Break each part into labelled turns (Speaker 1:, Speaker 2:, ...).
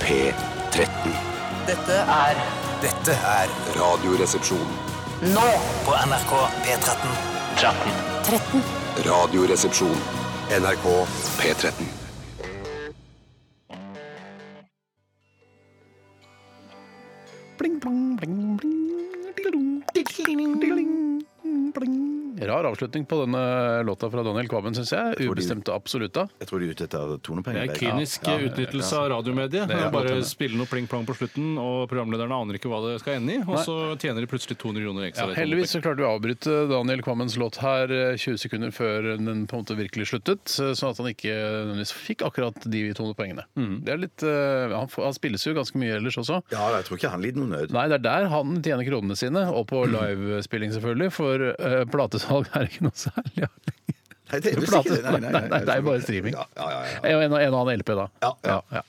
Speaker 1: P13.
Speaker 2: Dette er
Speaker 3: Dette er
Speaker 1: Radioresepsjon.
Speaker 2: nå
Speaker 3: på NRK P13.
Speaker 1: Radioresepsjon. NRK P13.
Speaker 4: Bling, blong, bling, bling, dilling, dilling, dilling, bling. Rar avslutning på denne låta fra Daniel Kvammen, syns jeg. Ubestemte absolutta.
Speaker 5: Jeg tror de er ute etter
Speaker 6: Det
Speaker 5: tonepenger.
Speaker 6: er
Speaker 5: begge.
Speaker 6: kynisk eh, utnyttelse av radiomediet.
Speaker 4: altså- er
Speaker 6: Man Bare
Speaker 4: godt hende.
Speaker 6: spille noe pling-plong på slutten, og programlederne aner ikke hva det skal ende i. Og så tjener de plutselig 200 kroner
Speaker 4: Ja,
Speaker 6: ekstra. i
Speaker 4: heldigvis så klarte vi å avbryte Daniel Kvammens låt her eh, 20 sekunder før den på en måte virkelig sluttet, eh, sånn at han ikke nødvendigvis fikk akkurat de to poengene. Det er litt, eh, han, får- han spilles jo ganske mye ellers også.
Speaker 5: Ja, jeg tror ikke han lider noen nød.
Speaker 4: Nei, det er der han tjener kronene sine, og på livespilling selvfølgelig, for eh, platesalg er ikke noe særlig.
Speaker 5: Nei, det er visst ikke
Speaker 4: Plate.
Speaker 5: det.
Speaker 4: Nei, nei, det er bare streaming.
Speaker 5: Ja, ja, ja, ja.
Speaker 4: En, og- en og annen LP, da.
Speaker 5: Ja, ja.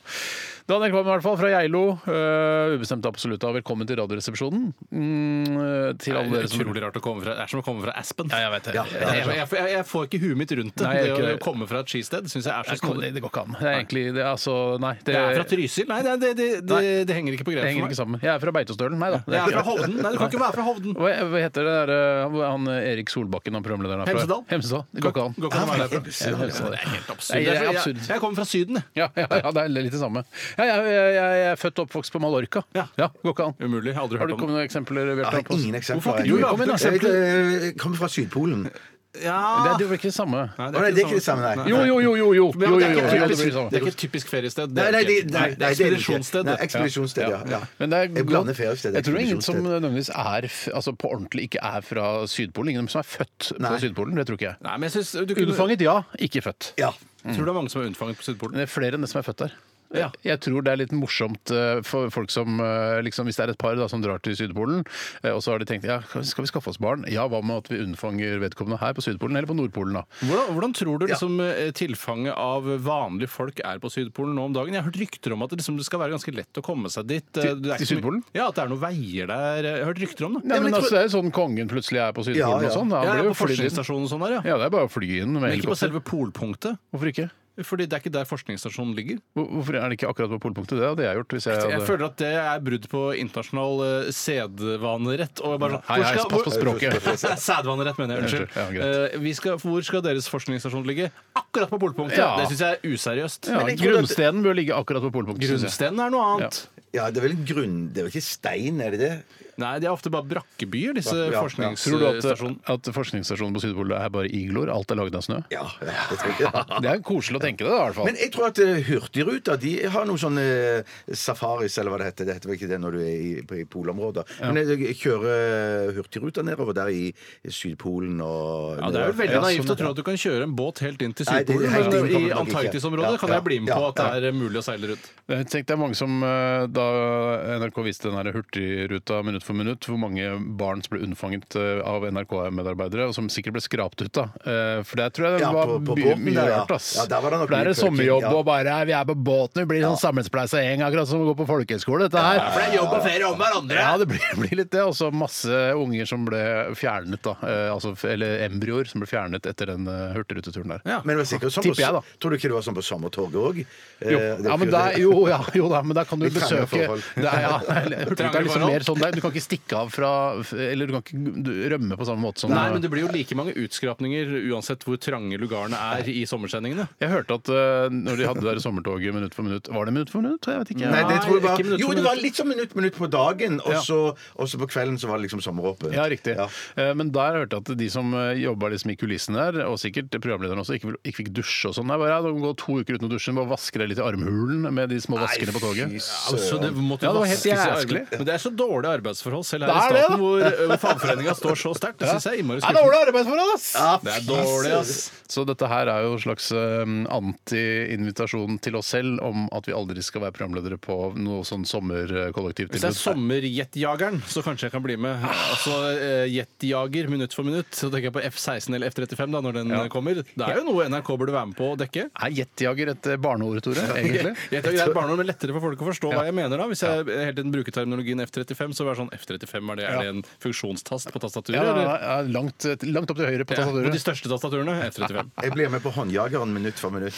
Speaker 4: Daniel Kvam, i hvert fall, fra Geilo. eh, ubestemt absolutt. og Velkommen til Radioresepsjonen. Mm, til alle
Speaker 6: Det er
Speaker 4: dere som
Speaker 6: utrolig rart å komme fra Det er som å komme fra Aspen.
Speaker 4: Ja, jeg vet det.
Speaker 5: Ja,
Speaker 4: Jeg-
Speaker 5: ja,
Speaker 6: Jeg,
Speaker 4: jeg-
Speaker 6: jeg, jeg, jeg får ikke huet mitt rundt det.
Speaker 4: Nei, jeg
Speaker 6: det å
Speaker 4: ikke-
Speaker 6: å komme fra et skisted syns jeg er så
Speaker 4: jeg- Det,
Speaker 6: snodig.
Speaker 4: det går ikke an. Det er egentlig det, er altså, Nei. Det,
Speaker 6: Det er fra Trysil? Nei, det, det, det, det, det henger ikke på
Speaker 4: det
Speaker 6: greia
Speaker 4: henger
Speaker 6: for
Speaker 4: ikke
Speaker 6: meg.
Speaker 4: sammen. Jeg er fra Beitostølen, nei da. Det er
Speaker 6: Jeg
Speaker 4: ikke
Speaker 6: er fra Hovden. Nei, du kan ikke være fra Hovden.
Speaker 4: hva, hva heter det der, eh, han Erik Solbakken, han programlederen her? fra-
Speaker 6: Hemsedal.
Speaker 4: Hemsedal. Det går ikke an.
Speaker 6: Går ikke an å være derfra.
Speaker 4: Ja, Hemsedal.
Speaker 6: Absurd.
Speaker 4: Det er
Speaker 6: Jeg-
Speaker 4: absurd.
Speaker 6: Jeg, jeg kommer fra Syden, jeg.
Speaker 4: Ja, ja, ja, det er litt det samme. Ja, jeg, jeg, jeg er født og oppvokst på Mallorca.
Speaker 6: Ja.
Speaker 4: går ikke an.
Speaker 6: Umulig. Jeg har Aldri
Speaker 4: Har
Speaker 6: hørt
Speaker 4: du
Speaker 6: om det.
Speaker 4: kommet noen eksempler?
Speaker 5: Jeg
Speaker 4: Bjarte?
Speaker 5: har ingen
Speaker 6: Hvorfor
Speaker 5: eksempler.
Speaker 6: har ikke du
Speaker 5: Jeg-
Speaker 6: laget noen eksempler?
Speaker 5: Jeg eh, kommer fra Sydpolen.
Speaker 4: Det
Speaker 6: Ja.
Speaker 4: er jo ikke sånn det samme.
Speaker 5: Å, Nei, det er ikke det samme, nei.
Speaker 4: Jo, jo, jo, jo. jo,
Speaker 6: Men
Speaker 4: jo, jo, jo, jo,
Speaker 6: det er ikke
Speaker 4: det
Speaker 6: et
Speaker 4: blir det
Speaker 6: typisk, det er
Speaker 4: samme.
Speaker 6: ikke et typisk feriested.
Speaker 5: Nei, nei, det, nei,
Speaker 6: det er
Speaker 5: det
Speaker 6: ekspedisjonssted.
Speaker 5: Nei, ekspedisjonssted, ja. ja.
Speaker 4: Men det er
Speaker 5: Jeg blander feriested.
Speaker 4: Jeg tror det er ingen som
Speaker 5: ekspedisjonssted.
Speaker 4: nødvendigvis er f- altså på ordentlig ikke er fra Sydpolen. Ingen som er født
Speaker 5: Nei.
Speaker 4: på Sydpolen, det tror ikke jeg.
Speaker 6: Nei, men jeg synes, du kunne,
Speaker 4: Unnfanget, ja. Ikke født.
Speaker 5: Ja.
Speaker 4: Mm.
Speaker 6: Tror du det er mange som er unnfanget på Sydpolen?
Speaker 4: Det er flere enn det som er født der.
Speaker 6: Ja.
Speaker 4: Jeg tror det er litt morsomt eh, for folk som eh, liksom, Hvis det er et par da, som drar til Sydpolen, eh, og så har de tenkt ja, skal vi skaffe oss barn? Ja, hva med at vi unnfanger vedkommende her på Sydpolen eller på Nordpolen, da?
Speaker 6: Hvordan, hvordan tror du liksom, eh, tilfanget av vanlige folk er på Sydpolen nå om dagen? Jeg har hørt rykter om at det, liksom, det skal være ganske lett å komme seg dit. eh,
Speaker 4: Til-
Speaker 6: det
Speaker 4: til
Speaker 6: er ikke så mye-
Speaker 4: Sydpolen?
Speaker 6: Ja, at det er noen veier der. Jeg har hørt rykter om det.
Speaker 4: Nei, men altså, Det er jo sånn kongen plutselig er på Sydpolen
Speaker 5: Ja, ja.
Speaker 4: og sånn.
Speaker 6: Ja,
Speaker 4: Han blir jo
Speaker 6: på
Speaker 4: flydd inn.
Speaker 6: forskningsstasjonen og sånn der, ja.
Speaker 4: Ja, det er bare å fly inn med
Speaker 6: Men ikke
Speaker 4: helikopter.
Speaker 6: på selve polpunktet,
Speaker 4: Hvorfor ikke?
Speaker 6: fordi det er ikke der forskningsstasjonen ligger.
Speaker 4: Hvor- Hvorfor er det ikke akkurat på polpunktet? Det hadde jeg gjort hvis jeg hadde
Speaker 6: Jeg føler at det er brudd på internasjonal eh, sedvanerett. Og bare sånn,
Speaker 4: Hei,
Speaker 6: hvor
Speaker 4: hei,
Speaker 6: skal-
Speaker 4: pass på
Speaker 6: hvor-
Speaker 4: språket.
Speaker 6: Sædvanerett, mener jeg. Unnskyld.
Speaker 4: Ja, greit.
Speaker 6: Eh, vi skal, hvor skal deres forskningsstasjon ligge? Akkurat på polpunktet!
Speaker 4: Ja.
Speaker 6: Det syns jeg er useriøst.
Speaker 4: Ja, grunnstenen bør ligge akkurat på polpunktet. synes jeg.
Speaker 6: Grunnsteinen er noe annet.
Speaker 5: ja, det er vel en grunn... Det er vel ikke stein, er det det?
Speaker 6: Nei, de er ofte bare brakkebyer, disse
Speaker 5: Ja, ja.
Speaker 4: Tror du at, eh,
Speaker 6: forskningsstasjonene.
Speaker 4: at forskningsstasjonen på Sydpolen er bare igloer? Alt er laget av snø?
Speaker 5: Ja. ja, det tror jeg.
Speaker 4: Det er koselig å tenke det, da, i hvert fall.
Speaker 5: Men jeg tror at eh, Hurtigruta de har noen sånne eh, safaris, eller hva det heter. Det heter vel ikke det når du er i, på, i polområder. Men eh, jeg jeg kjører Hurtigruta nedover der i Sydpolen og
Speaker 6: Ja, Det er jo veldig
Speaker 5: Ja,
Speaker 6: naivt
Speaker 5: sånn,
Speaker 6: å tro at du kan kjøre en båt helt inn til
Speaker 5: Nei, det-
Speaker 6: Sydpolen.
Speaker 5: helt inn kommer
Speaker 6: men I
Speaker 5: man nok ikke.
Speaker 6: Antarktisområdet
Speaker 5: Ja,
Speaker 6: kan jeg bli med
Speaker 5: ja,
Speaker 6: på at
Speaker 5: ja.
Speaker 6: det er mulig å seile rundt.
Speaker 4: Jeg tenkte det er mange som eh, da NRK viste den her Hurtigruta minutt for minutt, hvor mange barn som ble unnfanget eh, av NRK-medarbeidere, og som sikkert ble skrapt ut, da. Eh, For der tror jeg det
Speaker 5: Ja,
Speaker 4: var
Speaker 5: på- på
Speaker 4: by-
Speaker 5: båten
Speaker 4: mye
Speaker 5: der, ja.
Speaker 4: rart, ass.
Speaker 5: Ja, der var det nok
Speaker 4: For det er
Speaker 5: mye
Speaker 4: en sommerjobb
Speaker 5: twerking, ja.
Speaker 4: og bare Vi er på båten, vi blir sånn sammenspleisa gjeng, akkurat som å gå på folkehøyskole, dette her.
Speaker 6: For det er jobb og ferie om hverandre!
Speaker 4: Ja, det blir, blir litt det. Og så masse unger som ble fjernet, da. Eh, altså, f- eller embryoer som ble fjernet etter den eh, hurtigruteturen der.
Speaker 5: Men det var sikkert sånn
Speaker 4: Tipper jeg, da.
Speaker 5: på, tror du ikke det var sånn på sommertoget Eh, òg?
Speaker 4: Jo, ja, men der, jo, ja, jo da, men der kan du
Speaker 5: Litt trangere
Speaker 4: besøke
Speaker 5: forhold.
Speaker 4: det er, ja, Hurtigruta er liksom
Speaker 6: forhold.
Speaker 4: mer sånn der. Du kan ikke stikke av fra Eller du kan ikke du- rømme på samme måte som
Speaker 6: Nei, men det blir jo like mange utskrapninger uansett hvor trange lugarene er i sommersendingene.
Speaker 4: Jeg hørte at eh, når de hadde det der sommertoget minutt for minutt Var det minutt for minutt? Jeg vet ikke.
Speaker 5: Nei, det tror jeg
Speaker 6: Nei,
Speaker 5: var
Speaker 6: ikke minutt
Speaker 5: Jo,
Speaker 6: for
Speaker 5: det var
Speaker 6: minutt.
Speaker 5: litt sånn minutt minutt på dagen, og
Speaker 4: Ja.
Speaker 5: så og så på kvelden så var det liksom sommeråpent.
Speaker 4: Ja, riktig.
Speaker 5: Ja.
Speaker 4: Eh, Men der hørte jeg at de som eh, jobba liksom i kulissene der, og sikkert programlederen også, ikke, vil- ikke fikk dusje og sånn. Nei, bare, ja, de går to uker uten å dusje, bare vasker deg litt i armhulen med de små vaskene på toget.
Speaker 5: fy
Speaker 6: Altså, det måtte
Speaker 4: Ja, det var helt
Speaker 6: vaskes i arbeid.
Speaker 4: jæsklig.
Speaker 6: Men det er så dårlige arbeidsforhold selv
Speaker 4: Det er
Speaker 6: her i
Speaker 4: det,
Speaker 6: staten, hvor, eh, hvor fagforeninga står så sterkt. Det syns jeg er innmari
Speaker 4: Det er
Speaker 6: skuffende.
Speaker 4: dårlig arbeidsforhold, ass!
Speaker 6: Det er dårlig, ass.
Speaker 4: Så dette her er jo en slags eh, anti-invitasjon til oss selv om at vi aldri skal være programledere på noe sånn
Speaker 6: Hvis det er
Speaker 4: sommerkollektivtilbud.
Speaker 6: sommerjetjageren, så kanskje jeg kan bli med. Altså eh, jetjager minutt for minutt. Så tenker jeg på F-16 eller F-35 da, når den eh, kommer. Det er jo noe NRK burde være med på å dekke.
Speaker 4: Er jetjager et eh, barneord, Tore? Egentlig?
Speaker 6: Jetjager er et barneord, men lettere for folk å forstå hva jeg mener da. Hvis jeg hele tiden bruker terminologien F-35, så er det sånn sånn F35? Er det, er det en funksjonstast på tastaturet?
Speaker 4: Ja,
Speaker 6: eller?
Speaker 4: ja, langt, langt opp til høyre på
Speaker 6: Ja, på de
Speaker 4: tastaturet.
Speaker 6: største tastaturene? F35.
Speaker 5: Jeg blir med på håndjageren minutt for minutt.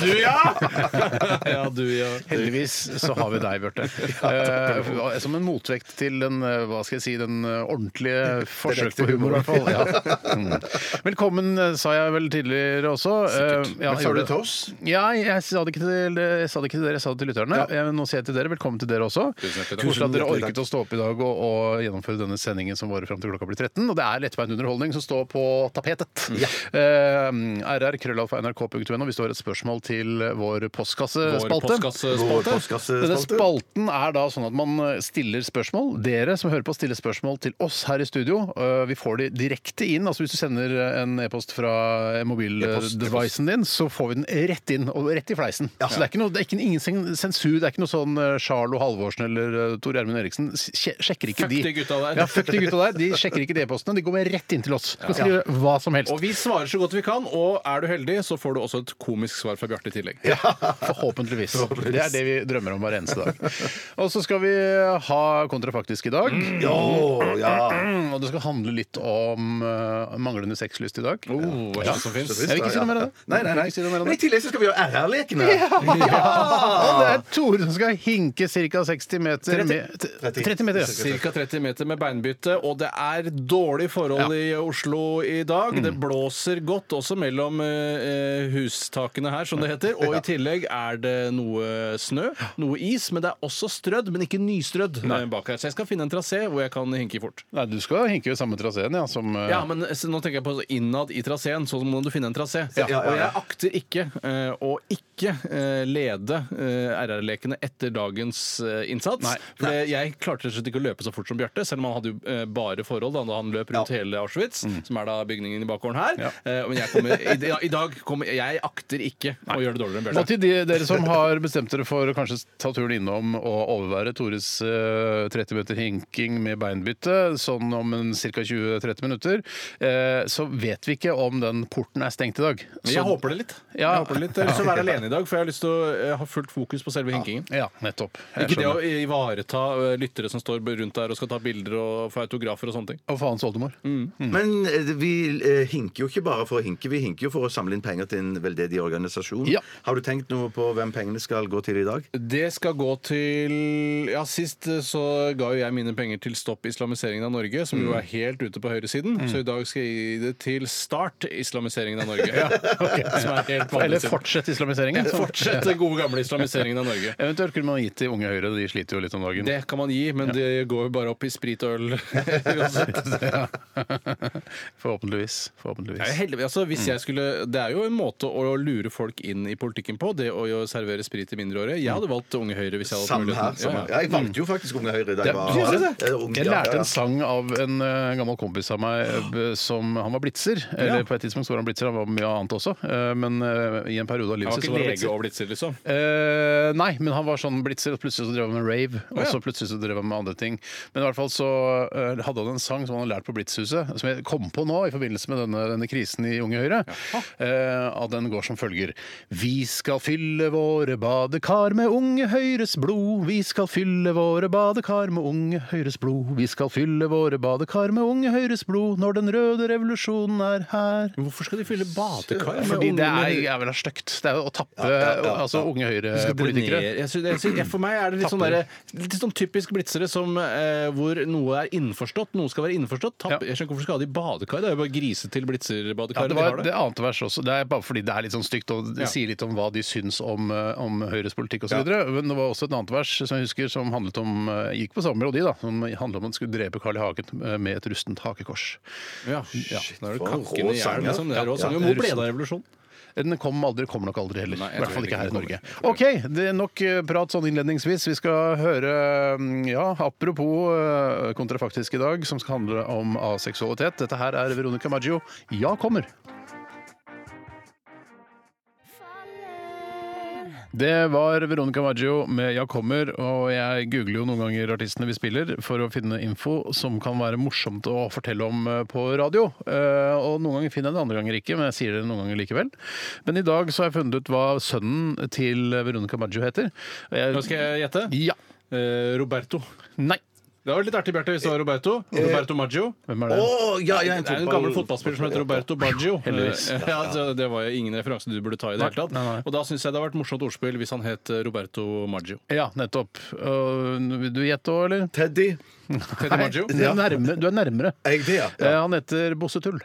Speaker 6: du, ja! ja, du, ja.
Speaker 4: Heldigvis så har vi deg, Bjarte. Eh, som en motvekt til den eh, hva skal jeg si, den eh, ordentlige forsøk på humor, i hvert fall. Ja. Mm. Velkommen, eh, sa jeg vel tidligere også. Eh, ja,
Speaker 5: Men
Speaker 4: jeg
Speaker 5: sa
Speaker 4: gjorde
Speaker 5: du
Speaker 4: det.
Speaker 5: til oss?
Speaker 4: Ja, jeg sa det ikke til, jeg sa det ikke til dere, jeg sa det til lytterne. Jeg- Nå sier jeg til dere, velkommen til dere også.
Speaker 6: Tusen hjertelig takk.
Speaker 4: Koselig at dere
Speaker 5: Tusen hjertelig
Speaker 4: orket å stå opp i dag og, og gjennomføre denne sendingen som varer fram til klokka blir 13. Og det er lettbeint underholdning som står på tapetet. Eh, RR, krøllalfa, nrk.no hvis du har et spørsmål til vår
Speaker 6: Vår
Speaker 4: postkassespalte.
Speaker 5: Vår
Speaker 6: postkassespalte.
Speaker 4: Denne
Speaker 5: postkassespalte.
Speaker 4: spalten er da sånn at man stiller spørsmål. Dere som hører på, stiller spørsmål til oss her i studio. Øh, Vi får de direkte inn. altså Hvis du sender en e-post fra eh, mobildevicen din, så får vi den rett inn, og rett i fleisen. Så det er ikke noe, det er ikke, ingen sen- sensur. Det er ikke noe sånn øh, Charlo Halvorsen eller øh, Tor Gjermund Eriksen. Sje- Sjekker ikke
Speaker 6: Fuck
Speaker 4: de.
Speaker 6: de gutta der.
Speaker 4: Ja, fuck de gutta der. De sjekker ikke de e-postene. De går med rett inn til oss. Du kan skrive hva som helst.
Speaker 6: Og vi svarer så godt vi kan, og er du heldig, så får du også et komisk svar fra Bjarte i tillegg.
Speaker 4: Forhåpentligvis. Det er det vi drømmer om hver eneste dag. Og så skal vi ha kontrafaktisk i dag.
Speaker 5: Ja, ja.
Speaker 4: Og det skal handle litt om eh, manglende sexlyst i dag.
Speaker 6: Oh, hva slags som finnes.
Speaker 4: Jeg vil ikke sånn si noe mer om det.
Speaker 5: Nei, nei, nei.
Speaker 4: Jeg vil ikke si noe mer om
Speaker 5: Men i
Speaker 4: det.
Speaker 5: tillegg så skal vi gjøre RR-lekene.
Speaker 4: Og det er Tore som skal hinke ca. 60 meter.
Speaker 6: 30.
Speaker 4: Med, t- 30 meter, ja.
Speaker 6: Ca. 30 meter med beinbytte, og det er dårlige forhold i Oslo i dag.
Speaker 4: Mm.
Speaker 6: Det blåser godt også mellom eh, hustakene her, som det heter. Og i tillegg er det noe snø, noe is, men det er også strødd, men ikke nystrødd eh, bak her. Så jeg skal finne en trasé hvor jeg kan hinke fort.
Speaker 4: Nei, du skal hinke ved samme traseen, ja, som eh,
Speaker 6: Ja, men s- nå tenker jeg på innad i traseen, så må du finne en trasé.
Speaker 5: Ja, ja, ja.
Speaker 6: Og jeg akter ikke eh, å ikke eh, lede eh, RR-lekene etter dagens eh, innsats. For det- jeg klarte rett og slett ikke å løpe så fort som Bjarte, selv om han hadde jo eh, bare forhold da, da han løp rundt hele Auschwitz, som er da bygningen i bakgården her. Eh, Men jeg kommer, i, da- i dag kommer Jeg akter ikke å gjøre det dårligere enn
Speaker 4: Og
Speaker 6: Bjarte.
Speaker 4: til de, dere som har bestemt dere for å kanskje ta turen innom og overvære Tores eh, 30 meter hinking med beinbytte sånn om ca. 20-30 minutter, eh, så vet vi ikke om den porten er stengt i dag.
Speaker 6: Men jeg håper det litt.
Speaker 4: Ja.
Speaker 6: Jeg håper det litt. Jeg har lyst til å være alene i dag, for jeg har lyst til å eh, ha fullt fokus på selve hinkingen.
Speaker 4: Ja, nettopp. Jeg
Speaker 6: Ikke det å
Speaker 4: skjønner.
Speaker 6: ivareta eh, lyttere som står rundt der og skal ta bilder og få autografer og sånne ting.
Speaker 4: Og faens oldemor.
Speaker 5: Men eh, vi eh, hinker jo ikke bare for å hinke, vi hinker jo for å samle inn penger til en veldedig organisasjon.
Speaker 4: Ja.
Speaker 5: Har du tenkt noe på hvem pengene skal gå til i dag?
Speaker 6: Det skal gå til Ja, sist eh, så ga jo jeg mine penger til Stopp islamiseringen av Norge, som jo er helt ute på høyresiden. Så i dag skal jeg gi det til Start islamiseringen av Norge. Som er helt på andre
Speaker 4: Eller
Speaker 6: siden.
Speaker 4: fortsett islamiseringen. som-
Speaker 6: Fortsett den gode gamle islamiseringen av Norge.
Speaker 4: Eventuelt kunne man gitt til Unge Høyre, de sliter jo litt om dagen.
Speaker 6: Det kan man gi, men det går jo bare opp i sprit og øl uansett.
Speaker 4: Ja. Forhåpentligvis. Forhåpentligvis.
Speaker 6: Det er, jo heldig, altså, hvis jeg skulle, det er jo en måte å lure folk inn i politikken på, det å jo servere sprit til mindreårige. Jeg hadde valgt Unge Høyre hvis jeg hadde hatt
Speaker 5: Samme her.
Speaker 6: muligheten.
Speaker 5: Samme.
Speaker 6: Ja, ja.
Speaker 5: her. Jeg valgte jo faktisk Unge Høyre i dag.
Speaker 4: Ja, du gjorde det?
Speaker 5: Eh, ung-
Speaker 4: Jeg
Speaker 5: ja, ja,
Speaker 4: lærte
Speaker 5: ja.
Speaker 4: en sang av en eh, gammel kompis av meg eh, som Han var blitzer. Eller på et tidspunkt så var han blitzer, han var mye annet også. eh, Men eh, i en periode av livet
Speaker 6: Han var
Speaker 4: sitt så
Speaker 6: ikke
Speaker 4: var han
Speaker 6: lege
Speaker 4: blitzer.
Speaker 6: og blitzer, liksom.
Speaker 4: Eh, nei, men han var sånn blitzer, og plutselig så drev han med rave. Og
Speaker 6: ja.
Speaker 4: så plutselig så drev han med andre ting. Men i hvert fall så eh, hadde han en sang som han hadde lært på Blitzhuset, som jeg kom på nå i forbindelse med denne, denne krisen i Unge Høyre. Eh, at den går som følger. Vi skal fylle våre badekar med Unge Høyres blod. Vi skal fylle våre badekar med Unge Høyres blod. Vi skal fylle våre badekar med Unge Høyres blod når den røde revolusjonen er her.
Speaker 6: Hvorfor skal de fylle badekar med
Speaker 4: Fordi det er,
Speaker 6: ungdommer?
Speaker 4: er vel stygt. Det er jo å tappe altså unge
Speaker 6: Du skal
Speaker 4: Høyre-politikere.
Speaker 6: drenere. Jeg synes, jeg synes, jeg, for meg er det litt sånn,
Speaker 4: Tapper.
Speaker 6: derre- litt sånn typisk blitzere som, eh, hvor noe er innforstått, noe skal være innforstått. Tapp,
Speaker 4: Ja.
Speaker 6: Jeg skjønner ikke hvorfor skal de ha det i badekar? Det er jo bare grise til
Speaker 4: Ja, det
Speaker 6: blitzerbadekar. de
Speaker 4: var
Speaker 6: har det.
Speaker 4: det annet vers også. Det er bare fordi det er litt sånn stygt og det
Speaker 6: Ja.
Speaker 4: sier litt om hva de syns om, eh, om Høyres politikk osv. videre Men det var også et annet vers som jeg husker som handlet om eh, Gikk på samme melodi, da. Som handlet om at man skulle drepe Carl I. Hagen eh, med et rustent hakekors.
Speaker 6: Ja. Ja. Da er det
Speaker 5: for en
Speaker 6: kakken
Speaker 5: rå
Speaker 6: i
Speaker 5: sang,
Speaker 6: hjernen,
Speaker 5: ja.
Speaker 6: liksom. Det er rå
Speaker 5: Ja,
Speaker 6: sang.
Speaker 5: ja.
Speaker 6: Hvor ble det av revolusjonen?
Speaker 4: Den kom aldri, kommer nok aldri heller.
Speaker 6: Nei, jeg
Speaker 4: I hvert
Speaker 6: tror
Speaker 4: fall ikke her i
Speaker 6: heller
Speaker 4: Norge.
Speaker 6: ikke den
Speaker 4: OK, det er nok eh, prat sånn innledningsvis. Vi skal høre mm, Ja, apropos eh, kontrafaktisk i dag, som skal handle om aseksualitet. Dette her er Veronica Maggio. Ja, kommer. Det var Veronica Maggio med 'Ja kommer', og jeg googler jo noen ganger artistene vi spiller for å finne info som kan være morsomt å fortelle om eh, på radio. Eh, Og noen ganger finner jeg det, andre ganger ikke, men jeg sier det noen ganger likevel. Men i dag så har jeg funnet ut hva sønnen til Veronica Maggio heter. Og jeg-
Speaker 6: Nå skal jeg gjette.
Speaker 4: Ja.
Speaker 6: Eh, Roberto.
Speaker 4: Nei.
Speaker 6: Det var litt artig, Bjarte, hvis det var Roberto. Roberto Maggio.
Speaker 4: Eh, Hvem er
Speaker 5: Å,
Speaker 4: det?
Speaker 5: ja, ja,
Speaker 6: Det er en gammel fotballspiller som heter Roberto Baggio.
Speaker 4: Heldigvis.
Speaker 6: Eh, Ja, så det var jo ingen referanse du burde ta i det
Speaker 4: Nei,
Speaker 6: hele
Speaker 4: nei, nei.
Speaker 6: tatt. Og da syns jeg det har vært morsomt ordspill hvis han het eh, Roberto Maggio.
Speaker 4: Ja, nettopp. Øh, vil du gjette òg, eller?
Speaker 5: Teddy.
Speaker 6: Teddy Maggio.
Speaker 4: Du er nærmere. Du er nærmere.
Speaker 5: Er jeg det, ja?
Speaker 4: Eh, Han heter Bossetull.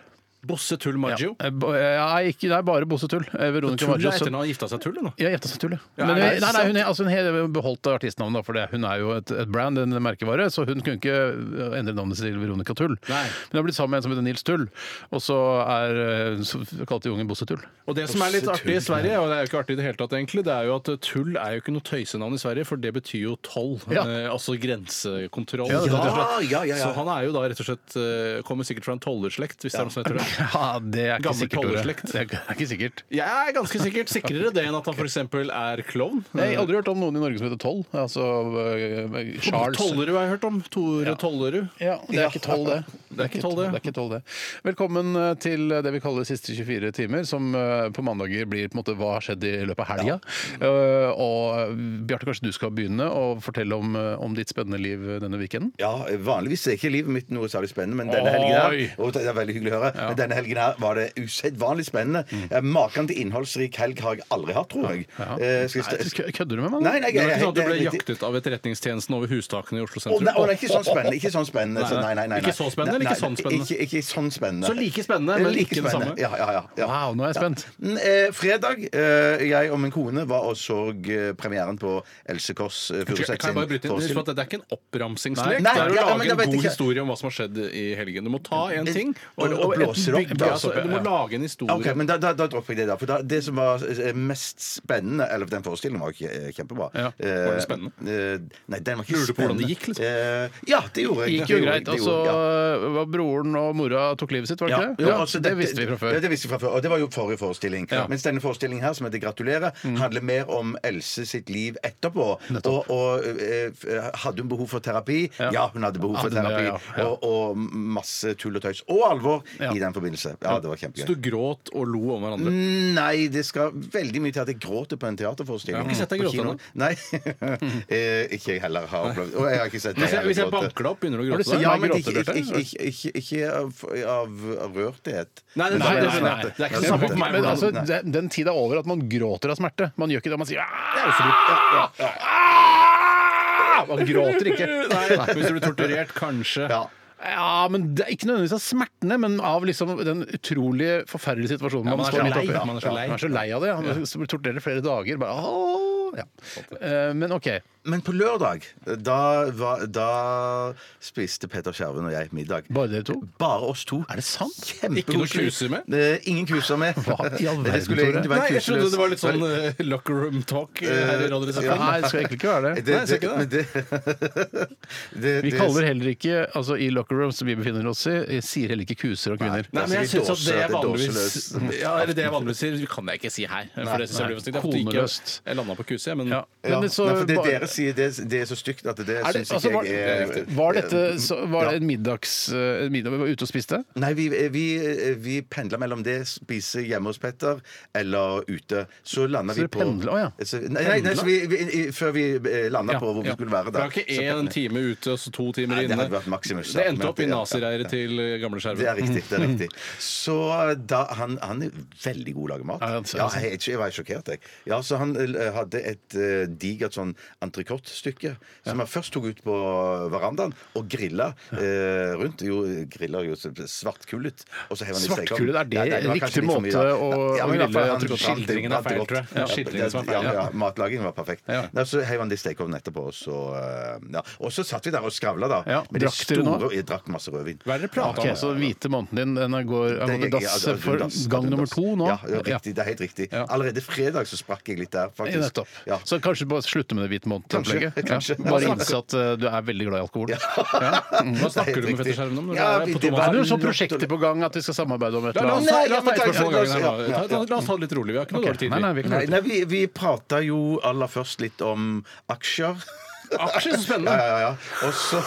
Speaker 6: Bosse Tull Maggio.
Speaker 4: Eh, bo- eh, Nei, ikke, nei, bare Bossetull. Eh, Veronica
Speaker 6: Tull
Speaker 4: Maggio.
Speaker 6: er
Speaker 4: sønn-
Speaker 6: etternavn. Han gifta seg tull, nå.
Speaker 4: Ja, gjetta seg tull, ja.
Speaker 6: Ja,
Speaker 4: Men,
Speaker 6: er det
Speaker 4: nei, nei,
Speaker 6: sant?
Speaker 4: hun, er- altså, hun har beholdt artistnavnet, da, for det, hun er jo et, et brand, en merkevare, så hun kunne ikke uh, endre navnet sitt til Veronica Tull.
Speaker 6: Nei.
Speaker 4: Men hun har blitt sammen med en som heter Nils Tull, og så, er, uh, så kalte de ungen Bosse Tull.
Speaker 6: Og det som er litt artig i Sverige, og det er jo ikke artig i det hele tatt egentlig, det er jo at eh, tull er jo ikke noe tøysenavn i Sverige, for det betyr jo toll.
Speaker 4: Ja.
Speaker 6: Eh, altså grensekontroll.
Speaker 4: Ja, det er
Speaker 6: rett og
Speaker 5: Ja,
Speaker 6: slett.
Speaker 5: ja, ja, ja.
Speaker 6: Så han er jo da rett og slett eh, Kommer sikkert fra en tollerslekt, hvis det er noe som heter det.
Speaker 4: Ja, det er ikke
Speaker 6: Gammel
Speaker 4: sikkert. Tore.
Speaker 6: tollerslekt.
Speaker 4: Det er ikke- det er ikke sikkert.
Speaker 6: Jeg er ganske sikkert sikrere det enn at han f.eks. er klovn.
Speaker 4: Jeg har aldri hørt om noen i Norge som heter Toll. Altså uh, Charles.
Speaker 6: Tollerud har jeg hørt om. Tore
Speaker 4: Ja.
Speaker 6: Tollerud.
Speaker 4: Ja, det er ikke toll, det.
Speaker 6: Det er ikke toll, det.
Speaker 4: Det er ikke toll, det. Velkommen eh, til det vi kaller de siste 24 timer, som eh, på mandager blir på en måte hva har skjedd i løpet av helga. Eh, Og Bjarte, kanskje du skal begynne å fortelle om, eh, om ditt spennende liv denne weekenden?
Speaker 5: Ja, Vanligvis er ikke livet mitt noe særlig spennende, men denne helgen
Speaker 4: Oi!
Speaker 5: her og det er veldig hyggelig å høre, men denne helgen her var det usedvanlig spennende.
Speaker 6: Mm.
Speaker 5: Eh, Maken til innholdsrik helg har jeg aldri hatt, tror jeg. Eh, skal
Speaker 4: Nei,
Speaker 5: jeg st-
Speaker 4: Kødder du med meg? nå?
Speaker 5: Nei, nei,
Speaker 6: Det var
Speaker 5: jeg-
Speaker 6: ikke sånn at du ble
Speaker 5: jeg-
Speaker 6: jaktet av etterretningstjenesten over hustakene i Oslo
Speaker 5: Å,
Speaker 6: sentrum?
Speaker 5: nei, å, nei, ikke sånn spennende. Ikke sånn spennende. Så, nei, nei, nei, nei.
Speaker 6: Ikke så spennende, eller ikke
Speaker 5: Nei,
Speaker 6: sånn spennende?
Speaker 5: Ikke, ikke sånn spennende. Eh,
Speaker 6: Så like spennende, men
Speaker 5: Like
Speaker 6: ikke det
Speaker 5: spennende.
Speaker 6: samme?
Speaker 5: Ja, ja, ja. ja.
Speaker 4: Wow, nå er jeg spent.
Speaker 5: Mm, Eh, fredag, eh, jeg og min kone var og så eh, premieren på Else Kåss eh, Furuseth
Speaker 6: Kan jeg bare bryte inn?
Speaker 5: forestilling.
Speaker 6: Husk at Det er ikke en oppramsingslek.
Speaker 5: Nei,
Speaker 6: det er å
Speaker 5: ja, men
Speaker 6: lage
Speaker 5: jeg
Speaker 6: en
Speaker 5: vet
Speaker 6: god
Speaker 5: ikke-
Speaker 6: historie om hva som har skjedd i helgen. Du må ta en ting
Speaker 5: Og- og
Speaker 6: enten
Speaker 5: blåser opp,
Speaker 6: bygge-
Speaker 5: blåser
Speaker 6: altså,
Speaker 5: opp,
Speaker 6: Du må lage en historie.
Speaker 5: Ok, men da, da, da dropper jeg det, da. For da, det som var eh, mest spennende Eller den forestillingen var jo kje- eh, kjempebra.
Speaker 4: Ja,
Speaker 6: var den spennende?
Speaker 5: Eh, nei, den var ikke
Speaker 6: Lurer du på hvordan det
Speaker 5: spennende.
Speaker 6: gikk, liksom?
Speaker 5: Eh, ja, det gjorde
Speaker 4: Det
Speaker 5: jeg.
Speaker 4: gikk jo
Speaker 5: Det gjorde jeg,
Speaker 4: greit. altså, Og
Speaker 5: det
Speaker 4: så
Speaker 5: gjorde jeg, ja.
Speaker 4: var Eh, broren og mora tok livet sitt, var det
Speaker 5: Ja.
Speaker 4: ikke det?
Speaker 5: Jo,
Speaker 4: Ja,
Speaker 5: altså,
Speaker 4: det
Speaker 5: dette-
Speaker 4: visste vi fra
Speaker 5: Ja,
Speaker 4: før.
Speaker 5: det visste vi fra før, og det var jo forrige forestilling.
Speaker 4: Ja. Mm.
Speaker 5: Mens denne forestillingen her, som heter 'Gratulerer', handler mer om Else sitt liv etterpå.
Speaker 4: Nettopp.
Speaker 5: Og, og eh, f- hadde hun behov for terapi?
Speaker 4: Ja.
Speaker 5: Ja, hun hadde behov for
Speaker 4: Hadde hun det,
Speaker 5: terapi.
Speaker 4: ja, ja.
Speaker 5: Og, og masse tull og tøys. Og alvor
Speaker 4: Ja.
Speaker 5: i den forbindelse. Ja, det var kjempegøy.
Speaker 6: Så du gråt og lo om hverandre.
Speaker 5: Nei, det skal veldig mye til at jeg gråter på en teaterforestilling.
Speaker 6: Jeg har ikke sett deg
Speaker 5: På
Speaker 6: gråte
Speaker 5: kino.
Speaker 6: ennå.
Speaker 5: Nei. eh, ikke jeg heller har opplevd Og jeg har ikke sett deg
Speaker 6: Hvis jeg,
Speaker 5: heller
Speaker 6: hvis jeg
Speaker 5: gråte.
Speaker 6: banker deg opp, begynner du å
Speaker 4: Har du
Speaker 6: gråte?
Speaker 4: sett
Speaker 6: da?
Speaker 5: ja,
Speaker 4: meg
Speaker 5: men
Speaker 4: gråte,
Speaker 5: ikke,
Speaker 4: Bjarte?
Speaker 5: ikke, ikke, ikke, ikke av, av, av rørthet.
Speaker 6: Nei, det-
Speaker 5: Men
Speaker 4: Nei,
Speaker 5: av
Speaker 4: det- det-
Speaker 5: smerte.
Speaker 6: det er ikke
Speaker 5: Av
Speaker 6: det samme for
Speaker 5: smerte.
Speaker 6: meg,
Speaker 4: Men
Speaker 6: hvordan-
Speaker 4: altså, den, den tida er over at man gråter av smerte. Man gjør ikke det. Man sier
Speaker 5: Ja, ja, ja.
Speaker 4: «Ah!» Man gråter ikke.
Speaker 6: Nei, hvis du blir torturert, kanskje.
Speaker 5: Ja.
Speaker 4: Ja, men det er Ikke nødvendigvis av smertene, men av liksom den utrolig forferdelige situasjonen
Speaker 6: Ja,
Speaker 4: man,
Speaker 6: man er
Speaker 4: står
Speaker 6: så
Speaker 4: midt
Speaker 6: lei,
Speaker 4: oppi.
Speaker 6: da. Man er så lei.
Speaker 4: Ja, man er så lei av det. ja. Man blir torturert i flere dager. Bare, «Åh!» ja.
Speaker 6: Sånn
Speaker 4: Eh, Men OK.
Speaker 5: Men på lørdag, da, var, da spiste Petter Skjerven og jeg middag.
Speaker 4: Bare dere to?
Speaker 5: Bare oss to.
Speaker 4: Er det sant?
Speaker 6: Ikke noe
Speaker 5: Kjempekoselig.
Speaker 6: kuser med?
Speaker 5: Eh, Ingen kuser med.
Speaker 4: Hva i all
Speaker 5: Det skulle
Speaker 4: verden, Tore?
Speaker 5: egentlig
Speaker 6: Nei,
Speaker 5: være
Speaker 6: jeg trodde
Speaker 5: kuseløs.
Speaker 6: det var litt sånn eh, locker room talk eh, her i Radioresepsjonen.
Speaker 4: Nei, det skal egentlig ikke være
Speaker 5: Det,
Speaker 4: det.
Speaker 5: det,
Speaker 6: Nei, jeg ser ikke
Speaker 5: men det, det,
Speaker 4: Vi
Speaker 5: det-
Speaker 4: kaller heller ikke altså i locker rooms vi befinner oss i, jeg sier heller ikke kuser og kvinner.
Speaker 6: Nei, men
Speaker 5: Det er
Speaker 6: jeg synes at
Speaker 5: dåse,
Speaker 6: det jeg
Speaker 5: det er
Speaker 6: vanligvis
Speaker 5: dåseløs.
Speaker 6: ja, eller det jeg vanligvis sier, kan jeg ikke si her. For det synes jeg blir for stygt. Jeg fikk
Speaker 4: Koneløst.
Speaker 6: ikke- Jeg landa på kuse, jeg, men
Speaker 4: Ja.
Speaker 5: Ja.
Speaker 4: Men det- så-
Speaker 5: Nei, for det
Speaker 4: bare-
Speaker 5: dere sier, det, det er så stygt at det
Speaker 4: Er det,
Speaker 5: syns
Speaker 4: altså,
Speaker 5: ikke
Speaker 4: var,
Speaker 5: jeg er
Speaker 4: var dette så, var det en middags... eh, middag vi var ute og spiste?
Speaker 5: Nei, vi, vi, vi pendler mellom det spise hjemme hos Petter eller ute. Så lander
Speaker 4: Så
Speaker 5: vi
Speaker 4: dere
Speaker 5: på
Speaker 4: pendler, å ja.
Speaker 5: så, Nei, nei, nei så vi, vi, i- før vi landa
Speaker 4: Ja,
Speaker 5: på hvor vi
Speaker 4: ja.
Speaker 5: skulle være
Speaker 6: Det
Speaker 5: da.
Speaker 6: var ikke
Speaker 5: så
Speaker 6: én
Speaker 5: pendler-
Speaker 6: time ute og så to timer
Speaker 5: Nei, det
Speaker 6: inne.
Speaker 5: hadde vært maksimus, da.
Speaker 6: Det endte
Speaker 5: Men
Speaker 6: opp i
Speaker 5: det- ja,
Speaker 6: nazireiret til eh, gamle
Speaker 5: Det er
Speaker 6: skjerver.
Speaker 5: riktig. det er
Speaker 4: Mm.
Speaker 5: riktig Så da, han, han er veldig god til å lage mat.
Speaker 4: Ja, han ser
Speaker 5: Ja,
Speaker 4: det sånn.
Speaker 5: jeg, er ikke- jeg var sjokkert, jeg. Ja, så han eh, hadde et eh, digert sånn entrecôte-stykke som han først tok ut på verandaen og grilla eh, rundt. Jo, grilla jo så- svartkullet. Og så hev han i stekeovnen.
Speaker 4: Svartkullet, er det
Speaker 5: Nei, nei, var
Speaker 4: riktig
Speaker 5: kanskje litt for mye,
Speaker 4: måte
Speaker 5: da.
Speaker 4: å-
Speaker 5: Nei, ja, men
Speaker 4: å
Speaker 5: i hvert
Speaker 4: grille
Speaker 5: fall, han
Speaker 4: entrecôte?
Speaker 5: skildringen
Speaker 6: Skildringen er feil, tror jeg. Ja, skildringen som er feil,
Speaker 5: Ja,
Speaker 6: ja.
Speaker 5: ja, matlagingen var perfekt.
Speaker 4: Ja.
Speaker 5: Nei, så heiv han det i stekeovnen etterpå, og så eh, ja. Og så satt vi der og skravla, da.
Speaker 4: Ja,
Speaker 5: Med de
Speaker 4: drakk dere noe?
Speaker 5: store- Jeg drakk masse rødvin.
Speaker 6: Hva er det dere prater
Speaker 4: Ok,
Speaker 6: om?
Speaker 4: så hvite måneden din den er går, er
Speaker 5: Det
Speaker 4: gått i
Speaker 5: jeg-
Speaker 4: dass
Speaker 5: ja,
Speaker 6: eh,
Speaker 5: det-
Speaker 4: for
Speaker 5: dass,
Speaker 4: gang
Speaker 5: det-
Speaker 4: nummer
Speaker 5: dass.
Speaker 4: to nå?
Speaker 5: Ja, ja, riktig, det er helt riktig.
Speaker 4: Ja.
Speaker 5: Allerede fredag så sprakk jeg litt der,
Speaker 4: Ja,
Speaker 5: faktisk.
Speaker 4: nettopp.
Speaker 5: Ja.
Speaker 4: Så kanskje bare slutte med det hvite måned-opplegget? Ja.
Speaker 5: Kanskje, kanskje.
Speaker 4: Bare innse at eh, du er veldig glad i alkohol.
Speaker 5: Ja.
Speaker 6: Hva
Speaker 5: Det er
Speaker 6: snakker du
Speaker 5: helt
Speaker 6: med
Speaker 5: riktig.
Speaker 6: fetterskjermen om? Når
Speaker 5: Ja,
Speaker 6: du er
Speaker 5: vi-
Speaker 6: på
Speaker 4: Det
Speaker 5: det
Speaker 4: er
Speaker 6: Thomas
Speaker 5: var-
Speaker 6: her?
Speaker 4: noen sånne prosjekter på gang at vi skal samarbeide om et
Speaker 6: La
Speaker 4: eller
Speaker 6: oss
Speaker 4: annet?
Speaker 6: ta
Speaker 5: Nei,
Speaker 6: la oss ta
Speaker 5: men
Speaker 6: et
Speaker 5: ta-
Speaker 6: spørsmål
Speaker 5: la
Speaker 6: om
Speaker 5: oss-
Speaker 6: gangen. her,
Speaker 5: ja,
Speaker 6: da.
Speaker 5: ja,
Speaker 6: Ta- ta- La oss ta det litt rolig. Vi har ikke noe
Speaker 4: Ok,
Speaker 6: dårlig tid.
Speaker 4: Nei, nei,
Speaker 6: vi.
Speaker 4: vi kan
Speaker 5: Nei, nei vi, vi prata jo aller først litt om aksjer.
Speaker 6: Aksjer, så spennende!
Speaker 5: Ja, ja, ja, ja. Og så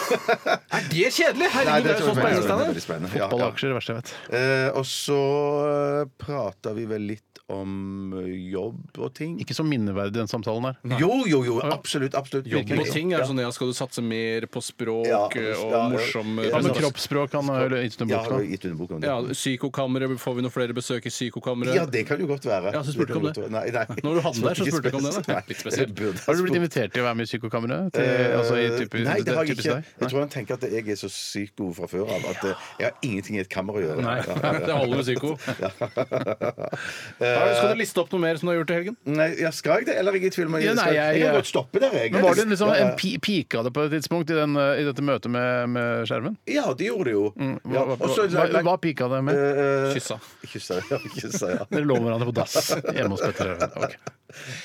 Speaker 6: Er det kjedelig? Herregud, det er jo sånn
Speaker 5: spennende. Det er
Speaker 6: spennende! Steinar.
Speaker 5: veldig spennende. Ja, ja.
Speaker 4: Fotballaksjer er det verste jeg vet.
Speaker 5: Eh, og så prata vi vel litt om eh, jobb og ting.
Speaker 4: Ikke så minneverdig den samtalen her.
Speaker 5: Jo, jo, jo. Absolutt. absolutt
Speaker 6: Jobb og ting er sånn, ja, skal du satse mer på språk
Speaker 5: Ja,
Speaker 6: eh, og
Speaker 5: ja, ja.
Speaker 6: morsom
Speaker 5: Ja,
Speaker 4: Hva med
Speaker 5: men
Speaker 6: eh,
Speaker 4: kroppsspråk? Han har jo gitt en
Speaker 5: Ja,
Speaker 4: bok
Speaker 5: har
Speaker 4: nå.
Speaker 5: du gitt ut en bok om det?
Speaker 6: Ja, Psykokammeret, får vi noen flere besøk i psykokammeret?
Speaker 5: Ja, det kan jo godt være.
Speaker 6: Ja, så
Speaker 5: kan
Speaker 6: spurte du
Speaker 5: godt
Speaker 6: om
Speaker 5: være.
Speaker 6: det.
Speaker 5: Nei, nei.
Speaker 6: Når du hadde den der, så spurte du ikke om det, da.
Speaker 5: Nei,
Speaker 6: Litt spesielt.
Speaker 5: jeg burde ha
Speaker 4: Har du blitt
Speaker 5: spurt.
Speaker 4: invitert til å være med i Psykokammeret? Til-
Speaker 5: Eh,
Speaker 4: Altså, i type-
Speaker 5: nei, det har jeg
Speaker 4: typisk
Speaker 5: ikke.
Speaker 4: deg?
Speaker 5: Jeg tror han tenker at jeg er så sykt god fra før av at eh, jeg har ingenting i et kammer å gjøre.
Speaker 6: Nei, det holder med psyko. Ja, skal du liste opp noe mer som du har gjort i helgen?
Speaker 5: Nei, ja, Skal jeg det, eller er jeg i tvil? om
Speaker 4: Ja, nei,
Speaker 5: skal- jeg,
Speaker 4: jeg-
Speaker 5: kan godt stoppe der, jeg.
Speaker 4: Men var det liksom
Speaker 5: Ja, ja.
Speaker 4: en pi- pika det på et tidspunkt i, den, eh, i dette møtet med, med skjermen?
Speaker 5: Ja, det gjorde det jo. Ja,
Speaker 4: Mm, Hva, hva,
Speaker 5: og så-
Speaker 4: hva, hva pika det med?
Speaker 5: Eh,
Speaker 6: Kyssa.
Speaker 5: Kyssa, ja. Kyssa, ja.
Speaker 4: Dere lå hverandre på dass hjemme hos Petter Øren. Ok.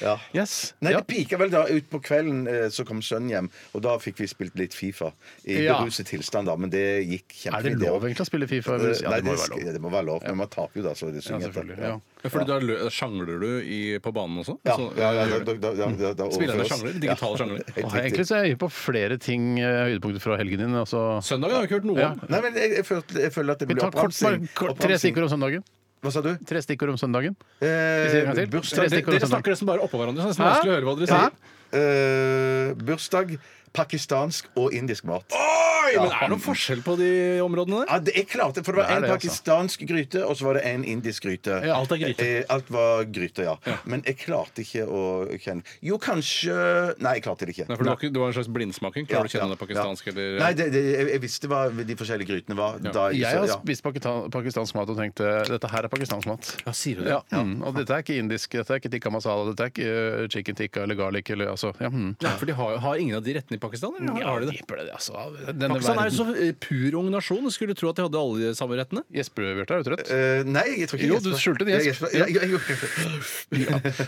Speaker 5: ja.
Speaker 4: Yes.
Speaker 5: Nei,
Speaker 4: ja.
Speaker 5: det pika vel da ut på kvelden, eh, så kom sønnen hjem, og da fikk vi spilt litt Fifa. I
Speaker 4: Ja.
Speaker 5: beruset tilstand, da, men det gikk
Speaker 4: Er det
Speaker 5: kjempefint.
Speaker 4: lov egentlig å spille Fifa?
Speaker 5: Eh,
Speaker 4: Ja,
Speaker 5: Nei,
Speaker 4: det må jo være
Speaker 5: sk-
Speaker 4: lov.
Speaker 5: det må være lov, men man taper jo da, så det
Speaker 4: Ja,
Speaker 5: synger
Speaker 4: selvfølgelig.
Speaker 5: etter.
Speaker 4: Ja.
Speaker 6: Ja, Fordi da lø- Sjangler du i, på banen også?
Speaker 5: Ja,
Speaker 6: Så,
Speaker 5: ja, ja,
Speaker 6: eh,
Speaker 5: da, da, da, da, da, da
Speaker 6: Spillerne
Speaker 5: overføres.
Speaker 6: sjangler? Digitale sjangler?
Speaker 5: Helt
Speaker 4: Og egentlig
Speaker 5: riktig.
Speaker 4: så er jeg hypp på flere ting, eh, høydepunkter fra helgen din. Altså.
Speaker 6: Søndagen har vi ikke hørt noe
Speaker 4: Ja.
Speaker 6: om.
Speaker 5: Nei, men jeg, jeg, føler, jeg føler at det
Speaker 4: Vi
Speaker 5: blir
Speaker 4: tar kort, bare,
Speaker 5: oppramsing.
Speaker 4: kort, tre
Speaker 5: Oppramsing.
Speaker 4: stikkord om søndagen.
Speaker 5: Hva sa du?
Speaker 4: Tre stikkord om søndagen. sier en gang
Speaker 5: Eh,
Speaker 4: til.
Speaker 5: bursdag,
Speaker 4: Tre
Speaker 6: Dere,
Speaker 4: stikkord om
Speaker 6: dere
Speaker 4: søndagen.
Speaker 6: snakker nesten bare oppå hverandre. Så det er nesten
Speaker 4: Hæ?
Speaker 6: vanskelig å høre hva dere
Speaker 4: Hæ?
Speaker 6: sier.
Speaker 5: eh, bursdag, pakistansk og indisk mat.
Speaker 6: Oi, men er det noen forskjell på de områdene der?
Speaker 5: Ja, det, jeg klarte, for det var
Speaker 4: Det er
Speaker 5: en
Speaker 4: det, altså.
Speaker 5: pakistansk gryte, og så var det en indisk gryte.
Speaker 4: Ja,
Speaker 6: alt er gryte.
Speaker 5: Eh, Alt var gryte, ja. Men jeg klarte ikke å kjenne Jo, kanskje Nei, jeg klarte det ikke.
Speaker 6: Nei, for det, var ikke, det var en slags blindsmaking. Klarer du å kjenne det pakistansk eller
Speaker 5: Nei, det, det, jeg, jeg visste hva de forskjellige grytene var. Da jeg,
Speaker 4: Jeg har
Speaker 5: så, ja.
Speaker 4: spist pakita- pakistansk mat og tenkt eh, dette her er pakistansk mat.
Speaker 6: Ja, sier du det?
Speaker 4: Ja, mm, og dette er ikke indisk, dette er ikke tikka masala, dette er ikke eh, chicken tikka eller garlic eller altså ja, mm.
Speaker 6: Nei, for de har, har ingen av de rettene i Pakistan? Eller? har de det?
Speaker 4: tipper det, altså. Denne
Speaker 6: Pakistan er jo
Speaker 4: verden.
Speaker 6: så eh, pur ung nasjon. Jeg skulle tro at de hadde alle de samme rettene.
Speaker 4: Jesper Bjarte, er du trøtt?
Speaker 5: Eh, nei, jeg tror ikke
Speaker 4: Jo,
Speaker 5: jeg
Speaker 4: du
Speaker 5: gjesper.
Speaker 4: skjulte det,
Speaker 5: Jeg
Speaker 4: Jesper.
Speaker 5: gjesper. Ja, jeg- jeg-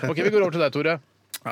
Speaker 4: OK, vi går over til deg, Tore.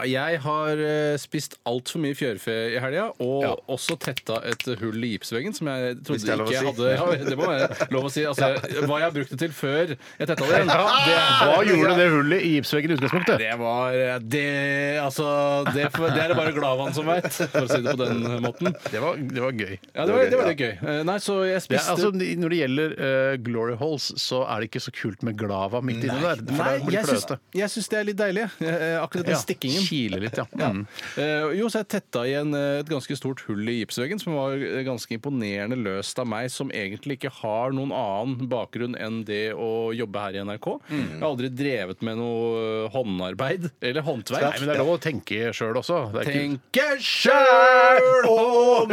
Speaker 6: Ja, jeg har eh, spist altfor mye fjørfe i helga, og
Speaker 4: Ja.
Speaker 6: også tetta et hull i gipsveggen som jeg
Speaker 5: Hvis det er
Speaker 6: trodde
Speaker 5: lov å
Speaker 6: ikke jeg
Speaker 5: si.
Speaker 6: hadde ja, Det må være lov å si. Altså, Hva jeg har brukt det til før jeg tetta det igjen, det,
Speaker 4: Hva gjorde det hullet i gipsveggen i utgangspunktet?
Speaker 6: det var eh, det, altså, det, det er det bare Glavan som veit, for å si det på den måten.
Speaker 4: Det var, det var gøy.
Speaker 6: Ja, det var, det var litt gøy. Eh, Nei, så jeg
Speaker 4: Det er,
Speaker 6: spiste
Speaker 4: altså, når det gjelder eh, glory holes, så er det ikke så kult med glava midt inni der. For
Speaker 6: Nei,
Speaker 4: det blir
Speaker 6: jeg syns,
Speaker 4: fløte.
Speaker 6: jeg syns det er litt deilig. jeg. Eh, Akkurat den
Speaker 4: Ja,
Speaker 6: stikkingen.
Speaker 4: Kile litt, ja.
Speaker 6: Ja.
Speaker 4: Mm.
Speaker 6: Eh, jo, så jeg tetta igjen eh, et ganske stort hull i gipsveggen, som var eh, ganske imponerende løst av meg, som egentlig ikke har noen annen bakgrunn enn det å jobbe her i NRK.
Speaker 4: Mm.
Speaker 6: Jeg har aldri drevet med noe eh, håndarbeid eller håndverk.
Speaker 4: Nei, men det er lov å tenke sjøl også. Det er ikke,
Speaker 6: Tenke sjøl
Speaker 5: Å,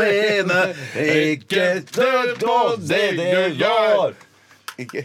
Speaker 5: mene ikke død på det det gjør. Ikke,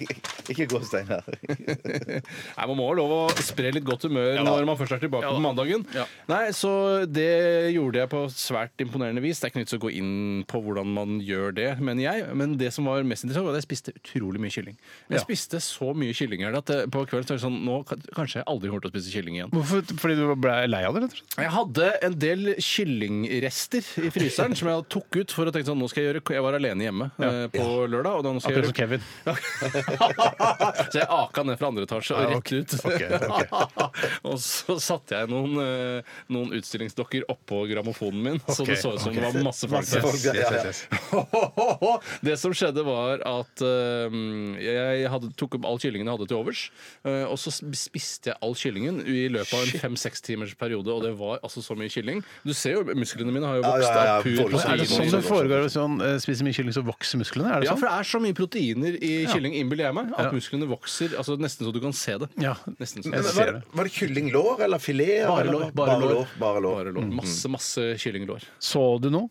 Speaker 5: ikke gå, Steinar.
Speaker 6: Nei, Man må ha lov å spre litt godt humør når man først er
Speaker 4: Ja
Speaker 6: tilbake
Speaker 4: da.
Speaker 6: på mandagen.
Speaker 4: Ja.
Speaker 6: Nei, Så det gjorde jeg på svært imponerende vis. Det er ikke noe vits å gå inn på hvordan man gjør det, mener jeg. Men det som var mest interessant, var at jeg spiste utrolig mye kylling. Jeg
Speaker 4: Ja.
Speaker 6: spiste så mye kylling her at eh, på kvelden så er det sånn Nå kan- kanskje jeg aldri kommer til å spise kylling igjen.
Speaker 4: hvorfor, fordi du ble lei av det, rett og slett?
Speaker 6: Jeg hadde en del kyllingrester i fryseren som jeg tok ut for å tenke sånn Nå skal jeg gjøre Jeg var alene hjemme eh, på lørdag, og da nå skal jeg
Speaker 4: Akkurat
Speaker 6: gjøre
Speaker 4: som Kevin.
Speaker 6: så jeg aka ned fra andre etasje og
Speaker 4: Ja,
Speaker 6: rett
Speaker 4: Ah, ok.
Speaker 6: ut.
Speaker 4: Ok,
Speaker 6: og så satte jeg noen, eh, noen utstillingsdokker oppå grammofonen min, så
Speaker 4: Ok,
Speaker 6: det så ut som det var masse folk
Speaker 5: Masse
Speaker 6: der.
Speaker 5: folk, ja, ja, ja.
Speaker 6: Det som skjedde, var at eh, jeg hadde, tok opp all kyllingen jeg hadde til overs. eh, og så spiste jeg all kyllingen i løpet av en fem-seks timers periode, og det var altså så mye kylling. Du ser jo, musklene mine har jo
Speaker 5: Ja,
Speaker 6: vokst
Speaker 5: ja, ja,
Speaker 6: av pur
Speaker 5: voldsomt.
Speaker 4: Er det
Speaker 5: Voldsomt.
Speaker 4: sånn
Speaker 6: protein.
Speaker 4: det foregår hvis man eh, spiser mye kylling, så vokser musklene? Er det
Speaker 6: Ja,
Speaker 4: sånn?
Speaker 6: Altså, for det er så mye proteiner i kylling, innbiller jeg meg, at
Speaker 4: Ja.
Speaker 6: musklene vokser altså nesten så du kan se det.
Speaker 4: Ja.
Speaker 6: Nesten
Speaker 4: Jeg
Speaker 6: så.
Speaker 5: Men
Speaker 4: ser
Speaker 5: Var,
Speaker 4: det.
Speaker 5: var det kyllinglår eller filet?
Speaker 6: Bare
Speaker 5: eller-
Speaker 6: lår, bare lår.
Speaker 5: Bare lår.
Speaker 6: Bare lår. Masse, masse kyllinglår.
Speaker 4: Så du noe?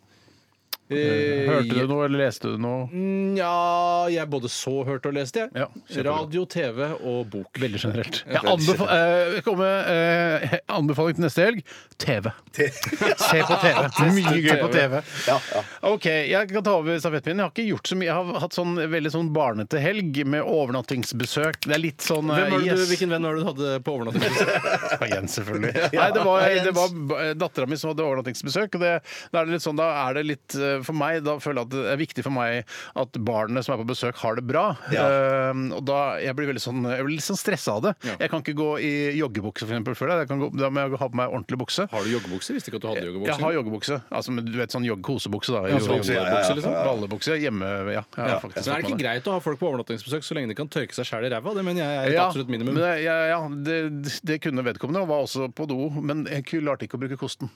Speaker 6: Eh,
Speaker 4: Hørte du noe, eller leste du noe?
Speaker 6: Nja, jeg både så, hørte og leste,
Speaker 4: Ja,
Speaker 6: jeg.
Speaker 4: kjempebra.
Speaker 6: Radio, TV og bok.
Speaker 4: Veldig generelt. Jeg anbefaler, eh, kommer med, eh, anbefaling til neste helg TV. Se på TV. Mye gøy på TV.
Speaker 5: Ja, ja.
Speaker 4: OK, jeg kan ta over stafettpinnen. Jeg har ikke gjort så mye. Jeg har hatt sånn veldig sånn barnete helg med overnattingsbesøk. Det er litt sånn eh,
Speaker 6: Hvem var det du,
Speaker 4: yes.
Speaker 6: hvilken venn var det du hadde på overnatting?
Speaker 4: Ja, Jens, selvfølgelig. Nei, det var, det var dattera mi som hadde overnattingsbesøk. Og det, da er det litt sånn, da er det litt eh, eh, for meg, da føler jeg at det er viktig for meg at barna som er på besøk, har det bra.
Speaker 5: Ja.
Speaker 4: Eh, og da jeg blir veldig sånn, jeg blir litt sånn stressa av det. Jeg kan ikke gå i joggebukse, for eksempel, før det. Jeg kan gå, da må jeg ha på meg ordentlig bukse.
Speaker 6: Har du joggebukse? Visste ikke at du hadde joggebukse.
Speaker 4: Jeg har joggebukse. Altså, men du vet sånn jogg- kosebukse, da.
Speaker 6: Ja, sånn
Speaker 4: Joggebukse,
Speaker 5: ja, ja, ja.
Speaker 4: liksom. Ballebukse hjemme, ja. Jeg har
Speaker 6: Ja.
Speaker 4: faktisk
Speaker 6: Men er det
Speaker 4: fått med
Speaker 6: ikke greit å ha folk på overnattingsbesøk så lenge de kan tørke seg sjæl i ræva? Det mener jeg er et
Speaker 4: Ja,
Speaker 6: absolutt minimum.
Speaker 4: Men det, ja, ja det, det kunne vedkommende, og var også på do, men jeg ku- lærte ikke å bruke kosten.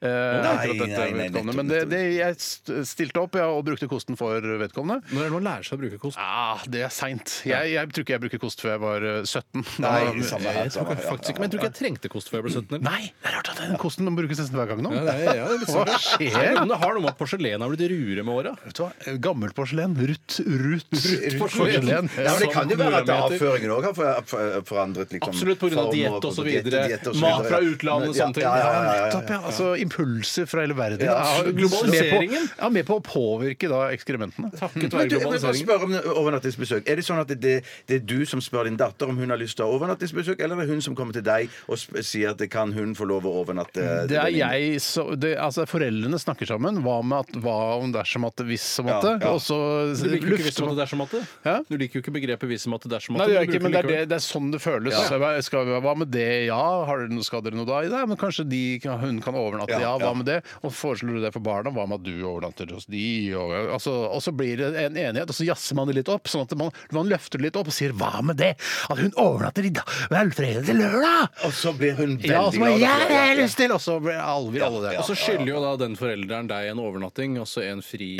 Speaker 4: Eh,
Speaker 5: Nei,
Speaker 4: akkurat dette
Speaker 5: nei, nei,
Speaker 4: vedkommende.
Speaker 5: nettopp,
Speaker 4: men det, det, jeg st- stilte opp ja, og brukte kosten for vedkommende.
Speaker 6: Når er det man lærer seg å bruke kost?
Speaker 4: Ah, det er seint. Jeg, jeg tror ikke jeg bruker kost før jeg var eh, 17.
Speaker 5: Nei,
Speaker 4: Da-
Speaker 5: samme her.
Speaker 6: Jeg tror
Speaker 5: Samme,
Speaker 6: ikke-
Speaker 5: her, ja,
Speaker 6: faktisk ikke, men jeg tror ikke jeg trengte kost før jeg ble 17. eller?
Speaker 4: Nei, det er rart at den kosten må brukes nesten hver gang nå.
Speaker 6: Ja, det er, ja, det er litt sånn.
Speaker 4: Hva skjer?
Speaker 6: Nei, men det har noe med at porselenet har blitt ruere med åra.
Speaker 4: Vet du hva? Gammelt porselen. Rutt, rutt, rutt
Speaker 6: porselen.
Speaker 5: Ja, men Det
Speaker 6: Som
Speaker 5: kan jo være at
Speaker 6: morameter.
Speaker 5: avføringen òg har for- for- forandret liksom,
Speaker 6: Absolutt, på grunn av
Speaker 5: form
Speaker 6: diett og så videre, mat fra utlandet og
Speaker 5: Ja,
Speaker 6: sånne ting.
Speaker 5: Ja, ja, ja, ja, ja.
Speaker 4: Nettopp, ja. Altså impulser fra hele verden.
Speaker 5: Ja,
Speaker 4: Ja,
Speaker 6: globaliseringen.
Speaker 4: Med på, ja, med på å påvirke da ekskrementene.
Speaker 6: Takket
Speaker 5: Men
Speaker 6: være
Speaker 5: du, jeg
Speaker 4: altså,
Speaker 5: vil bare
Speaker 6: globaliseringen.
Speaker 5: spørre om overnattingsbesøk. Er det sånn at det, det er du som spør din datter om hun har lyst til å ha overnattingsbesøk, eller er det hun som kommer til deg og sp sier at kan hun få lov å overnatte? til
Speaker 4: Det er
Speaker 5: venninnen?
Speaker 4: jeg så, det, altså Foreldrene snakker sammen. Hva med at hva om dersom at hvis som at det?
Speaker 5: Ja, ja.
Speaker 4: Og så
Speaker 6: Du liker jo ikke
Speaker 4: lufter
Speaker 6: visum
Speaker 4: man
Speaker 6: at det dersom at det.
Speaker 4: Hæ?
Speaker 6: Du liker jo ikke begrepet visum at det dersom
Speaker 4: Nei, det
Speaker 6: at det.
Speaker 4: gjør jeg ikke,
Speaker 6: Du
Speaker 4: men det
Speaker 6: bruker
Speaker 4: er, det, det er sånn det føles. Så jeg bare, Skal vi, hva med det? Ja, har dere, noe- skal dere noe da? Nei, men kanskje de, kan- hun kan overnatte?
Speaker 5: Ja,
Speaker 4: Ja, hva
Speaker 5: ja.
Speaker 4: med det? Og foreslår du det for barna? Hva med at du overnatter hos de? Og, altså, og så blir det en enighet, og så jazzer man det litt opp. Sånn at man, man løfter det litt opp og sier hva med det? At hun overnatter i dag, velfredet til lørdag!
Speaker 5: Og så blir hun veldig
Speaker 4: Ja, og så bare, ja,
Speaker 5: glad.
Speaker 4: det har jeg lyst til! Og så blir alle, alle det.
Speaker 6: Og så skylder jo da den forelderen deg en overnatting, altså en fri,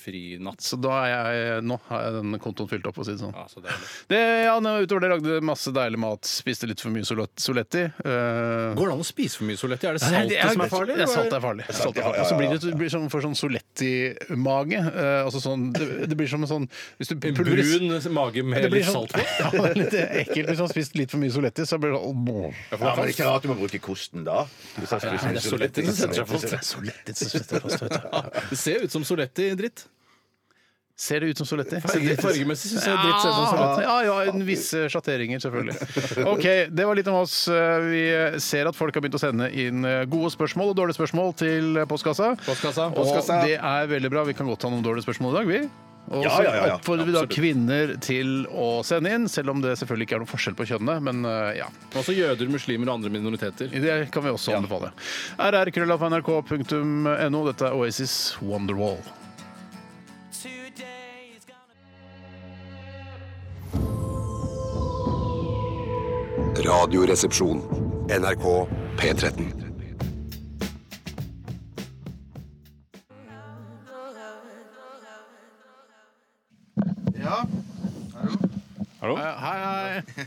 Speaker 6: fri natt.
Speaker 4: Så da er jeg, eh, nå har jeg den kontoen fylt opp, for å si det sånn.
Speaker 6: Ja, så deilig.
Speaker 4: Det, ja, nå, utover det lagde jeg masse deilig mat, spiste litt for mye solet- Soletti. eh,
Speaker 6: Går det an å spise for mye soletti? Er det
Speaker 4: Nei,
Speaker 6: saltet som er farlig?
Speaker 4: Ja, salt
Speaker 6: eller?
Speaker 4: er farlig. Salt er farlig. Og så blir det, du blir sånn, får sånn Soletti-mage. eh, altså sånn, det, det blir som en sånn hvis du
Speaker 6: En
Speaker 4: pulveris-
Speaker 6: Brun mage med
Speaker 4: Det blir
Speaker 6: litt
Speaker 4: sånn-
Speaker 6: salt på?
Speaker 4: Ja, det er litt ekkelt hvis man har spist litt for mye Soletti. Så blir det sånn
Speaker 5: Ja, men det er ikke rart du må bruke kosten da. Hvis han spiser
Speaker 6: Nei, det er soletti som setter seg fast.
Speaker 4: Soletti som setter fast, vet du.
Speaker 6: Det ser ut som soletti-dritt.
Speaker 4: Ser det ut som Soletti?
Speaker 6: Fargemessig syns jeg dritt ser ut som soletti.
Speaker 4: Ja, ja, ja, en visse sjatteringer, selvfølgelig. OK, det var litt om oss. Vi ser at folk har begynt å sende inn eh, gode spørsmål og dårlige spørsmål til postkassa.
Speaker 6: Postkassa.
Speaker 4: Og det er veldig bra. Vi kan godt ta noen dårlige spørsmål i dag, vi. Og
Speaker 5: Ja,
Speaker 4: så
Speaker 5: ja, ja, ja.
Speaker 4: oppfordrer vi da
Speaker 6: Absolutt.
Speaker 4: kvinner til å sende inn, selv om det selvfølgelig ikke er noen forskjell på kjønnene. Men eh, ja,
Speaker 6: Også jøder, muslimer og andre minoriteter.
Speaker 4: det kan vi også anbefale. rrkrøllafnrk.no. Dette er Oasis Wonderwall.
Speaker 1: Radioresepsjon. NRK P13.
Speaker 4: Eh, Hei, hei.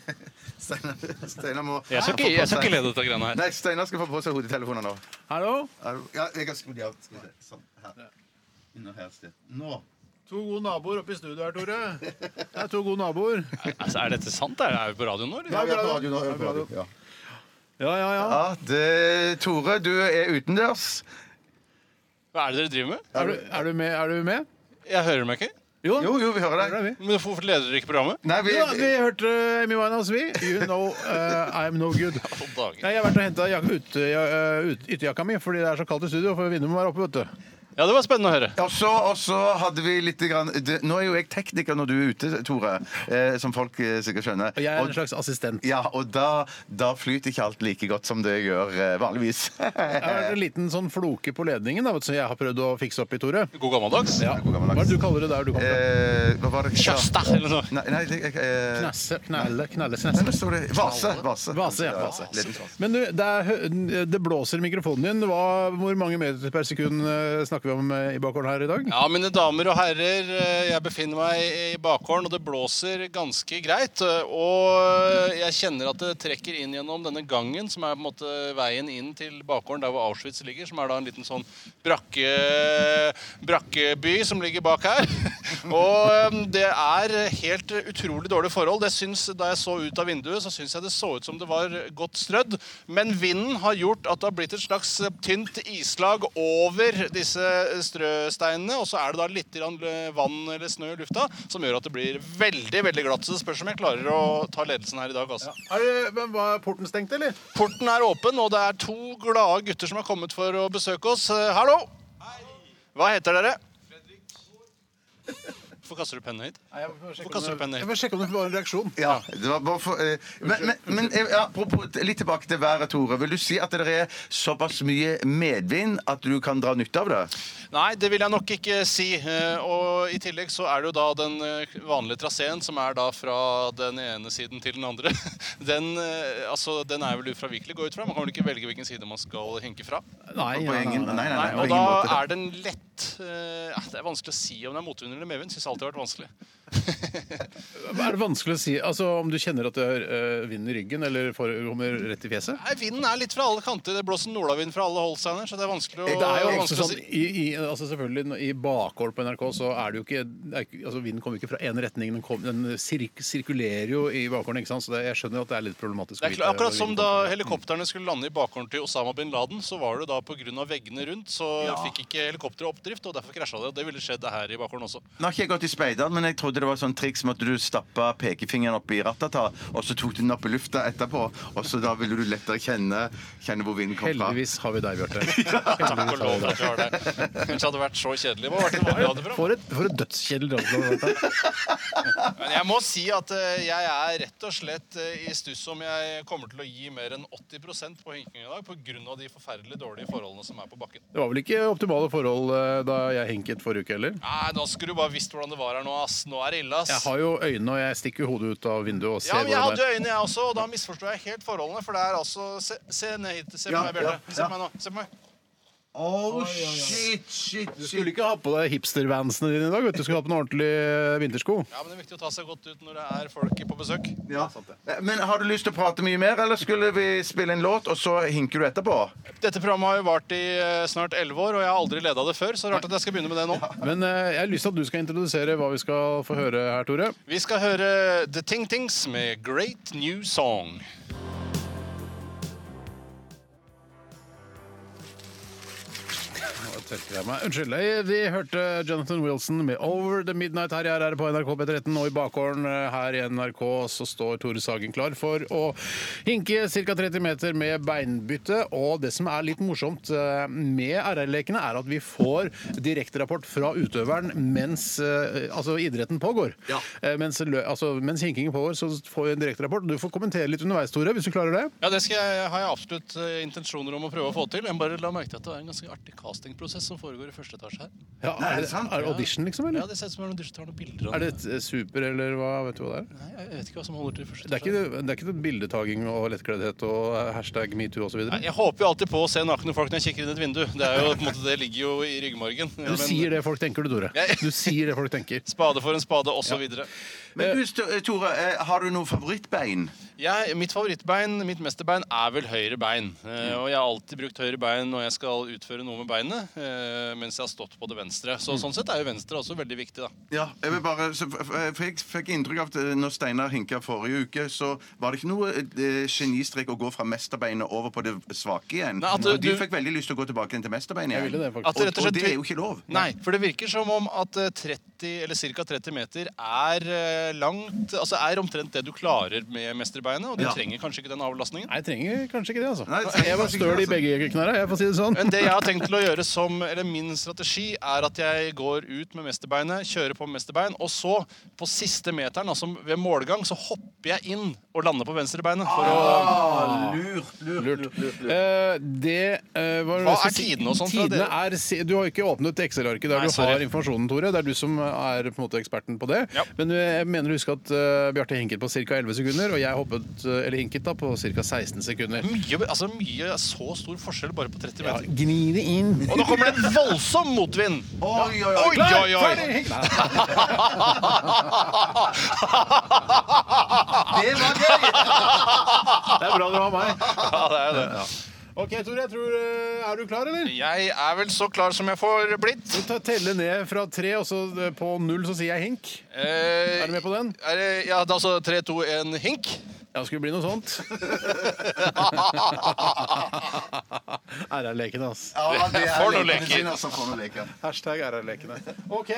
Speaker 7: Steinar Steinar må
Speaker 6: le av dette greiene
Speaker 7: Nei, Steinar skal få på seg hodetelefoner nå.
Speaker 4: Hallo.
Speaker 7: Er du- Ja, jeg kan skru de av. Skal vi se. Sånn. Her. Inn og her et sted. Nå.
Speaker 4: To gode naboer oppe i studio her, Tore. Det er to gode naboer.
Speaker 6: er dette sant? Er vi på radioen nå?
Speaker 7: Ja, vi er på radio nå. vi er på radio. Ja.
Speaker 4: Ja, ja, ja.
Speaker 7: Ja, det, Tore, du er utendørs.
Speaker 8: Hva er det dere driver med?
Speaker 4: Er du, er du med? Er du med?
Speaker 8: Jeg hører meg ikke.
Speaker 7: Jo, jo, vi hører
Speaker 4: Der
Speaker 7: deg.
Speaker 4: er vi.
Speaker 8: Men hvorfor leder dere ikke programmet?
Speaker 7: Nei, vi,
Speaker 4: Ja, vi hørte eh, Amy Winehouse, vi. You know eh, I'm no good.
Speaker 8: På dagen.
Speaker 4: Nei, jeg har vært og henta eh, ytterjakka mi fordi det er så kaldt i studio. For vinduet må være oppe, vet du.
Speaker 8: Ja, det var spennende å høre.
Speaker 7: Og så, og så hadde vi litt grann, det, Nå er jo jeg tekniker når du er ute, Tore, eh, som folk eh, sikkert skjønner.
Speaker 4: Og jeg er en
Speaker 7: Og,
Speaker 4: slags assistent.
Speaker 7: ja, og da, da flyter ikke alt like godt som det gjør eh, vanligvis.
Speaker 4: Jeg har vært en liten sånn floke på ledningen da, vet du, som jeg har prøvd å fikse opp i, Tore.
Speaker 8: God gammeldags.
Speaker 4: Ja. Hva er det du kaller det der du kommer fra?
Speaker 7: Eh, hva var det?
Speaker 8: Kjøsta, eller noe.
Speaker 7: Nei, nei, det, eh,
Speaker 4: Knasse, knalle, knalle,
Speaker 7: nei,
Speaker 4: snasse.
Speaker 7: nå står det Vase. Vase,
Speaker 4: Vase, ja.
Speaker 7: Vase.
Speaker 4: Men du, det, er, hø- det blåser i mikrofonen din. Hva, hvor mange meter per sekund eh, snakker vi om eh, i bakgården her i dag?
Speaker 8: Ja, mine damer og herrer, eh, jeg befinner meg i bakgården, og det blåser ganske greit. eh, Og jeg kjenner at det trekker inn gjennom denne gangen, som er på en måte veien inn til bakgården der hvor Auschwitz ligger, som er da en liten sånn brakke, brakkeby som ligger bak her. Og eh, det er helt eh, utrolig dårlige forhold. Det syns, da jeg så ut av vinduet, så syns jeg det så ut som det var godt strødd, men vinden har gjort at det har blitt et slags eh, tynt islag over disse eh, strøsteinene, og så er det da litt grann vann eller snø i lufta, som gjør at det blir veldig veldig glatt. Så det spørs om jeg klarer å ta ledelsen her i dag. altså.
Speaker 4: Er det, men var porten stengt, eller?
Speaker 8: Porten er åpen, og det er to glade gutter som har kommet for å besøke oss. Eh, Hallo! Hva heter dere?
Speaker 6: Hvorfor kaster du pennen høyt? Hvorfor kaster du pennen
Speaker 4: Jeg
Speaker 6: høyt?
Speaker 4: må sjekke om det var en reaksjon.
Speaker 5: Ja, det var bare for, eh, men men, men eh, ja, apropos, litt tilbake til været, Tore. Vil du si at det er såpass mye medvind at du kan dra nytte av det?
Speaker 6: Nei, det vil jeg nok ikke si. Eh, Og i tillegg så er det jo da den eh, vanlige traseen, som er da fra den ene siden til den andre. Den, eh, altså, den er vel ufravikelig, går jeg ut fra. Man kan vel ikke velge hvilken side man skal hinke fra.
Speaker 4: Nei,
Speaker 5: På ingen, nei, nei, nei,
Speaker 6: Nei,
Speaker 5: på
Speaker 6: og
Speaker 5: ingen måte.
Speaker 6: da er den lett eh, ja, Det er vanskelig å si om det er motvind eller medvind. Syns alltid har vært vanskelig.
Speaker 4: Er det vanskelig å si altså, om du kjenner at det er øh, vind i ryggen, eller får, kommer rett i fjeset?
Speaker 6: Nei, Vinden er litt fra alle kanter. Det blåser nordavind fra alle hold, Steinar, så det er vanskelig å,
Speaker 4: Det er jo også
Speaker 6: vanskelig å
Speaker 4: sånn,
Speaker 6: si.
Speaker 4: i, i, altså selvfølgelig nå- I bakgård på NRK så er det jo ikke, det er ikke altså Vinden kommer ikke fra én retning, den, kom, den sirk, sirkulerer jo i bakgården. ikke sant? Så det, jeg skjønner at det er litt problematisk.
Speaker 6: Det
Speaker 4: å
Speaker 6: er klart,
Speaker 4: vite
Speaker 6: akkurat
Speaker 4: hvor
Speaker 6: som
Speaker 4: vinden
Speaker 6: da
Speaker 4: kommer fra.
Speaker 6: helikoptrene skulle lande i bakgården til Osama bin Laden, så var det da pga. veggene rundt, så fikk ikke helikopteret oppdrift, og derfor krasja det. Og Det ville skjedd her i bakgården også.
Speaker 5: Nå har ikke jeg gått i speideren, men jeg trodde det var sånn triks med at du stappa pekefingeren opp i rattata, og så tok du den opp i lufta etterpå, og så da ville du lettere kjenne, kjenne hvor vinden kom fra.
Speaker 4: Heldigvis har vi deg, Bjarte.
Speaker 6: Takk og lov for at vi har deg. Ellers hadde det vært så kjedelig. Hva var det du hadde for?
Speaker 4: For et, for et dødskjedelig radioprogram. dette er.
Speaker 6: Men jeg må si at eh, jeg er rett og slett eh, i stuss om jeg kommer til å gi mer enn 80 på hinking i dag pga. de forferdelig dårlige forholdene som er på bakken.
Speaker 4: Det var vel ikke optimale forhold eh, da jeg hinket forrige uke heller?
Speaker 6: Nei, nå skulle du bare visst hvordan det var her nå, ass. Nå er det ille, ass.
Speaker 4: Jeg har jo øynene, og jeg stikker hodet ut av vinduet og
Speaker 6: Ja,
Speaker 4: ser
Speaker 6: men jeg
Speaker 4: hvordan
Speaker 6: hadde
Speaker 4: det er.
Speaker 6: jo øynene, jeg også, og da misforstår jeg helt forholdene. For det er altså Se, se ned hit. Se på
Speaker 5: Ja,
Speaker 6: meg, Bjarte.
Speaker 5: ja,
Speaker 6: Se
Speaker 5: ja.
Speaker 6: på meg nå. Se på meg.
Speaker 5: Oh, shit, shit,
Speaker 4: Du
Speaker 5: shit.
Speaker 4: skulle ikke ha på deg hipstervansene dine i dag. vet Du Du skulle ha på noen ordentlige vintersko.
Speaker 6: Ja, men Det er viktig å ta seg godt ut når det er folk på besøk.
Speaker 5: Ja. Men har du lyst til å prate mye mer, eller skulle vi spille en låt, og så hinker du etterpå?
Speaker 6: Dette programmet har jo vart i eh, snart elleve år, og jeg har aldri leda det før. Så det er rart at jeg skal begynne med det nå.
Speaker 4: Men eh, jeg har lyst til at du skal introdusere hva vi skal få høre her, Tore.
Speaker 6: Vi skal høre The Ting Tings med Great New Song.
Speaker 4: Nå tørker jeg meg. Unnskyld. eh, Vi hørte Jonathan Wilson med 'Over the Midnight' her i RR på NRK P13. Og i bakgården eh, her i NRK så står Tore Sagen klar for å hinke ca. 30 meter med beinbytte. Og det som er litt morsomt eh, med RR-lekene, er at vi får direkterapport fra utøveren mens eh, altså idretten pågår. Eh, Mens, lø- altså, mens hinkingen pågår, så får vi en direkterapport. Du får kommentere litt underveis, Tore, hvis du klarer det.
Speaker 6: Ja, Det skal jeg, har jeg absolutt eh, intensjoner om å prøve å få til. Jeg bare la merke til at det er en ganske artig castingprosess som foregår i første etasje her.
Speaker 4: Ja,
Speaker 5: Nei, er det sant?
Speaker 4: Er det audition, liksom? eller?
Speaker 6: Ja, Det ser ut som om de tar noen bilder. av
Speaker 4: Er det et eh, super, eller hva? Vet du hva det er?
Speaker 6: Nei, jeg vet ikke hva som holder til i første
Speaker 4: Det er
Speaker 6: etasje.
Speaker 4: ikke, det er ikke noe bildetaging og lettkleddhet og eh, hashtag metoo osv.?
Speaker 6: Nei, Jeg håper jo alltid på å se nakne folk når jeg kikker inn et vindu. Det, er jo, på en måte, det ligger jo i ryggmargen.
Speaker 4: Du sier det folk tenker, du, Tore.
Speaker 6: Jeg-
Speaker 4: Du sier det folk tenker.
Speaker 6: Spade for en spade, osv. videre
Speaker 5: Men du, Sto- Tore, eh, har du noe favorittbein?
Speaker 6: Jeg- Mitt favorittbein, mitt mesterbein, er vel høyre bein. Eh,
Speaker 4: Mm.
Speaker 6: Og jeg har alltid brukt høyre bein når jeg skal utføre noe med beinet, eh, mens jeg har stått på det venstre.
Speaker 4: Mm.
Speaker 6: Så sånn sett er jo venstre også veldig viktig, da.
Speaker 5: Ja, jeg vil bare, så, f- f- for jeg fikk inntrykk av at eh, når Steinar hinka forrige uke, så var det ikke noe eh, genistrek å gå fra mesterbeinet over på det svake igjen.
Speaker 6: Nei, at du-
Speaker 5: og du
Speaker 6: du-
Speaker 5: fikk veldig lyst til å gå tilbake igjen til mesterbeinet
Speaker 4: Jeg
Speaker 5: igjen.
Speaker 4: ville det, faktisk.
Speaker 6: At det rett og
Speaker 5: og,
Speaker 6: slett
Speaker 5: og det er jo ikke lov.
Speaker 6: Nei, for det virker som om at eh, 30, eller ca. 30 meter er eh, langt Altså er omtrent det du klarer med mesterbeinet, og du
Speaker 5: Ja.
Speaker 6: trenger kanskje ikke den avlastningen.
Speaker 4: Nei, jeg trenger kanskje ikke det, altså.
Speaker 5: Nei, det trenger
Speaker 4: jeg var
Speaker 5: kanskje
Speaker 4: støl
Speaker 5: ikke
Speaker 4: i
Speaker 5: det, altså.
Speaker 4: begge knærne, jeg får si det sånn.
Speaker 6: Men det jeg har tenkt til å gjøre som, eller min strategi, er at jeg går ut med mesterbeinet, kjører på med mesterbein, og så, på siste meteren, altså ved målgang, så hopper jeg inn og lander på venstrebeinet. For
Speaker 4: Ah.
Speaker 6: å,
Speaker 5: lurt, lurt,
Speaker 4: Lurt. Eh, det eh, var
Speaker 6: Hva
Speaker 4: skal
Speaker 6: er
Speaker 4: jeg si?
Speaker 6: tidene og sånt fra
Speaker 4: Tidene
Speaker 6: dere?
Speaker 4: er si- Du har jo ikke åpnet Excel-arket der
Speaker 6: Nei,
Speaker 4: du
Speaker 6: sorry.
Speaker 4: har informasjonen, Tore. Det er du som er på en måte eksperten på det.
Speaker 6: Ja.
Speaker 4: Men jeg mener å huske at eh, Bjarte hinket på ca. 11 sekunder, og jeg hoppet, eh, eller hinket da, på ca. 16 sekunder.
Speaker 6: mye, altså mye, så stor forskjell bare på 30
Speaker 4: Ja,
Speaker 6: meter.
Speaker 4: gni det inn.
Speaker 6: Og nå kommer det en voldsom motvind!
Speaker 5: Oi, oi, oi.
Speaker 6: Oi, oi, oi!
Speaker 4: Ferdig!
Speaker 5: Det var gøy!
Speaker 4: Det er bra du har meg.
Speaker 6: Ja, det er jo det.
Speaker 4: Ok, Tore, jeg tror, eh, er du klar, eller?
Speaker 6: Jeg er vel så klar som jeg får blitt.
Speaker 4: Ta, telle ned fra tre, og så eh, på null så sier jeg hink.
Speaker 6: Eh,
Speaker 4: Er du med på den?
Speaker 6: Er det, ja, det er altså 3, 2, 1, hink.
Speaker 4: Ja, skulle bli noe sånt. RR-lekene, ass.
Speaker 5: Ja, det
Speaker 6: For noen
Speaker 5: lekene
Speaker 6: leker.
Speaker 5: sine, altså, for noen leker.
Speaker 4: Hashtag RR-lekene. Ok.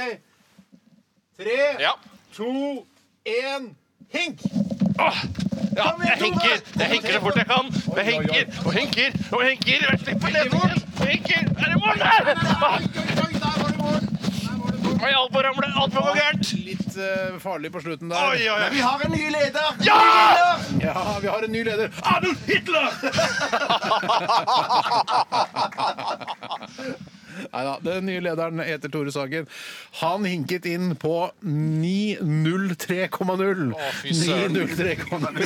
Speaker 4: Tre,
Speaker 6: Ja.
Speaker 4: to, én, hink!
Speaker 6: Åh! Ja, jeg hinker, jeg hinker så fort jeg kan. Jeg hinker og hinker og hinker. Jeg slipper ledningen. Ah, Jeg hinker. Er det mål der? Åh! Hva i all
Speaker 7: Alt på ramle, alt på går gærent!
Speaker 4: Litt eh, farlig på slutten der.
Speaker 7: Oi, oi, oi. Vi har en ny leder!
Speaker 4: Ja, vi har en ny leder.
Speaker 7: Adolf Hitler!
Speaker 4: Nei da. Den nye lederen heter Tore Sagen. Han hinket inn på 903,0.
Speaker 8: Å, fy søren.
Speaker 4: 903,0.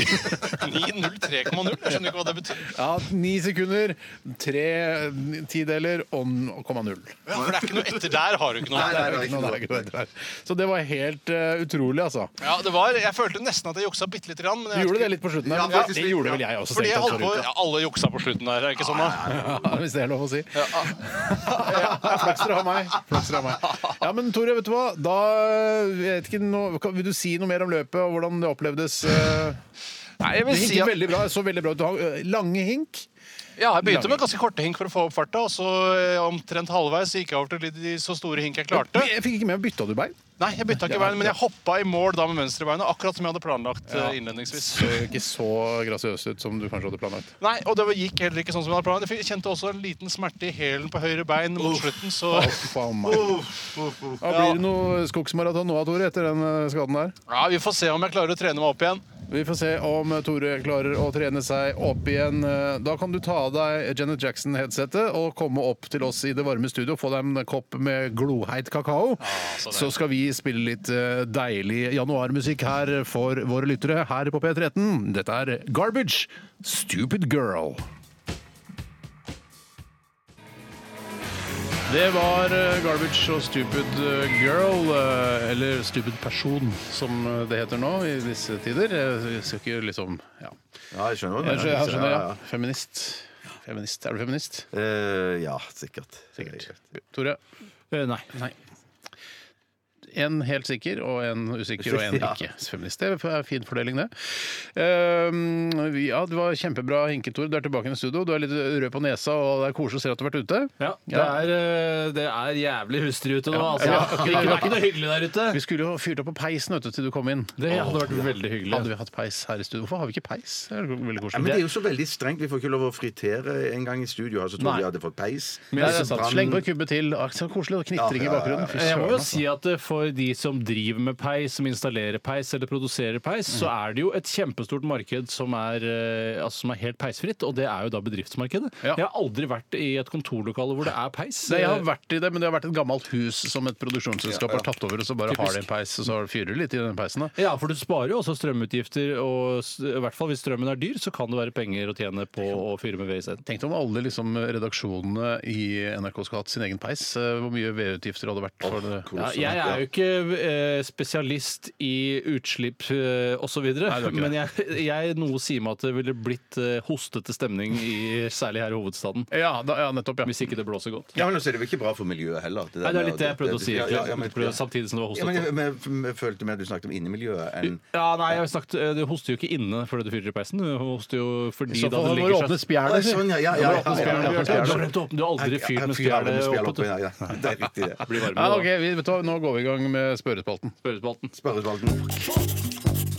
Speaker 8: 9.03,0. Jeg skjønner ikke hva det betyr.
Speaker 4: Ja, ni sekunder, tre tideler og 0,0.
Speaker 8: Ja, for det er ikke noe etter der har du ikke noe.
Speaker 4: Det er ikke noe der, ikke noe der. Så det var helt eh, utrolig, altså.
Speaker 8: Ja, det var, jeg følte nesten at jeg juksa bitte lite grann. Men
Speaker 4: Du
Speaker 8: jeg vet
Speaker 4: gjorde
Speaker 8: ikke-
Speaker 4: det litt på slutten
Speaker 7: Ja,
Speaker 4: der.
Speaker 7: faktisk
Speaker 4: det
Speaker 7: litt,
Speaker 4: gjorde
Speaker 7: ja.
Speaker 4: vel jeg også.
Speaker 8: Fordi jeg
Speaker 4: strengt tatt
Speaker 8: holdt på,
Speaker 4: forut,
Speaker 8: ja, Alle juksa på slutten der, er det ikke sånn? da?
Speaker 4: ja, hvis det er lov å si. Ja, Flaks dere har meg. Flaks dere har meg. Ja, men Tore, vet du hva? Da jeg vet ikke, nå- kan- Vil du si noe mer om løpet og hvordan det opplevdes? eh?
Speaker 8: Nei, jeg
Speaker 4: Det
Speaker 8: vil si
Speaker 4: hinket
Speaker 8: at
Speaker 4: veldig bra. Det så veldig bra ut. Du har eh, lange hink.
Speaker 8: Ja, jeg begynte med ganske korte hink for å få opp farta, og så eh, omtrent halvveis gikk jeg over til de så store hink jeg klarte.
Speaker 4: Jeg fikk ikke med meg bytta du bein.
Speaker 8: Nei, jeg bytta ikke bein, men jeg hoppa i mål da med venstrebeinet, akkurat som jeg hadde planlagt eh, innledningsvis.
Speaker 4: Så ikke så grasiøst ut som du kanskje hadde planlagt.
Speaker 8: Nei, og det gikk heller ikke sånn som jeg hadde planlagt. Jeg kjente også en liten smerte i hælen på høyre bein mot slutten, så
Speaker 4: Å, faen meg. Ja, blir det noe skogsmaraton nå, Tore, etter den eh, skaden der?
Speaker 8: ja, vi får se om jeg klarer å trene meg opp igjen.
Speaker 4: Vi får se om Tore klarer å trene seg opp igjen. Da kan du ta av deg Janet Jackson-headsetet og komme opp til oss i det varme studio og få deg en kopp med gloheit kakao. så, skal vi spille litt eh, deilig januarmusikk her for våre lyttere her på P13. Dette er Garbage, Stupid Girl. Det var eh, Garbage og Stupid eh, Girl, eh, eller Stupid Person, som eh, det heter nå i disse tider. Jeg skal ikke liksom Ja.
Speaker 5: Ja, jeg skjønner hva du
Speaker 4: Jeg skjønner, jeg skjønner ja.
Speaker 5: Ja, ja.
Speaker 4: Feminist. Feminist. Er du feminist?
Speaker 5: Eh, ja, sikkert.
Speaker 4: Sikkert. Tore?
Speaker 6: Eh, Nei.
Speaker 4: En helt sikker og en usikker og en ikke feminist. Det er en fin fordeling, det. Ehm, vi- ja, det var kjempebra hinket, Tore. Du er tilbake i studio. Du er litt rød på nesa, og det er koselig å se at du har vært ute.
Speaker 6: Ja, det
Speaker 4: Ja.
Speaker 6: er, eh, det er jævlig hustrig ute nå, altså.
Speaker 4: Ja.
Speaker 6: Det er ikke noe hyggelig der ute.
Speaker 4: Vi skulle jo fyrt opp på peisen vet du, til du kom inn.
Speaker 6: Det hadde vært veldig hyggelig.
Speaker 4: Hadde vi hatt peis her i studio? Hvorfor har vi ikke peis? Det er jo veldig
Speaker 5: Ja, men
Speaker 4: koselig.
Speaker 5: det er jo så veldig strengt. Vi får ikke lov å fritere en gang i studio. Altså, trodde
Speaker 6: Nei.
Speaker 5: vi hadde fått peis.
Speaker 4: Nei, det er sant.
Speaker 5: Brann-
Speaker 4: Sleng på en kubbe til. Ah, Så koselig. og Knitring i
Speaker 5: Ja, ja, ja, ja.
Speaker 4: bakgrunnen. Fy
Speaker 6: Jeg
Speaker 4: søren,
Speaker 6: må jo
Speaker 4: altså.
Speaker 6: si at eh, for de som driver med peis, som installerer peis eller produserer peis, så
Speaker 4: Mm.
Speaker 6: er det jo et kjempestort marked som er, eh, altså, som er helt peisfritt, og det er jo da bedriftsmarkedet.
Speaker 4: Ja.
Speaker 6: Jeg har aldri vært i et kontorlokale hvor det er peis.
Speaker 4: Nei, jeg har vært i det, men det har vært et gammelt hus som et produksjonsselskap har tatt over, og så bare har de en peis, og så fyrer de litt i den peisen. da.
Speaker 6: Eh, Ja, for du sparer jo også strømutgifter, og s- i hvert fall hvis strømmen er dyr, så kan det være penger å tjene på å fyre med ved isteden.
Speaker 4: Tenk deg om alle liksom, redaksjonene i NRK skulle hatt sin egen peis. eh, Hvor mye vedutgifter hadde vært for det?
Speaker 6: Ja, jeg er jo ikke eh, spesialist i utslipp eh, osv.,
Speaker 4: du er ikke
Speaker 6: men jeg, jeg, noe sier meg at det ville blitt eh, hostete stemning, i, særlig her i hovedstaden.
Speaker 4: Ja, da, ja nettopp. ja.
Speaker 6: Hvis ikke det blåser godt.
Speaker 5: Ja, men også er det vel ikke bra for miljøet heller. der
Speaker 6: Nei, Det er
Speaker 5: med
Speaker 6: litt det jeg prøvde å si.
Speaker 5: Ja, ja, ja, men-
Speaker 6: Jeg prøvde- Samtidig som det var
Speaker 5: Ja, men
Speaker 6: hostete.
Speaker 5: jeg, men jeg, jeg følte mer at du snakket om innemiljøet enn
Speaker 6: Ja, nei, jeg snakket, eh, Du hoster jo ikke inne fordi du fyrer i peisen. Du hoster jo fordi
Speaker 4: Så
Speaker 6: da
Speaker 4: får
Speaker 6: det
Speaker 4: du
Speaker 6: ligger
Speaker 4: åpne
Speaker 6: seg
Speaker 4: spjælet,
Speaker 5: Å, sånn, ja, ja,
Speaker 4: Du må åpne
Speaker 5: ja, ja, ja,
Speaker 4: spjælet, åpne
Speaker 5: ja,
Speaker 6: Du
Speaker 5: ja,
Speaker 6: har
Speaker 4: spjælet.
Speaker 6: glemt å åpne. Du har aldri fyrt med
Speaker 5: Fyr av
Speaker 6: spjælet
Speaker 5: spjælet
Speaker 6: oppe.
Speaker 5: oppe, ja, ja. Det er riktig, det.
Speaker 6: Det blir varmere
Speaker 4: Ja,
Speaker 6: da.
Speaker 4: ok, vi, vet du, hva, Nå går vi i gang med spørrespalten.
Speaker 6: Spørrespalten.
Speaker 5: Spørresvalden.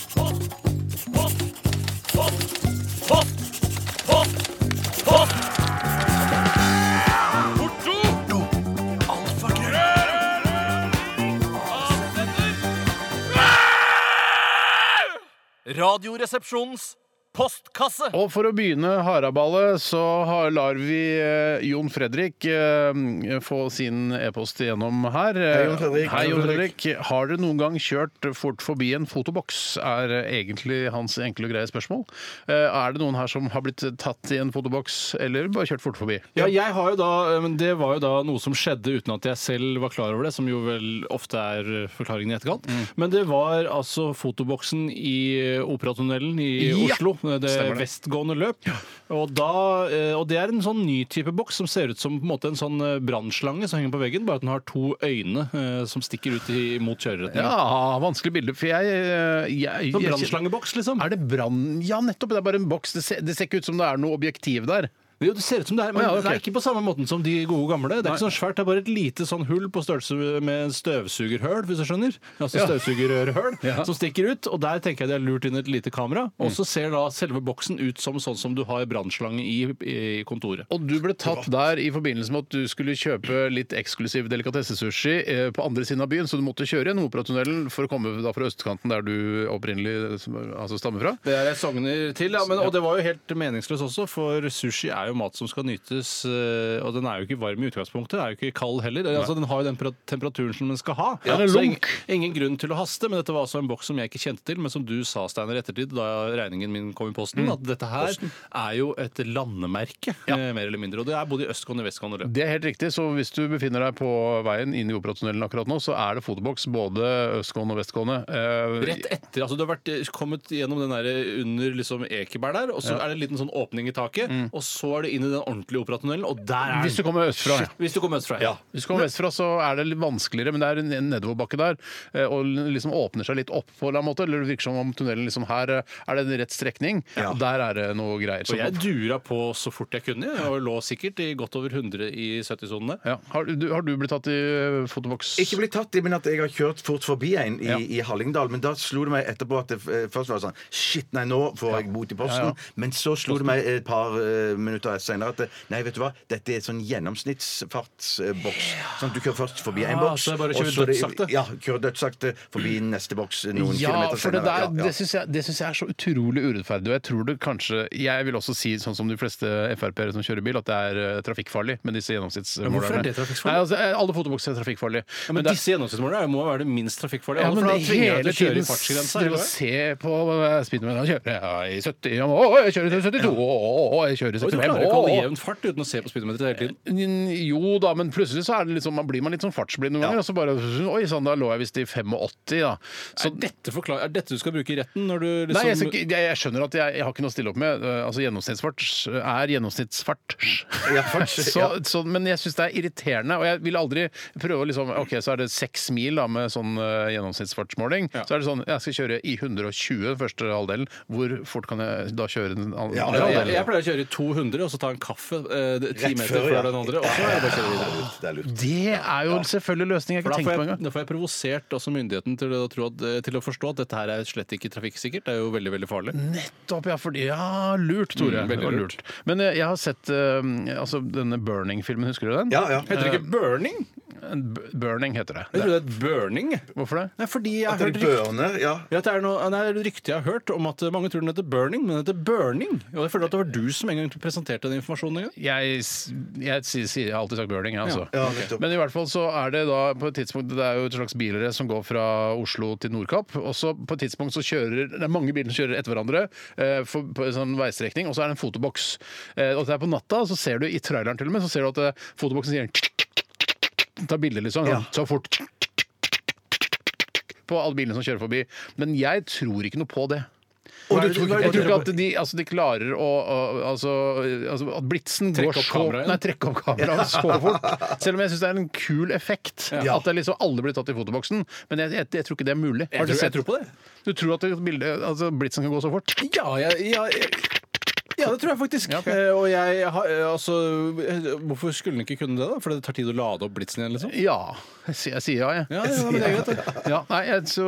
Speaker 9: Radioresepsjonens postkasse.
Speaker 4: Og for å begynne haraballet, så har, lar vi eh, Jon Fredrik eh, få sin e-post igjennom her.
Speaker 5: Hei, Jon Fredrik.
Speaker 4: Hei, Jon
Speaker 5: Hei, Jon Fredrik.
Speaker 4: Fredrik. Har dere noen gang kjørt fort forbi en fotoboks? Er eh, egentlig hans enkle og greie spørsmål. Eh, Er det noen her som har blitt tatt i en fotoboks, eller bare kjørt fort forbi?
Speaker 6: Ja, jeg har jo da, eh, men Det var jo da noe som skjedde uten at jeg selv var klar over det, som jo vel ofte er eh, forklaringen i etterkant.
Speaker 4: Mm.
Speaker 6: Men det var altså fotoboksen i eh, Operatunnelen i
Speaker 4: Ja,
Speaker 6: Oslo, eh, det
Speaker 4: stemmer det.
Speaker 6: vestgående løp. Og, da, eh, og det er en sånn ny type boks som ser ut som på en måte en sånn eh, brannslange som henger på veggen, bare at den har to øyne eh, som stikker ut i, mot kjøreretninga.
Speaker 4: Ja, vanskelig bilde, for jeg, eh, jeg,
Speaker 6: Sånn
Speaker 4: jeg
Speaker 6: brannslangeboks, liksom.
Speaker 4: Er det brann...? Ja, nettopp. Det er bare en boks. Det ser, det ser ikke ut som det er noe objektiv der.
Speaker 6: Jo, det ser ut som det er, men
Speaker 4: Å, ja, ok.
Speaker 6: det er ikke på samme måten som de gode gamle. Det er
Speaker 4: Nei.
Speaker 6: ikke sånn svært, det er bare et lite sånn hull på størrelse med en støvsugerhøl, hvis du skjønner. Altså
Speaker 4: Ja.
Speaker 6: støvsugerørhøl
Speaker 4: Ja. Mm.
Speaker 6: som stikker ut, og der tenker jeg det er lurt inn et lite kamera. Og så ser da selve boksen ut som sånn som du har brannslange i, i kontoret.
Speaker 4: Og du ble tatt der i forbindelse med at du skulle kjøpe litt eksklusiv delikatessesushi eh, på andre siden av byen, så du måtte kjøre gjennom Operatunnelen for å komme da fra østkanten der du opprinnelig eh, altså, stammer fra.
Speaker 6: Det er jeg sogner til, ja, men, og det var jo helt meningsløst også, for sushi er jo mat som skal nytes, eh, og den er jo ikke varm i utgangspunktet, den er jo ikke kald heller. Altså, den har jo den pra- temperaturen som den skal ha.
Speaker 4: Ja, den er
Speaker 6: Så ing-
Speaker 4: lunk.
Speaker 6: ingen grunn til å haste, men dette var altså en boks som jeg ikke kjente til, men som du sa, Steiner, i ettertid, da regningen min kom i posten,
Speaker 4: Mm.
Speaker 6: at dette her er jo et landemerke, eh, mer eller mindre, og det er både i Østgånd og Vestgånd og Løp.
Speaker 4: Det er helt riktig, så hvis du befinner deg på veien inn i Operatunnelen akkurat nå, så er det fotoboks både østgående og vestgående. Eh,
Speaker 6: Rett etter, altså Du har vært, kommet gjennom den der under liksom Ekeberg der, og så er det en liten sånn åpning i taket. Og så er det inn i den ordentlige operatunnelen, og der er
Speaker 4: Mm. Hvis du
Speaker 6: den!
Speaker 4: kommer østfra. ja.
Speaker 6: Hvis du kommer østfra. Ja.
Speaker 4: Hvis du kommer vestfra, så er det litt vanskeligere, men det er en en nedoverbakke der. eh, Og liksom åpner seg litt opp på en eller annen måte. Eller det virker som om tunnelen liksom her eh, er det en rett strekning, og der er det noe greier.
Speaker 6: Og
Speaker 4: som-
Speaker 6: jeg dura på så fort jeg kunne, og lå sikkert i godt over 100 i 70-sonene.
Speaker 4: ja. har, du, har du blitt tatt i eh, fotoboks?
Speaker 5: Ikke blitt tatt, men at jeg har kjørt fort forbi en i,
Speaker 4: Ja.
Speaker 5: i Hallingdal. Men da slo det meg etterpå at det eh, først var det sånn Shit, nei, nå får jeg bot i posten. Men så slo det meg et par eh, minutter senere at eh, nei, vet du hva, dette er sånn gjennomsnittsfartsboks. Sånn at du kører først forbi en
Speaker 6: Ah,
Speaker 5: boks,
Speaker 6: så jeg bare
Speaker 5: og
Speaker 6: kjører
Speaker 5: så det-
Speaker 6: dødssakte.
Speaker 5: Ja, kjører dødssakte forbi neste boks noen
Speaker 4: Ja,
Speaker 5: kilometer
Speaker 4: for det
Speaker 5: senere.
Speaker 4: der,
Speaker 5: Ja, ja.
Speaker 4: det syns jeg, det synes jeg er så utrolig urettferdig. Og jeg tror det kanskje Jeg vil også si, sånn som de fleste Frp-ere som kjører bil, at det er eh, trafikkfarlig med disse gjennomsnittsmålerne.
Speaker 6: hvorfor er det trafikkfarlig?
Speaker 4: Nei, altså, eh, alle fotobokser er trafikkfarlige.
Speaker 6: Men,
Speaker 4: det er-
Speaker 6: disse gjennomsnittsmålene er- må være det minst trafikkfarlige.
Speaker 4: Ja,
Speaker 6: alle,
Speaker 4: men
Speaker 6: for da
Speaker 4: det
Speaker 6: tvinger jeg
Speaker 4: hele
Speaker 6: til å kjøre i
Speaker 4: tiden
Speaker 6: fartsgrensa,
Speaker 4: driver
Speaker 6: gjør
Speaker 4: og
Speaker 6: det?
Speaker 4: se på eh, speedometeren. Kjører jeg i 70? Ja, Å, jeg kjører i 72! Å, å, å, jeg kjører i
Speaker 6: Og Du
Speaker 4: 75!
Speaker 6: klarer ikke å holde
Speaker 4: Å, å.
Speaker 6: jevn fart uten å se på speedometeret hele tiden.
Speaker 4: N- Jo da, men plutselig så er det litt sånn- man blir man litt sånn fartsblind noen ganger. Og så bare sånn, Oi sann, da lå jeg visst i 85, da. Så,
Speaker 6: er, dette forklar, er dette du skal bruke i retten? Når du liksom,
Speaker 4: Nei, jeg, skal ikke- jeg, jeg skjønner at jeg, jeg har ikke noe å stille opp med. Eh, Altså Gjennomsnittsfart er gjennomsnittsfart.
Speaker 5: Ja, fart,
Speaker 4: så, så, men jeg syns det er irriterende, og jeg vil aldri prøve å liksom OK, så er det seks mil da med sånn eh, gjennomsnittsfartsmåling. Så er det sånn Jeg skal kjøre i 120 den første halvdelen. Hvor fort kan jeg da kjøre den andre
Speaker 5: Ja,
Speaker 6: Ja,
Speaker 4: halvdelen?
Speaker 6: jeg, jeg pleier å kjøre i 200 og så ta en kaffe eh, det- ti
Speaker 5: Rett
Speaker 6: meter
Speaker 5: før,
Speaker 6: før
Speaker 5: ja.
Speaker 6: den andre. Og så er det bare å kjøre videre.
Speaker 5: Det er lurt.
Speaker 4: Det er jo selvfølgelig løsningen jeg
Speaker 6: For
Speaker 4: ikke
Speaker 6: da
Speaker 4: tenkt på
Speaker 6: får jeg,
Speaker 4: engang.
Speaker 6: da får jeg provosert også myndigheten til å, tro at, eh, til å forstå at dette her er slett ikke trafikksikkert. Det er jo veldig, veldig farlig.
Speaker 4: Nettopp, ja. Fordi, ja, lurt, Tore.
Speaker 6: Mm,
Speaker 4: Det
Speaker 6: veldig
Speaker 4: var lurt. Men eh, jeg har sett eh, altså, denne Burning-filmen, husker du den?
Speaker 5: Ja, ja.
Speaker 6: Heter det ikke burning?
Speaker 4: B- Burning heter
Speaker 6: Jeg
Speaker 4: det.
Speaker 6: trodde det het burning.
Speaker 4: Hvorfor det?
Speaker 6: Nei, fordi jeg har
Speaker 5: Det
Speaker 6: hørt
Speaker 5: er
Speaker 6: rykt-
Speaker 5: børner, ja.
Speaker 6: ja, det er noe, nei, det er rykte jeg har hørt om at eh, mange tror den heter burning, men den heter burning. Og jeg føler at det var du som en gang presenterte den informasjonen. En gang.
Speaker 4: jeg, s- jeg, sier- sier- jeg har alltid sagt burning, jeg, altså.
Speaker 5: Ja, nettopp.
Speaker 4: Men i hvert fall så er det da på et tidspunkt Det er jo et slags bilrace som går fra Oslo til Nordkapp. Og så på et tidspunkt så kjører Det er mange biler som kjører etter hverandre eh, for, på en sånn veistrekning, og så er det en fotoboks. Eh, og det er på natta, så ser du i traileren til og med, så ser du at eh, fotoboksen sier Ta bilder, liksom. Sånn, Så fort på alle bilene som kjører forbi. Men jeg tror ikke noe på det.
Speaker 5: Og du
Speaker 6: det-
Speaker 5: tror
Speaker 6: hva er
Speaker 5: ikke
Speaker 4: Jeg
Speaker 5: på
Speaker 4: tror
Speaker 5: det?
Speaker 4: ikke at de, altså de klarer å, å altså, altså At blitsen
Speaker 6: Trekke
Speaker 4: går
Speaker 6: opp
Speaker 4: så
Speaker 6: kameraet?
Speaker 4: Nei, trekke opp kameraet så fort. Selv om jeg syns det er en kul effekt
Speaker 5: Ja.
Speaker 4: at det liksom alle blir tatt i fotoboksen. Men jeg, jeg, jeg tror ikke det er mulig. Har du
Speaker 6: tror-
Speaker 4: sett-
Speaker 6: jeg tror på det.
Speaker 4: Du tror at det, bildet, altså, blitsen kan gå så fort?
Speaker 6: Ja, jeg, ja, jeg ja, det tror jeg faktisk. Eh, Og jeg har eh, altså eh, Hvorfor skulle den ikke kunne det, da? Fordi det tar tid å lade opp blitsen igjen, liksom?
Speaker 4: Ja. Jeg sier, jeg sier ja, jeg.
Speaker 6: Ja, ja, men det er greit, det.
Speaker 4: Ja, nei, jeg, så,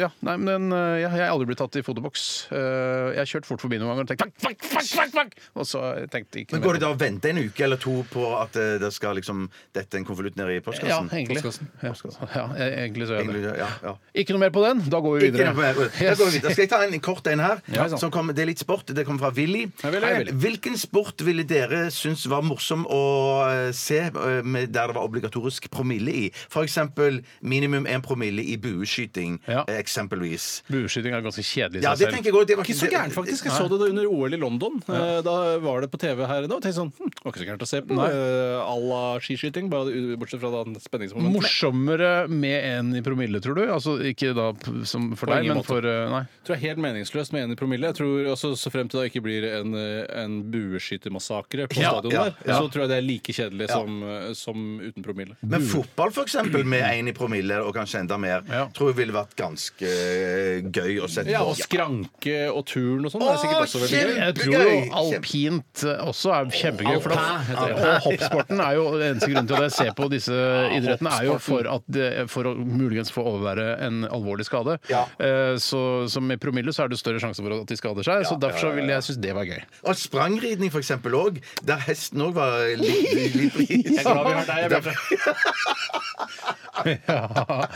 Speaker 4: ja, nei, men eh, jeg, jeg har aldri blitt tatt i fotoboks. Eh, Jeg har kjørt fort forbi noen ganger og tenkt fuck, fuck, fuck, fuck, fuck! Og så tenkte jeg ikke
Speaker 5: Men Går det da å vente en uke eller to på at eh, det skal liksom dette er en konvolutt ned i
Speaker 4: Ja,
Speaker 5: postkassen?
Speaker 4: egentlig. Ja, ja, egentlig så gjør jeg
Speaker 5: Egentlig,
Speaker 4: det.
Speaker 5: ja, ja.
Speaker 4: Ikke noe mer på den? Da går vi
Speaker 5: Ikke
Speaker 4: videre.
Speaker 5: noe mer. Da går vi videre. Skal jeg ta en kort en her?
Speaker 6: Ja, sant.
Speaker 5: som kom, det er litt sport. Det kommer fra Willy.
Speaker 6: Hei, Willy. Hei, Willy.
Speaker 5: Hvilken sport ville dere synes var morsom å eh, se eh, med, der det var obligatorisk promille i? For eksempel minimum én promille i bueskyting,
Speaker 4: Ja.
Speaker 5: eh, eksempelvis.
Speaker 4: Bueskyting er ganske kjedelig i
Speaker 5: Ja,
Speaker 4: seg
Speaker 5: det
Speaker 4: selv.
Speaker 5: tenker jeg også. Det var
Speaker 6: Ikke så gærent, faktisk. Jeg så det da under OL i London. Eh, Da var det på TV her nå. og tenkte sånn, hm, det var ikke så gærent å se på. eh, À la skiskyting, bare u- bortsett fra den spenningsmomenten.
Speaker 4: Morsommere med en i promille, tror du? Altså ikke da p- som for
Speaker 6: På
Speaker 4: deg,
Speaker 6: ingen
Speaker 4: men
Speaker 6: måte.
Speaker 4: for eh, Nei.
Speaker 6: Jeg tror det er helt meningsløst med en i promille. Jeg tror også Så frem til det ikke blir en, eh, en bueskytermassakre på
Speaker 5: Ja,
Speaker 6: stadion
Speaker 5: ja,
Speaker 6: der,
Speaker 5: ja.
Speaker 6: så tror jeg det er like kjedelig som, eh, som uten promille.
Speaker 5: Men fotball, for eksempel, med én i promille og kanskje enda mer,
Speaker 4: Ja.
Speaker 5: tror jeg ville vært ganske eh, gøy å sette
Speaker 6: Ja, og
Speaker 5: på.
Speaker 6: skranke og turn og sånn er sikkert også veldig gøy.
Speaker 4: Jeg tror jo alpint eh, også er kjempegøy. For
Speaker 6: Alpin
Speaker 4: da,
Speaker 6: heter det.
Speaker 4: og hoppsporten er jo eneste grunnen til at jeg ser på disse idrettene, er jo for, at det, for å muligens få overvære en alvorlig skade.
Speaker 5: Ja.
Speaker 4: Eh, Så som i promille så er det større sjanse for at de skader seg, så derfor så vil jeg synes det var gøy.
Speaker 5: Og sprangridning, for eksempel, òg. Der hesten òg var litt, litt pris.
Speaker 6: Jeg er glad vi har deg, Bjarte.
Speaker 4: Ja.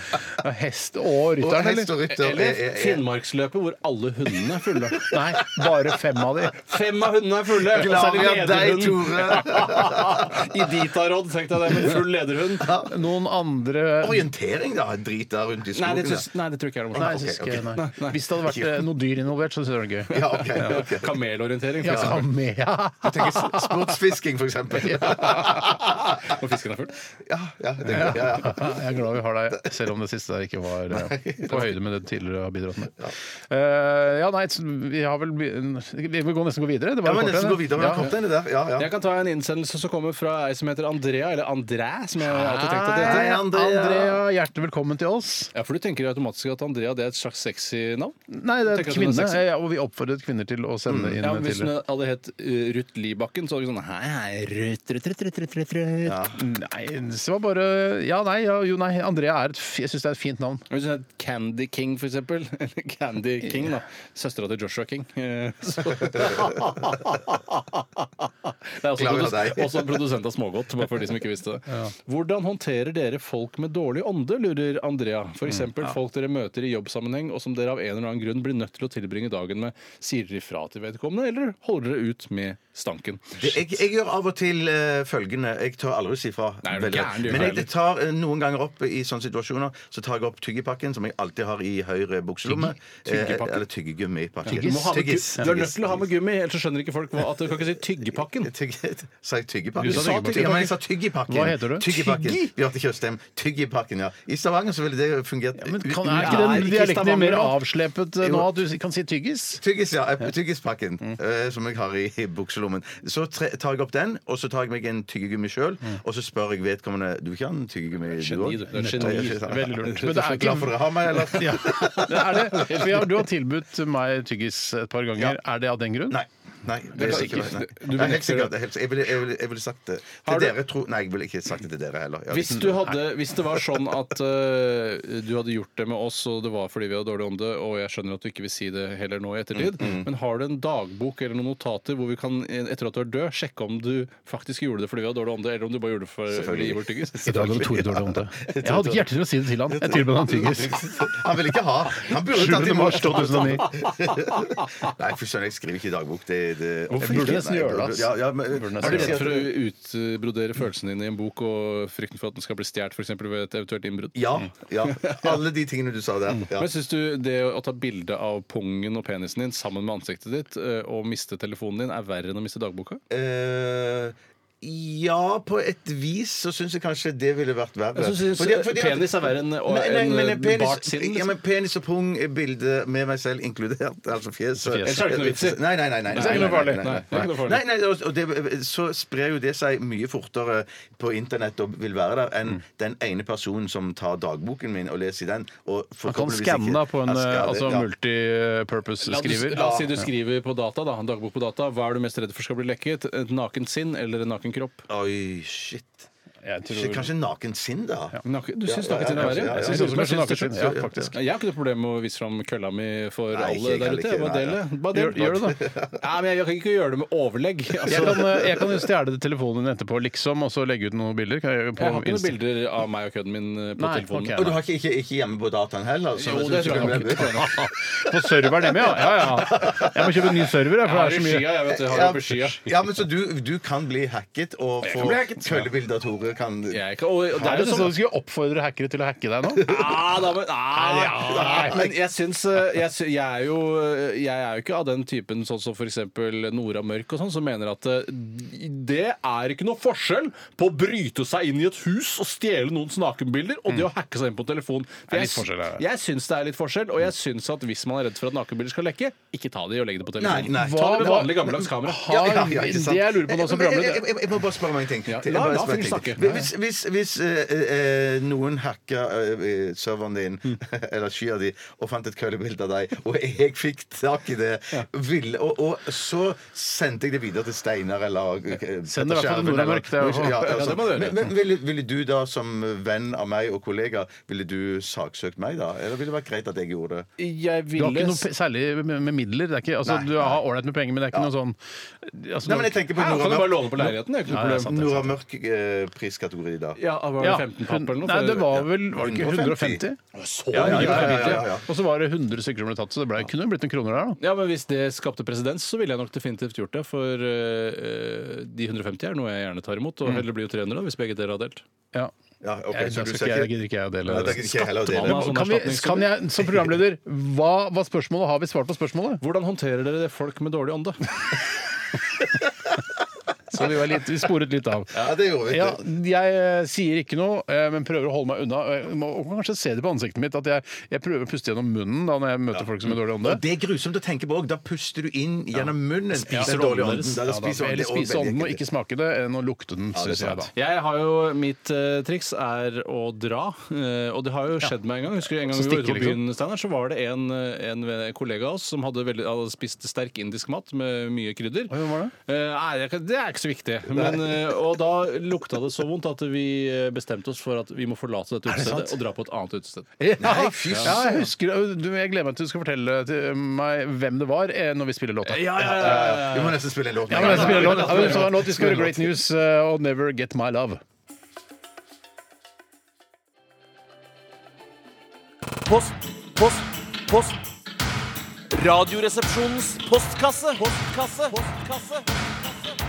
Speaker 4: Hest og rytteren,
Speaker 5: Og hest og rytter.
Speaker 4: Eller?
Speaker 5: Eh, eh, eh.
Speaker 6: Finnmarksløpet hvor alle hundene er fulle.
Speaker 4: Nei, bare fem av de.
Speaker 6: Fem av hundene er fulle!
Speaker 5: Glad vi har deg,
Speaker 6: Lederhunden.
Speaker 5: Tore.
Speaker 6: I dit av råd, tenkte jeg det, med full lederhund.
Speaker 4: Noen andre
Speaker 5: Orientering, da. Drit der rundt i
Speaker 6: Nei, det,
Speaker 5: skogen.
Speaker 6: synes, nei, det tror jeg ikke er det
Speaker 4: Nei,
Speaker 6: morsomt.
Speaker 4: jeg synes
Speaker 5: ok,
Speaker 4: ikke- nei. Hvis det hadde vært eh, noe dyr involvert, så synes jeg det var gøy.
Speaker 5: Ja, ok, ok.
Speaker 6: Kamelorientering, for
Speaker 4: Ja,
Speaker 6: eksempel.
Speaker 4: med, ja.
Speaker 5: Sportsfisking, for eksempel.
Speaker 6: Når fisken er full.
Speaker 5: Ja, ja, det er gøy. Ja, ja.
Speaker 4: Ja, Jeg er glad vi har deg, selv om det siste der ikke var eh, på høyde med det du tidligere har bidratt med. Eh, ja, nei, så vi har vel be- Vi vil gå nesten gå videre. Det var
Speaker 5: Ja, men
Speaker 4: en kort
Speaker 5: nesten
Speaker 4: en,
Speaker 5: gå videre med
Speaker 4: ja.
Speaker 5: ja. kortene der. Ja, ja.
Speaker 6: Jeg kan ta en innsendelse som kommer fra ei som heter Andrea, eller Andræ, som jeg alltid tenkte at det
Speaker 5: Hei,
Speaker 6: heter.
Speaker 5: Andrea.
Speaker 4: Andrea, hjertelig velkommen til oss.
Speaker 6: Ja, for du tenker automatisk at Andrea det er et slags sexy navn?
Speaker 4: Nei, det er et
Speaker 6: Tenker at hun er
Speaker 4: kvinne,
Speaker 6: sexy. Mm.
Speaker 4: eh, og vi oppfordret kvinner til å sende inn
Speaker 6: Ja,
Speaker 4: ja,
Speaker 6: men Hvis hun
Speaker 4: tidligere.
Speaker 6: hadde hett eh, Ruth Libakken, så hadde hun sånn Hei, hei, Ruth, Ruth, Ruth, Ruth, Ruth, Ruth, Ruth.
Speaker 4: Nei, det var bare Ja, nei, ja, jo, nei. Andrea er et f- Jeg syns det er et fint navn.
Speaker 6: Hvis hun het Candy King, for eksempel. Eller Candy King, da. Søstera til Joshua King. Eh, så- Det er også,
Speaker 5: Klager
Speaker 6: produs
Speaker 5: deg.
Speaker 6: også en produsent av smågodt, bare for de som ikke visste det. Hvordan håndterer dere folk med dårlig ånde, lurer Andrea. For
Speaker 5: Mm,
Speaker 6: eksempel folk dere møter i jobbsammenheng, og som dere av en eller annen grunn blir nødt til å tilbringe dagen med. Sier dere ifra til vedkommende, eller holder dere ut med stanken?
Speaker 5: Det- Jeg, jeg gjør av og til eh, følgende. Jeg tør aldri si fra.
Speaker 6: Nei, er du
Speaker 5: veldig.
Speaker 6: gæren, du
Speaker 5: Men jeg
Speaker 6: heller.
Speaker 5: tar eh, noen ganger opp i sånne situasjoner Så tar jeg opp tyggipakken, som jeg alltid har i høyre bukselomme. Eh,
Speaker 6: Tyggipakken?
Speaker 5: Eller tyggegummipakke.
Speaker 4: Du må ha
Speaker 6: med
Speaker 5: Tyggis.
Speaker 6: gu- Du er nødt til å ha med gummi, ellers så skjønner ikke folk hva, at du kan ikke si tyggepakken.
Speaker 5: Tygg- Sa jeg tyggipakken?
Speaker 4: Du sa tyggipakken.
Speaker 5: Ja, men jeg sa tyggipakken.
Speaker 4: Hva heter du?
Speaker 5: Tyggipakken.
Speaker 4: Tyggi?
Speaker 5: Bjarte Tjøstheim. Tyggipakken, ja. I Stavanger så ville det fungert
Speaker 4: Men
Speaker 5: ut-
Speaker 4: kan,
Speaker 5: ut-
Speaker 4: er ikke
Speaker 5: Nei,
Speaker 4: den
Speaker 5: i
Speaker 4: dialekten din mer
Speaker 5: Stavanger, da.
Speaker 4: avslepet eh,
Speaker 5: Jo.
Speaker 4: nå at du kan si tyggis?
Speaker 5: Tyggis, ja. eh, Tyggispakken
Speaker 6: Mm.
Speaker 5: eh, som jeg har i, i bukselommen. Så tre, tar jeg opp den, og så tar jeg meg en tyggegummi sjøl, og så spør jeg vedkommende Du vil ikke ha en tyggegummi, du
Speaker 6: Mm. Geni,
Speaker 5: òg?
Speaker 6: du. Du er et geni.
Speaker 4: Veldig lurt. Men
Speaker 5: Men
Speaker 4: det er
Speaker 5: glad
Speaker 4: ikke
Speaker 5: for å ha meg, eller?
Speaker 4: Ja, det er det. For jeg, du har tilbudt meg tyggis et par ganger. Er det av den grunn?
Speaker 5: Nei. Nei, det er ikke, nei.
Speaker 6: Du
Speaker 5: Nei, helt
Speaker 6: benekter
Speaker 5: sikkert. helt sikkert. Jeg ville, jeg ville, jeg ville sagt det
Speaker 6: Har
Speaker 5: til
Speaker 6: du-
Speaker 5: dere. Tro, nei, jeg ville ikke sagt det til dere heller. Ja,
Speaker 6: Hvis, du hadde, hvis det var sånn at eh, du hadde gjort det med oss, og det var fordi vi hadde dårlig ånde, og jeg skjønner at du ikke vil si det heller nå i ettertid,
Speaker 5: Mm,
Speaker 6: men har du en dagbok eller noen notater hvor vi kan, etter at du er død, sjekke om du faktisk gjorde det fordi vi hadde dårlig ånde, eller om du bare gjorde det for å gi bort tyggis?
Speaker 4: I dag hadde Tore dårlig håndte. Jeg hadde ikke hjerte til å si det til han. Jeg tilbød han tyggis.
Speaker 5: Han ville ikke ha. Han burde tatt
Speaker 4: 7. mars
Speaker 5: imot.
Speaker 4: 2009.
Speaker 5: Nei, for søren, jeg skriver ikke i dagbok. Det, det,
Speaker 4: Hvorfor ikke?
Speaker 5: Nei, jeg burde- Ja, ja, men,
Speaker 4: nesten
Speaker 6: Er du
Speaker 5: Fordi
Speaker 6: redd
Speaker 5: at-
Speaker 6: for å utbrodere følelsene dine i en bok og frykten for at den skal bli stjålet f.eks. ved et eventuelt innbrudd?
Speaker 5: ja, ja. Alle de tingene du sa der. Ja.
Speaker 6: Men syns du det å ta bilde av pungen og penisen din sammen med ansiktet ditt eh, og miste telefonen din er verre enn å miste dagboka?
Speaker 5: Eh, ja, på et vis så syns jeg kanskje det ville vært verre.
Speaker 6: Jeg synes- penis er verre enn- og
Speaker 5: Men- nei,
Speaker 6: enn,
Speaker 5: men
Speaker 6: eh,
Speaker 5: penis-
Speaker 6: bart sin, liksom.
Speaker 5: Ja, men penis og pung er bildet med meg selv inkludert. Altså fjes.
Speaker 6: Ellers er det ikke noe vits i.
Speaker 5: Nei, nei, nei. nei,
Speaker 6: Det er ikke noe
Speaker 5: nei,
Speaker 6: farlig.
Speaker 5: nei,
Speaker 6: Nei, det er ikke noe farlig.
Speaker 5: Nei, nei, og og det, så sprer jo det seg mye fortere på internett og vil være der enn
Speaker 6: Mm.
Speaker 5: den ene personen som tar dagboken min og leser i den. Og
Speaker 4: Han kan
Speaker 5: forhåpentligvis
Speaker 4: skanne
Speaker 5: ikke-
Speaker 4: da på en
Speaker 5: Han
Speaker 4: eh,
Speaker 5: skal det,
Speaker 4: altså,
Speaker 5: ja.
Speaker 6: La, du,
Speaker 4: multipurpose-skriver.
Speaker 6: la oss si du skriver på data, da, en dagbok på data. Hva er du mest redd for skal bli lekket? Et nakent sinn eller en naken kropp?
Speaker 5: Oi, shit.
Speaker 4: Jeg tror-
Speaker 5: Shit, Kanskje naken sinn, da.
Speaker 6: Naken, du syns
Speaker 5: ja,
Speaker 6: nakent sinn er
Speaker 5: ja, ja,
Speaker 6: verre?
Speaker 5: ja,
Speaker 6: Jeg
Speaker 5: ja,
Speaker 6: synes
Speaker 5: ja,
Speaker 4: ja,
Speaker 6: også jeg
Speaker 4: ja, ja,
Speaker 6: synes nakent
Speaker 4: ja,
Speaker 6: sinn, ja, faktisk. Jeg har ikke noe problem med å vise fram kølla mi
Speaker 5: Nei,
Speaker 6: for
Speaker 5: ikke,
Speaker 6: alle
Speaker 5: jeg
Speaker 6: der
Speaker 5: kan
Speaker 6: ute.
Speaker 5: ikke,
Speaker 6: Jeg bare
Speaker 5: nei,
Speaker 6: deler det. Bare
Speaker 4: Gjør-
Speaker 6: del-
Speaker 4: gjør det,
Speaker 6: Nei, men jeg, jeg kan ikke gjøre det med overlegg. Altså,
Speaker 4: Jeg kan, eh, jeg kan jo stjele telefonen din etterpå, liksom, og så legge ut noen bilder. Kan jeg, gjøre på
Speaker 6: jeg har ikke noen
Speaker 4: Insta?
Speaker 6: bilder av meg og kødden min eh, på
Speaker 4: Nei,
Speaker 6: telefonen.
Speaker 4: ok.
Speaker 5: Og du har ikke, ikke, ikke hjemme på dataen heller? altså, så-
Speaker 6: Jo, det tror jeg nok.
Speaker 4: På serveren hjemme, ja. ja, ja. Jeg må kjøpe en ny server, jeg,
Speaker 6: Jeg
Speaker 4: for det
Speaker 6: har
Speaker 4: er
Speaker 6: det i
Speaker 4: så mye
Speaker 6: skya, jeg vet det. Jeg har
Speaker 5: Ja,
Speaker 6: det på skya.
Speaker 5: ja, men så du, du kan bli hacket og få køllebilder av Tore kan
Speaker 6: Jeg kan, og det er jo sånn
Speaker 4: du skulle oppfordre hackere til å hacke deg nå?
Speaker 6: Ah, da, men, ah,
Speaker 4: Nei,
Speaker 6: nei, men jeg syns eh, jeg, sy- jeg, er jo, eh, jeg er jo ikke av den typen sånn som f.eks. Nora Mørk og sånn, som mener at eh, det er ikke noe forskjell på å bryte seg inn i et hus og stjele noens nakenbilder, og det å hacke seg inn på telefon.
Speaker 4: Mm. er
Speaker 6: Jeg
Speaker 4: litt forskjell, ja, Mm.
Speaker 6: jeg syns det er litt forskjell, og jeg syns at hvis man er redd for at nakenbilder skal lekke, ikke ta de og legg det på telefonen.
Speaker 5: Nei, nei.
Speaker 6: ta det med vanlig gammeldags kamera.
Speaker 4: Har,
Speaker 5: Ja, ja, ikke sant.
Speaker 4: Det jeg lurer på nå som
Speaker 5: Men jeg-
Speaker 4: programleder
Speaker 5: jeg- jeg- Jeg må bare spørre meg en ting. Jeg må
Speaker 6: la-
Speaker 5: bare spørre
Speaker 6: la
Speaker 5: en
Speaker 6: fyren
Speaker 5: ting.
Speaker 6: snakke.
Speaker 5: Hvis, hvis, hvis eh, eh, noen hacka eh, serveren din,
Speaker 4: Mm.
Speaker 5: eller skya di, og fant et køddebilde av deg, og jeg fikk tak i det, ville, og, og så sendte jeg det videre til Steinar eller eh,
Speaker 4: Send det i hvert fall til
Speaker 5: Skjerven,
Speaker 4: Nora
Speaker 5: eller-
Speaker 4: Mørk, det er jo- Ja,
Speaker 5: Ja, altså.
Speaker 4: det må du gjøre.
Speaker 5: Men, men ville, ville du da, som venn av meg og kollega, ville du saksøkt meg da? Eller ville det vært greit at jeg gjorde det?
Speaker 6: Jeg
Speaker 4: Du har ikke
Speaker 6: ville
Speaker 4: noe pe- særlig med, med midler. Det er ikke, altså,
Speaker 5: Nei,
Speaker 4: du har ålreit med penger, men det er ikke noe sånn altså,
Speaker 5: Nei, men jeg tenker på
Speaker 6: Her kan du
Speaker 5: Nora
Speaker 6: bare
Speaker 5: Mørk.
Speaker 6: låne på leiligheten, det er ikke noe
Speaker 4: Ja, det er
Speaker 6: problem.
Speaker 4: sant.
Speaker 5: Nora
Speaker 4: eh,
Speaker 5: Mørk-priskategori, da.
Speaker 6: Ja, var det
Speaker 4: ja,
Speaker 6: 15 papp eller noe?
Speaker 4: Nei, det var
Speaker 6: For-
Speaker 4: vel var det ikke 150?
Speaker 5: 150?
Speaker 6: Så
Speaker 5: Ja, ja,
Speaker 6: mye
Speaker 5: ja,
Speaker 6: per
Speaker 5: ja,
Speaker 6: bilde.
Speaker 5: ja, ja.
Speaker 4: Og så var det 100 stykker som ble tatt, så det ble, kunne blitt noen kroner der. da
Speaker 6: Ja, men Hvis det skapte presedens, så ville jeg nok definitivt gjort det. For eh, de 150 er noe jeg gjerne tar imot. Og heller blir jo 300 da, hvis begge dere har delt.
Speaker 4: Ja.
Speaker 5: Ja, ok,
Speaker 4: Jeg,
Speaker 5: så
Speaker 4: da
Speaker 5: du
Speaker 4: skal
Speaker 5: ser
Speaker 4: ikke jeg,
Speaker 5: ikke-
Speaker 4: gidder ikke jeg å dele
Speaker 5: Nei, det
Speaker 4: det.
Speaker 5: er ikke jeg heller å dele.
Speaker 6: Skattemannen, altså.
Speaker 4: Kan, vi, kan jeg, som programleder, hva var spørsmålet? Har vi svart på spørsmålet?
Speaker 6: Hvordan håndterer dere det folk med dårlig ånde?
Speaker 4: Så vi, var litt, vi sporet litt av.
Speaker 5: Ja, det gjorde vi.
Speaker 4: Ja, jeg eh, sier ikke noe, eh, men prøver å holde meg unna. Og Jeg må og kan kanskje se det på ansiktet mitt at jeg, jeg prøver å puste gjennom munnen da når jeg møter folk som har dårlig ånde.
Speaker 5: Og det er grusomt å tenke på òg. Da puster du inn gjennom munnen.
Speaker 6: Spiser
Speaker 5: Den dårlige
Speaker 6: ånden
Speaker 5: ånden.
Speaker 6: deres.
Speaker 5: Da, da
Speaker 4: Ja, da,
Speaker 5: spiser
Speaker 4: eller
Speaker 5: ånden. Det er
Speaker 4: spise
Speaker 5: også veldig
Speaker 4: ånden og
Speaker 5: ekkelt.
Speaker 4: ikke smake det, enn å lukte den,
Speaker 5: det er
Speaker 4: syns jeg da.
Speaker 5: sant.
Speaker 6: Jeg har jo, Mitt eh, triks er å dra. eh, og det har jo skjedd meg en gang. Husker du en gang
Speaker 4: Så
Speaker 6: vi var ute
Speaker 4: stikker
Speaker 6: på
Speaker 4: liksom.
Speaker 6: byen, Steinar, så var det en, eh, en ve- kollega av oss som hadde, veldig, hadde spist sterk indisk mat med mye krydder.
Speaker 4: Oi, hvem var det?
Speaker 6: Eh, nei, det, er ikke- det er ikke så viktig. Men, eh, og da lukta det så vondt at vi eh, bestemte oss for at vi må forlate dette utestedet og dra på et annet utested.
Speaker 4: Ja,
Speaker 5: Nei, fy
Speaker 4: ja, jeg husker eh, du, Jeg gleder meg til du skal fortelle til eh, meg hvem det var eh, når vi spiller låta.
Speaker 6: Ja, ja, ja,
Speaker 5: Ja, ja. Vi må nesten spille en låt.
Speaker 4: Ja, men jeg skal spille låt. Ja, men så er det en låt. Vi skal høre Great News eh, og Never Get My Love.
Speaker 9: Post, post, post. Radioresepsjonens postkasse. Postkasse. Postkasse.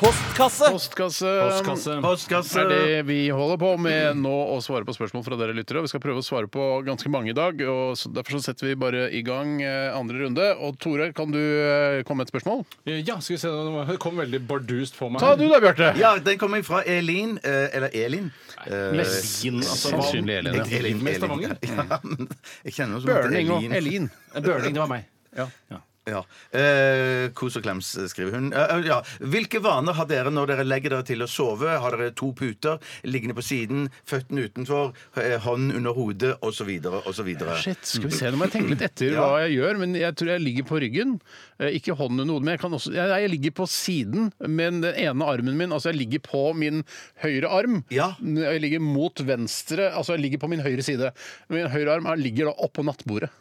Speaker 9: Postkasse.
Speaker 4: Postkasse.
Speaker 6: Postkasse.
Speaker 5: Postkasse.
Speaker 4: er det vi holder på med nå, å svare på spørsmål fra dere lyttere. Vi skal prøve å svare på ganske mange i dag, og så derfor så setter vi bare i gang eh, andre runde. Og Tore, kan du eh, komme med et spørsmål?
Speaker 6: Ja, skal vi se. Det kom veldig bardust på meg.
Speaker 4: Ta du da, Bjarte!
Speaker 5: Ja, den kommer fra Elin. eh, Eller Elin. Eh,
Speaker 4: Elin, altså, hva- Sannsynlig Elin, ja.
Speaker 5: Elin, Elin,
Speaker 6: Med Stavanger?
Speaker 5: Ja, men jeg kjenner noe som heter
Speaker 4: Børning og Elin.
Speaker 6: Børling, det var meg.
Speaker 5: Ja. Eh, kos og klems, skriver hun. Eh, eh, ja. Hvilke vaner har dere når dere legger dere til å sove? Har dere to puter liggende på siden, føttene utenfor, eh, hånden under hodet, osv.? osv.?
Speaker 4: Shit, skal vi se, Nå må jeg tenke litt etter
Speaker 5: Ja.
Speaker 4: hva jeg gjør. Men jeg tror jeg ligger på ryggen. Eh, Ikke hånden under hodet, men jeg, kan også, jeg, jeg ligger på siden med den ene armen min. Altså jeg ligger på min høyre arm.
Speaker 5: Ja.
Speaker 4: N- Jeg ligger mot venstre, altså jeg ligger på min høyre side. Min høyre arm er- ligger da oppå nattbordet.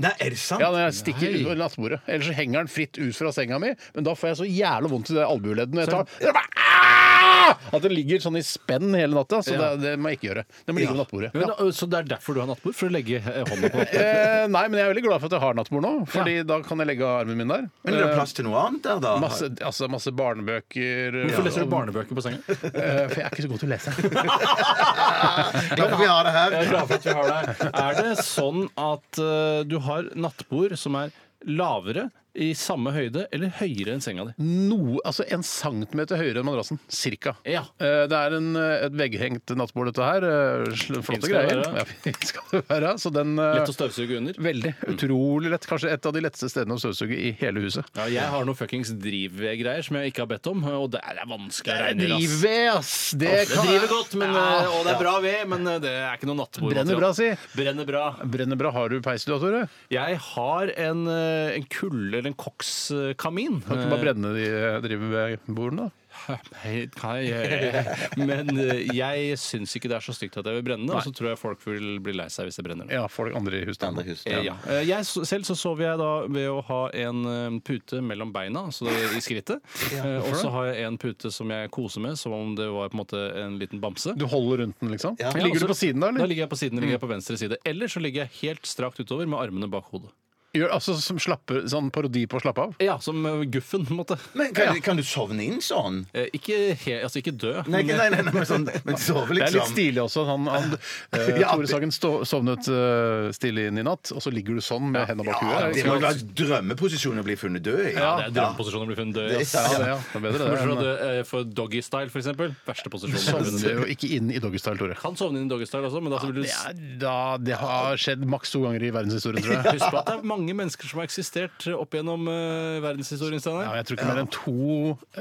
Speaker 5: Nei, er det sant?
Speaker 4: Ja, når jeg stikker ut på nattbordet. Ellers så henger den fritt ut fra senga mi, men da får jeg så jævla vondt i det albueleddet når jeg tar Det er bare, «Ah!» At det ligger sånn i spenn hele natta. Så det, det må jeg ikke gjøre. Det må ligge på nattbordet.
Speaker 6: Men, eh, Så det er derfor du har nattbord? For å legge eh, hånda på nattbordet?
Speaker 4: Eh, nei, men jeg er veldig glad for at jeg har nattbord nå, Fordi da kan jeg legge armen min der.
Speaker 5: Men er det plass til noe annet der, da?
Speaker 4: Masse, altså masse barnebøker.
Speaker 6: Hvorfor leser
Speaker 4: og-
Speaker 6: du barnebøker på senga?
Speaker 4: Eh, for jeg er ikke så god til å lese.
Speaker 5: Glad for vi har det her.
Speaker 6: Jeg er glad for at vi har deg. Er det sånn at eh, du har nattbord som er lavere, i samme høyde eller høyere enn senga di?
Speaker 4: Noe, altså En centimeter høyere enn madrassen. Cirka.
Speaker 6: Ja.
Speaker 4: Eh, det er en, eh, et vegghengt nattbord, dette her. Eh, sl- flotte
Speaker 6: Fint skal det
Speaker 4: greier.
Speaker 6: være.
Speaker 4: Ja, fint skal det være. Så den eh,
Speaker 6: Lett å støvsuge under?
Speaker 4: Veldig. Utrolig lett. Kanskje et av de letteste stedene å støvsuge i hele huset.
Speaker 6: Ja, jeg har noe fuckings drivved-greier som jeg ikke har bedt om, og det er vanskelig å regne i, ass.
Speaker 4: Drivet, ass! Det,
Speaker 6: Det
Speaker 4: kan-
Speaker 6: driver godt, men, eh, og det er bra ved, men eh, det er ikke noe nattbord.
Speaker 4: Brenner bra, si.
Speaker 6: Brenner bra.
Speaker 4: Brenner bra. Har du peis, du, da, Tore?
Speaker 6: Jeg har en, eh, en kulle eller en kokskamin.
Speaker 4: Kan du ikke bare brenne de eh, drivbordene, da?
Speaker 6: Eh, Men eh, jeg syns ikke det er så stygt at jeg vil brenne det, og så tror jeg folk vil bli lei seg hvis det brenner.
Speaker 4: Ja, folk andre i husstanden.
Speaker 6: Eh, Ja. Eh, Jeg, s- selv så sover jeg da ved å ha en eh, pute mellom beina, altså det- i skrittet. Eh, Og så har jeg en pute som jeg koser med, som om det var på en måte en liten bamse.
Speaker 4: Du holder rundt den, liksom?
Speaker 6: Ja,
Speaker 4: Ligger
Speaker 6: og
Speaker 4: du
Speaker 6: så-
Speaker 4: på siden da,
Speaker 6: Da
Speaker 4: eller?
Speaker 6: Mm. ligger jeg på siden, ligger jeg på venstre side. Eller så ligger jeg helt strakt utover med armene bak hodet.
Speaker 4: Gjør, altså som slapper, sånn parodi på å slappe av?
Speaker 6: Ja, som eh, Guffen, på en måte.
Speaker 5: Men kan, kan du sovne inn sånn?
Speaker 6: Eh, Ikke, he, altså, ikke dø.
Speaker 5: Nei,
Speaker 6: men-
Speaker 5: nei, nei, nei men, sånn, men sove
Speaker 4: Det er litt
Speaker 5: liksom.
Speaker 4: stilig også. Han, han, eh,
Speaker 5: Ja,
Speaker 4: Tore
Speaker 5: det-
Speaker 4: Sagen stå, sovnet eh, stille inn i natt, og så ligger du sånn med hendene bak
Speaker 5: Ja,
Speaker 4: huet.
Speaker 5: det må jo være drømmeposisjon å bli funnet død i.
Speaker 6: Ja, det er drømmeposisjonen å bli funnet død i. ass.
Speaker 4: Ja, det, ja. det er bedre det.
Speaker 6: Bortsett fra
Speaker 4: enn-
Speaker 6: det, eh, For doggystyle, for eksempel. Verste posisjonen. å bli funnet
Speaker 4: Sovner
Speaker 6: død i.
Speaker 4: jo ikke inn i doggystyle, Tore.
Speaker 6: Kan sovne inn i doggystyle også, men da vil du
Speaker 4: Det, er, da, det har skjedd maks to ganger i verdenshistorien, tror jeg.
Speaker 6: Husk på at det er mange mennesker som har eksistert opp gjennom eh, verdenshistorien. Steinar.
Speaker 4: Ja, jeg tror ikke mer enn to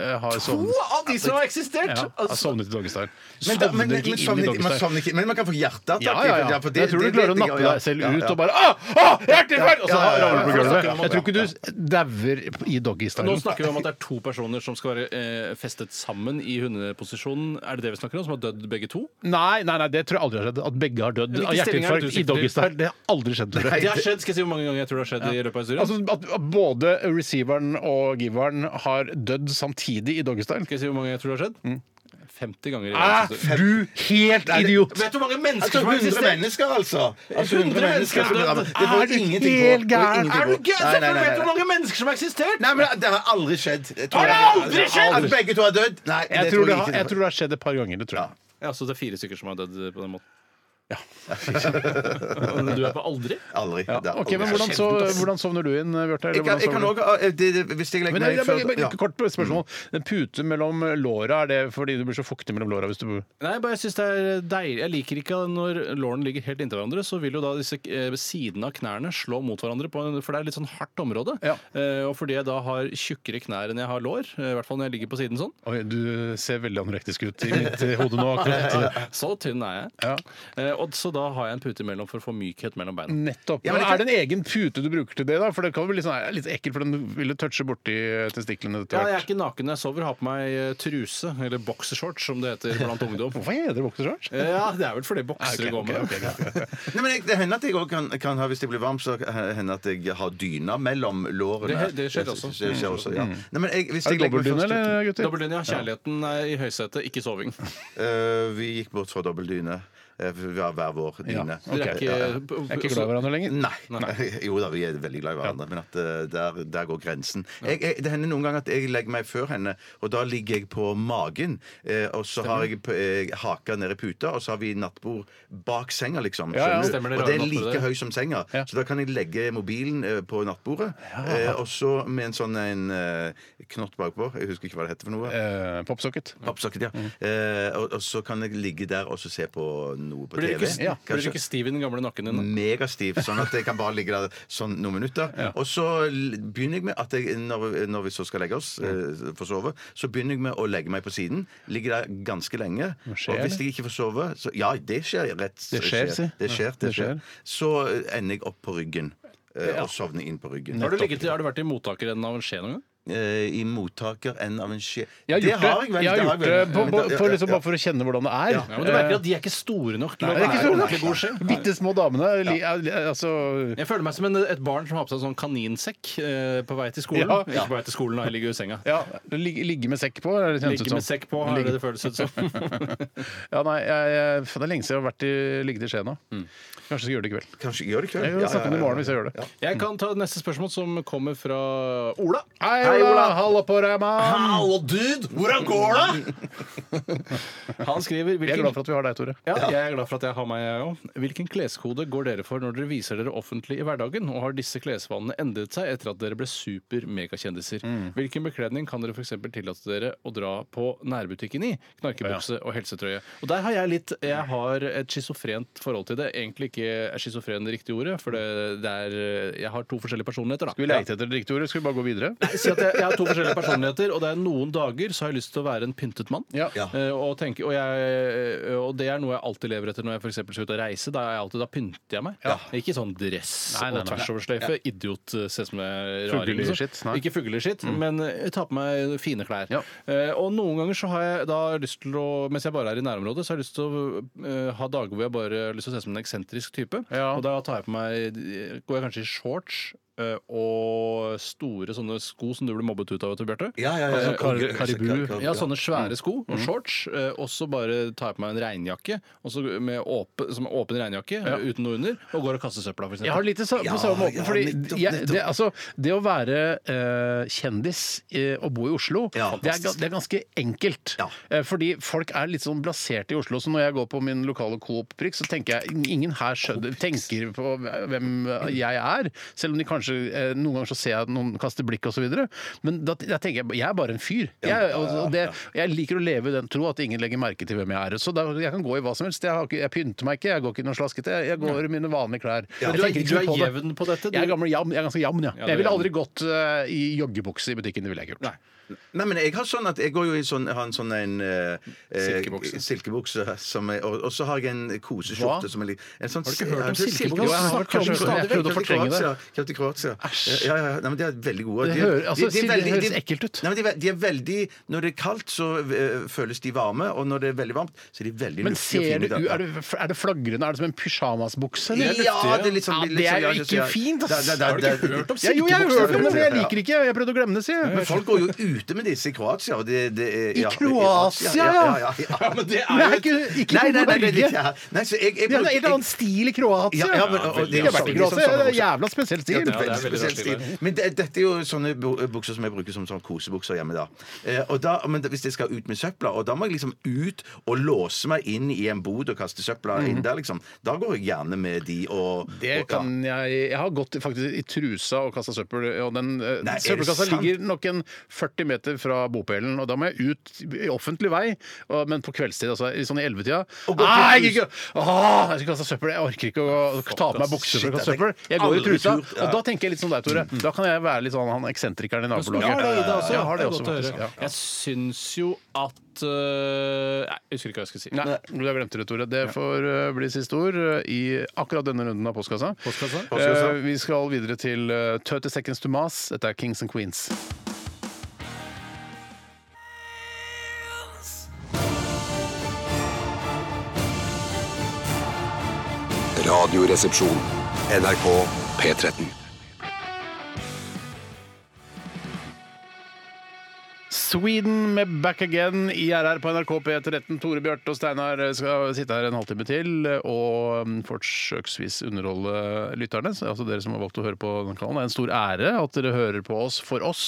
Speaker 4: eh, har
Speaker 6: To
Speaker 4: sovnet.
Speaker 6: av de som har eksistert!
Speaker 4: Ja, har
Speaker 6: Altså,
Speaker 4: sovnet i doggystyle.
Speaker 5: altså. Men, da, men,
Speaker 4: Sovnet
Speaker 5: men,
Speaker 4: ikke inn i
Speaker 5: sovner ikke- man
Speaker 4: doggystyle.
Speaker 5: sovner ikke, men man kan få hjerteattakk.
Speaker 4: Ja, ja, ja.
Speaker 5: for det-
Speaker 4: jeg tror du
Speaker 5: det
Speaker 4: klarer å
Speaker 5: vet jeg,
Speaker 4: nappe
Speaker 5: ja,
Speaker 4: deg selv
Speaker 5: ja,
Speaker 4: ut
Speaker 5: ja.
Speaker 4: og bare ah, ah, Hjertefeil! Og så
Speaker 5: Ja, ja, ja, ja.
Speaker 4: ramler du på gulvet.
Speaker 5: Ja, ja, ja.
Speaker 4: Jeg tror ikke du dauer i
Speaker 6: nå
Speaker 4: doggystyle.
Speaker 6: snakker vi om at det er to personer som skal være eh, festet sammen i hundeposisjon. Er det det vi snakker om? Som har dødd begge to?
Speaker 4: Nei, nei, nei, det tror jeg aldri har skjedd. At begge har dødd av
Speaker 6: Hvilken stilling er
Speaker 4: hjerteinfarkt i
Speaker 6: det du sikter til?
Speaker 4: doggystyle. Det har aldri skjedd. Tror
Speaker 6: Det
Speaker 4: jeg.
Speaker 6: har skjedd, skal jeg si hvor mange ganger jeg tror det har skjedd i løpet av historien?
Speaker 4: Altså at at både receiveren og giveren har dødd samtidig i doggystyle.
Speaker 6: skal jeg si hvor mange jeg tror det har skjedd?
Speaker 4: Mm.
Speaker 6: 50 ganger. i
Speaker 4: Er
Speaker 6: verdenshistorien.
Speaker 4: Ah, du helt idiot?
Speaker 6: Vet du hvor mange
Speaker 5: Altså,
Speaker 6: mennesker som har
Speaker 5: 100
Speaker 6: eksistert?
Speaker 5: mennesker, altså! Altså,
Speaker 6: 100 mennesker
Speaker 5: som-
Speaker 6: dødd.
Speaker 5: Det får
Speaker 4: Er du
Speaker 5: ingenting på.
Speaker 4: helt
Speaker 5: Det får
Speaker 4: gæren?
Speaker 5: ingenting
Speaker 6: Er du
Speaker 5: på.
Speaker 6: gæren?
Speaker 5: Nei, nei, nei,
Speaker 6: Selvfølgelig vet du
Speaker 5: nei.
Speaker 6: hvor mange mennesker som har eksistert!
Speaker 5: Nei, men det har aldri skjedd. Jeg tror
Speaker 6: Har det
Speaker 5: jeg-
Speaker 6: aldri skjedd?
Speaker 5: At begge to har dødd? Nei, det
Speaker 4: Jeg tror det,
Speaker 5: jeg
Speaker 4: har,
Speaker 5: ikke.
Speaker 4: jeg tror det har skjedd et par ganger. Det tror jeg.
Speaker 6: Ja, Så det er fire stykker som har dødd på den måten. Ja. du er på aldri?
Speaker 5: Aldri. Det har
Speaker 4: Ok,
Speaker 5: aldri
Speaker 4: men
Speaker 5: skjedd.
Speaker 4: Hvordan, så, hvordan sovner du inn, Bjarte? eller
Speaker 5: Jeg kan-
Speaker 4: hvordan
Speaker 5: Jeg kan
Speaker 4: sovner du?
Speaker 5: også, eh, det- det- Hvis jeg legger
Speaker 4: Men
Speaker 5: meg
Speaker 4: jeg, jeg, jeg,
Speaker 5: før- ja.
Speaker 4: Kort spørsmål. En pute mellom låra, er det fordi du blir så fuktig mellom låra hvis du
Speaker 6: Nei, bare jeg synes det er deilig. Jeg liker ikke at når lårene ligger helt inntil hverandre, så vil jo da disse eh, ved siden av knærne slå mot hverandre, på en, for det er litt sånn hardt område.
Speaker 4: Ja.
Speaker 6: Eh, og fordi jeg da har tjukkere knær enn jeg har lår, eh, i hvert fall når jeg ligger på siden sånn,
Speaker 4: Oi, Du ser veldig anorektisk ut i mitt eh, hode nå. akkurat.
Speaker 6: så tynn er jeg.
Speaker 4: Ja.
Speaker 6: Eh, og så da har jeg en pute imellom for å få mykhet mellom beina.
Speaker 4: Nettopp.
Speaker 5: Ja,
Speaker 4: men
Speaker 5: men
Speaker 4: Er det en egen pute du bruker til det? da? For Det kan jo bli litt, sånn, er litt ekkelt, for den ville touche borti eh, testiklene etter
Speaker 6: Ja, jeg er
Speaker 4: hvert.
Speaker 6: ikke naken når jeg sover. Har på meg eh, truse, eller boksershorts som det heter blant ungdom.
Speaker 4: Hvorfor heter det boksershorts?
Speaker 6: Eh, Ja, det er vel fordi boksere
Speaker 4: Ok,
Speaker 6: går med.
Speaker 4: ok, ok, ok.
Speaker 5: Nei, men jeg, det hender at jeg òg kan, kan ha, hvis jeg blir varm, så hender at jeg har dyna mellom lårene.
Speaker 6: Det- det skjer også.
Speaker 5: Det skjer også, ja. Nei, men jeg, hvis
Speaker 4: Er
Speaker 5: jeg
Speaker 4: det
Speaker 5: legger meg
Speaker 4: dobbeltdyne,
Speaker 5: først-
Speaker 4: eller, eh, gutter?
Speaker 6: Dobbeltlinja, kjærligheten er i høysetet, ikke soving.
Speaker 5: Eh, vi gikk bort fra dobbeltdyne. Eh, Vi har hver vår dyne.
Speaker 6: Dere
Speaker 5: Ja,
Speaker 6: er
Speaker 5: ja.
Speaker 6: ikke,
Speaker 4: Jeg er ikke glad i hverandre lenger.
Speaker 5: Nei. Jo da, vi er veldig glad i hverandre, men at eh, der, der går grensen. Jeg, jeg, det hender noen ganger at jeg legger meg før henne, og da ligger jeg på magen. eh, og så har jeg p- eh, haka ned i puta, og så har vi nattbord bak senga, liksom.
Speaker 4: Ja, ja.
Speaker 5: skjønner du?
Speaker 6: Stemmer det,
Speaker 5: og det er
Speaker 6: rare nattbordet.
Speaker 5: like høy som senga,
Speaker 4: Ja.
Speaker 5: så da kan jeg legge mobilen eh, på nattbordet. eh, og så med en sånn en, eh, knott bakpå. Jeg husker ikke hva det heter for noe.
Speaker 4: Eh, Popsocket.
Speaker 5: Pappsocket, ja.
Speaker 4: Mhm.
Speaker 5: Eh, og, og så kan jeg ligge der og så se på noe på
Speaker 6: Blir
Speaker 5: TV.
Speaker 6: du ikke,
Speaker 4: Ja,
Speaker 6: blir du
Speaker 5: kanskje.
Speaker 6: ikke stiv i den gamle nakken din? da?
Speaker 5: Megastiv, sånn at jeg kan bare ligge der sånn noen minutter. Og så l- begynner jeg med at jeg, når, når vi så skal legge oss eh, for å sove, så begynner jeg med å legge meg på siden. Ligger der ganske lenge.
Speaker 4: skjer
Speaker 5: og hvis jeg ikke får sove så, Ja, det skjer rett
Speaker 4: Det skjer, si.
Speaker 5: Det skjer, det
Speaker 4: Det skjer.
Speaker 5: skjer. Så eh, ender jeg opp på ryggen. eh, Og sovner inn på ryggen.
Speaker 6: Har du, ligget, har du vært i mottakerenden av en skje noen gang?
Speaker 5: Eh, I mottaker enn av en skje
Speaker 4: Jeg har gjort det, jeg har gjort det på, på, på, liksom, bare for å kjenne hvordan det er. Eh,
Speaker 6: Ja, men du merker at de er ikke store nok til å
Speaker 4: Det er ikke
Speaker 6: være
Speaker 4: så
Speaker 6: ordentlig god skje.
Speaker 4: Bitte små damene. Li, er- altså
Speaker 6: Jeg føler meg som en, et barn som har på seg en sånn kaninsekk eh, på vei til skolen.
Speaker 4: Ja.
Speaker 6: Ikke på vei til skolen, da. Jeg ligger jo i senga.
Speaker 4: ja, ligge, ligge med sekk på? er det kjent ut
Speaker 6: Ligger
Speaker 4: som.
Speaker 6: med sekk på, har
Speaker 4: Ligge-
Speaker 6: det det føles ut som.
Speaker 4: Ja, nei, jeg, jeg, Det er lenge siden jeg har vært i, ligget i skje nå.
Speaker 6: Mm.
Speaker 4: Kanskje jeg skal gjøre det i kveld.
Speaker 5: Kanskje gjør det i kveld.
Speaker 4: Jeg
Speaker 5: Ja,
Speaker 4: snakker om det i
Speaker 5: ja, ja.
Speaker 4: morgen hvis jeg gjør det.
Speaker 6: Jeg kan ta neste spørsmål, som kommer fra Ola.
Speaker 4: Hei, Ola! Halla på deg, mann!
Speaker 6: Hallo, dude! Hvordan går det?! Han skriver
Speaker 4: Jeg er
Speaker 6: hvilken,
Speaker 4: glad for at vi har deg, Tore.
Speaker 6: ja, jeg er glad for at jeg har meg, jeg òg. Hvilken kleskode går dere for når dere viser dere offentlig i hverdagen? Og har disse klesvanene endret seg etter at dere ble super-megakjendiser?
Speaker 4: Mm.
Speaker 6: Hvilken bekledning kan dere f.eks. tillate dere å dra på nærbutikken i? Knarkebukse og helsetrøye. Og der har jeg litt Jeg har et schizofrent forhold til det. Egentlig ikke er schizofren det riktige ordet, for det, det er Jeg har to forskjellige personligheter, da.
Speaker 4: Skal vi leite etter det riktige ordet? Skal vi bare gå videre?
Speaker 6: Si at jeg, jeg har to forskjellige personligheter, og det er noen dager så har jeg lyst til å være en pyntet mann.
Speaker 4: Ja.
Speaker 6: Eh, Og, tenke, og, jeg, eh, og det er noe jeg alltid lever etter når jeg for eksempel skal ut og reise. Da, er jeg alltid, da pynter jeg meg. Ikke sånn dress
Speaker 4: Nei, nei,
Speaker 6: og
Speaker 4: nei.
Speaker 6: tversoversløyfe. Idiot eh, se som jeg er rar.
Speaker 4: Fuglelig
Speaker 6: liksom.
Speaker 4: shit, nei.
Speaker 6: Ikke fugleskitt, men jeg tar på meg fine klær.
Speaker 4: Mm. Ja.
Speaker 6: Eh, Og noen ganger så har jeg da lyst til å Mens jeg bare er i nærområdet, så har jeg lyst til å eh, ha dager hvor jeg bare har lyst til å se ut som en eksentrisk type.
Speaker 4: Ja.
Speaker 6: Og da tar jeg på meg Går jeg kanskje i shorts eh, og store sånne sko som du ble mobbet ut av, vet du, Bjarte.
Speaker 5: Ja, ja, ja.
Speaker 6: Altså, kar
Speaker 5: Ja,
Speaker 6: karibu.
Speaker 5: klar, klar,
Speaker 6: Ja,
Speaker 5: ja.
Speaker 4: sånn-
Speaker 6: sånne svære sko og shorts. eh, Og så bare tar jeg på meg en regnjakke og så med åpen, som er åpen regnjakke eh, uten noe under, og går og kaster søpla, for
Speaker 4: Jeg har
Speaker 6: eksempel.
Speaker 4: litt det sa- på
Speaker 5: Ja,
Speaker 4: samme måten.
Speaker 5: ja,
Speaker 4: fordi
Speaker 5: nettopp,
Speaker 4: jeg, det,
Speaker 5: nettopp.
Speaker 4: altså, det å være eh, kjendis eh, og bo i Oslo,
Speaker 5: Ja,
Speaker 4: det, er, ga-
Speaker 5: fantastisk.
Speaker 4: det er ganske enkelt.
Speaker 5: Ja.
Speaker 4: Eh, fordi folk er litt sånn blasert i Oslo. Så når jeg går på min lokale Coop-prikk, så tenker jeg "Ing- ingen her skjønner, tenker på hvem jeg er. Selv om de kanskje eh, noen ganger så ser jeg at noen kaster blikk osv. Men da, da tenker jeg jeg er bare en fyr. Jeg, og, og det, jeg liker å leve i den tro at ingen legger merke til hvem jeg er. Så da, jeg kan gå i hva som helst. Jeg, har ikke, jeg pynter meg ikke, jeg går ikke i noe slaskete. Jeg, jeg går i mine vanlige klær.
Speaker 6: Men
Speaker 4: Jeg
Speaker 6: du er-
Speaker 4: tenker ikke
Speaker 6: du
Speaker 4: noe
Speaker 6: er
Speaker 4: på det.
Speaker 6: jevn på dette, du.
Speaker 4: Jeg er, gammel, jevn, jeg er ganske jevn, ja.
Speaker 6: Ja, du er
Speaker 4: jeg ville
Speaker 6: jevn.
Speaker 4: aldri gått eh, i joggebukse i butikken. Det ville jeg ikke gjort.
Speaker 5: Nei, men jeg har sånn at jeg går jo i sånn, jeg har en sånn en eh,
Speaker 6: Silkebukse.
Speaker 5: eh, silkebukse som er, og, og så har jeg en koseskjorte
Speaker 4: Hva?
Speaker 5: som er litt en sånn,
Speaker 6: Har du ikke hørt om
Speaker 5: Ja, en sånn
Speaker 6: silkebukse?
Speaker 5: silkebukse?
Speaker 6: Jo, jeg har
Speaker 5: Snakker om
Speaker 6: kanskje hørt om det.
Speaker 5: stadig
Speaker 6: Jeg prøvde å
Speaker 5: vekk.
Speaker 4: fortrenge det.
Speaker 5: Kjøpte i Kroatia.
Speaker 4: Æsj.
Speaker 5: Ja, ja, ja. Nei, men de er veldig gode.
Speaker 4: Det
Speaker 5: De er-
Speaker 4: hører- altså,
Speaker 5: de- de er
Speaker 4: sil- det
Speaker 5: veldig-
Speaker 4: høres ekkelt ut.
Speaker 5: Nei, men de, er- de er veldig Når det er kaldt, så eh, føles de varme, og når det er veldig varmt, så er de veldig
Speaker 4: Men
Speaker 5: luftige og
Speaker 4: ser
Speaker 5: fine.
Speaker 4: det, ut- er, det, er det flagrende? Er det som en pysjamasbukse? eller?
Speaker 5: ja, det er litt
Speaker 4: Ja,
Speaker 5: sånn
Speaker 4: det er jo ikke fint, ass!
Speaker 5: Har du ikke hørt
Speaker 4: Ja, jo, jeg har hørt om det, men jeg liker ikke Jeg prøvde å glemme det, sier
Speaker 5: Men
Speaker 4: jeg.
Speaker 5: folk går jo ute med disse i Kroatia. Og det, det er,
Speaker 4: I Kroatia, ja.
Speaker 5: ja, ja, ja.
Speaker 6: men det
Speaker 4: Men det er ikke, ikke
Speaker 5: Nei, nei, nei, nei,
Speaker 4: Norge.
Speaker 5: det- ja. nei så jeg, jeg,
Speaker 4: De har en
Speaker 5: brukte-
Speaker 4: helt annen stil i Kroatia.
Speaker 5: Ja, ja, men- og- og det er
Speaker 4: jeg har vært i
Speaker 5: jo sånn-
Speaker 4: Kroatia, det er
Speaker 5: sånn-
Speaker 4: jævla spesiell
Speaker 5: Ja,
Speaker 4: stil.
Speaker 5: det er veldig
Speaker 6: det er veldig
Speaker 5: spesiell
Speaker 6: rart
Speaker 5: stil. Men det, dette er jo sånne bu- bukser som jeg bruker som sånn kosebukser hjemme. da. Eh, og da men Hvis jeg skal ut med søpla, og da må jeg liksom ut og låse meg inn i en bod og kaste søpla inn der, liksom. Da går jeg gjerne med de og
Speaker 4: Mhm. Det
Speaker 5: og,
Speaker 4: kan jeg Jeg har gått faktisk i trusa og kasta søppel. Og den eh,
Speaker 5: Nei, er det
Speaker 4: søppelkassa
Speaker 5: sant?
Speaker 4: ligger nok en 40 meter fra bopelen, og da må jeg ut i offentlig vei, og, men på kveldstid, altså i sånn i 11-tida.
Speaker 5: Og gå til
Speaker 4: Nei, jeg
Speaker 5: trus-
Speaker 4: gikk- Åh, jeg skal kaste søppel! Jeg orker ikke å ta på meg bukser for å kaste søppel. Jeg går i
Speaker 5: Aldri
Speaker 4: trusa,
Speaker 5: turt, ja. Mm.
Speaker 4: og da tenker jeg litt som deg, Tore. Da kan jeg være litt sånn han eksentrikeren i nabolaget.
Speaker 6: altså.
Speaker 4: Jeg har det også, faktisk. Ja.
Speaker 6: Jeg syns jo at eh, Nei, jeg husker ikke hva jeg skulle si.
Speaker 4: Nei, du har glemt det, Tore. Det får eh, bli siste ord eh, i akkurat denne runden av Postkassa.
Speaker 6: Postkassa?
Speaker 4: Eh, vi skal videre til uh, 30 Seconds to Mas. Dette er Kings and Queens.
Speaker 1: Radioresepsjon. NRK P13.
Speaker 4: Sweden med Back Again i RR på NRK P13. Tore Bjarte og Steinar skal sitte her en halvtime til og mm, forsøksvis underholde lytterne. Så, altså dere som har valgt å høre på denne kanalen. Det er en stor ære at dere hører på oss for oss.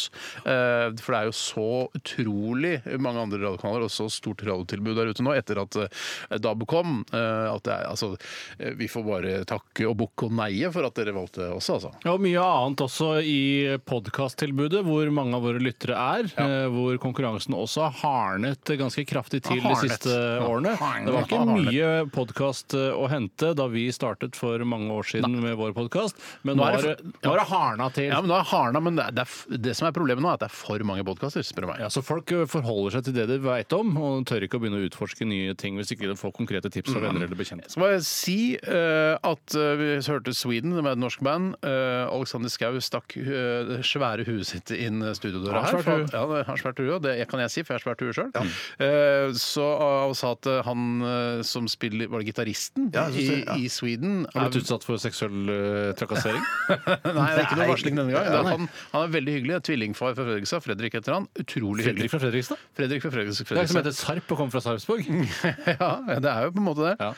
Speaker 4: Eh, For det er jo så utrolig mange andre radiokanaler og så stort radiotilbud der ute nå etter at eh, DAB kom. eh, At det er, altså, eh, vi får bare takke og bukke og neie for at dere valgte oss, altså.
Speaker 6: Ja, og mye annet også i podkasttilbudet, hvor mange av våre lyttere er. eh, Hvor konkurransen også har hardnet ganske kraftig til
Speaker 4: Har
Speaker 6: de
Speaker 4: hardnet.
Speaker 6: siste
Speaker 4: Ja,
Speaker 6: årene.
Speaker 4: hardnet.
Speaker 6: Det var ikke
Speaker 4: Har hardnet.
Speaker 6: mye podkast å hente da vi startet for mange år siden med vår podkast, men
Speaker 4: Nå
Speaker 6: nå
Speaker 4: er
Speaker 6: har
Speaker 4: det
Speaker 6: det,
Speaker 4: for-
Speaker 6: nå har det hardna til.
Speaker 4: Ja, men nå er Harna, men det, er, det, er, f- det som er problemet nå, er at det er for mange podkaster, spør du meg.
Speaker 6: Ja, så Folk eh, forholder seg til det de veit om, og tør ikke å begynne å utforske nye ting hvis ikke de får konkrete tips
Speaker 4: Mm.
Speaker 6: fra venner eller bekjente.
Speaker 4: Så må jeg si eh, at eh, vi hørte Sweden, som er et norsk band. Eh, Alexander Schou stakk eh, det svære huet sitt inn studiodøra
Speaker 6: Har
Speaker 4: her.
Speaker 6: svært
Speaker 4: for-
Speaker 6: hue.
Speaker 4: Ja, det har svært hue, og det jeg- kan jeg si, for jeg har svært hue sjøl. Eh, så eh, og sa at eh, han eh, som spiller Var det gitaristen
Speaker 5: Ja, jeg synes
Speaker 4: i,
Speaker 5: det, ja.
Speaker 4: i Sweden?
Speaker 6: Har
Speaker 4: er-
Speaker 6: du blitt utsatt for seksuell eh, trakassering?
Speaker 4: Nei, det er ikke noe
Speaker 5: Nei.
Speaker 4: varsling denne gang. Det
Speaker 5: Ja,
Speaker 4: er
Speaker 5: nei.
Speaker 4: han, han er veldig hyggelig. Tvillingfar fra Fredrikstad. Fredrik heter han. Utrolig hyggelig.
Speaker 6: Fredrik fra Fredrikstad?
Speaker 4: Fredrik fra Fredrikstad.
Speaker 6: Det er ikke som heter Sarp og kommer fra Sarpsborg?
Speaker 4: ja, det er jo på en måte det.
Speaker 6: Ja.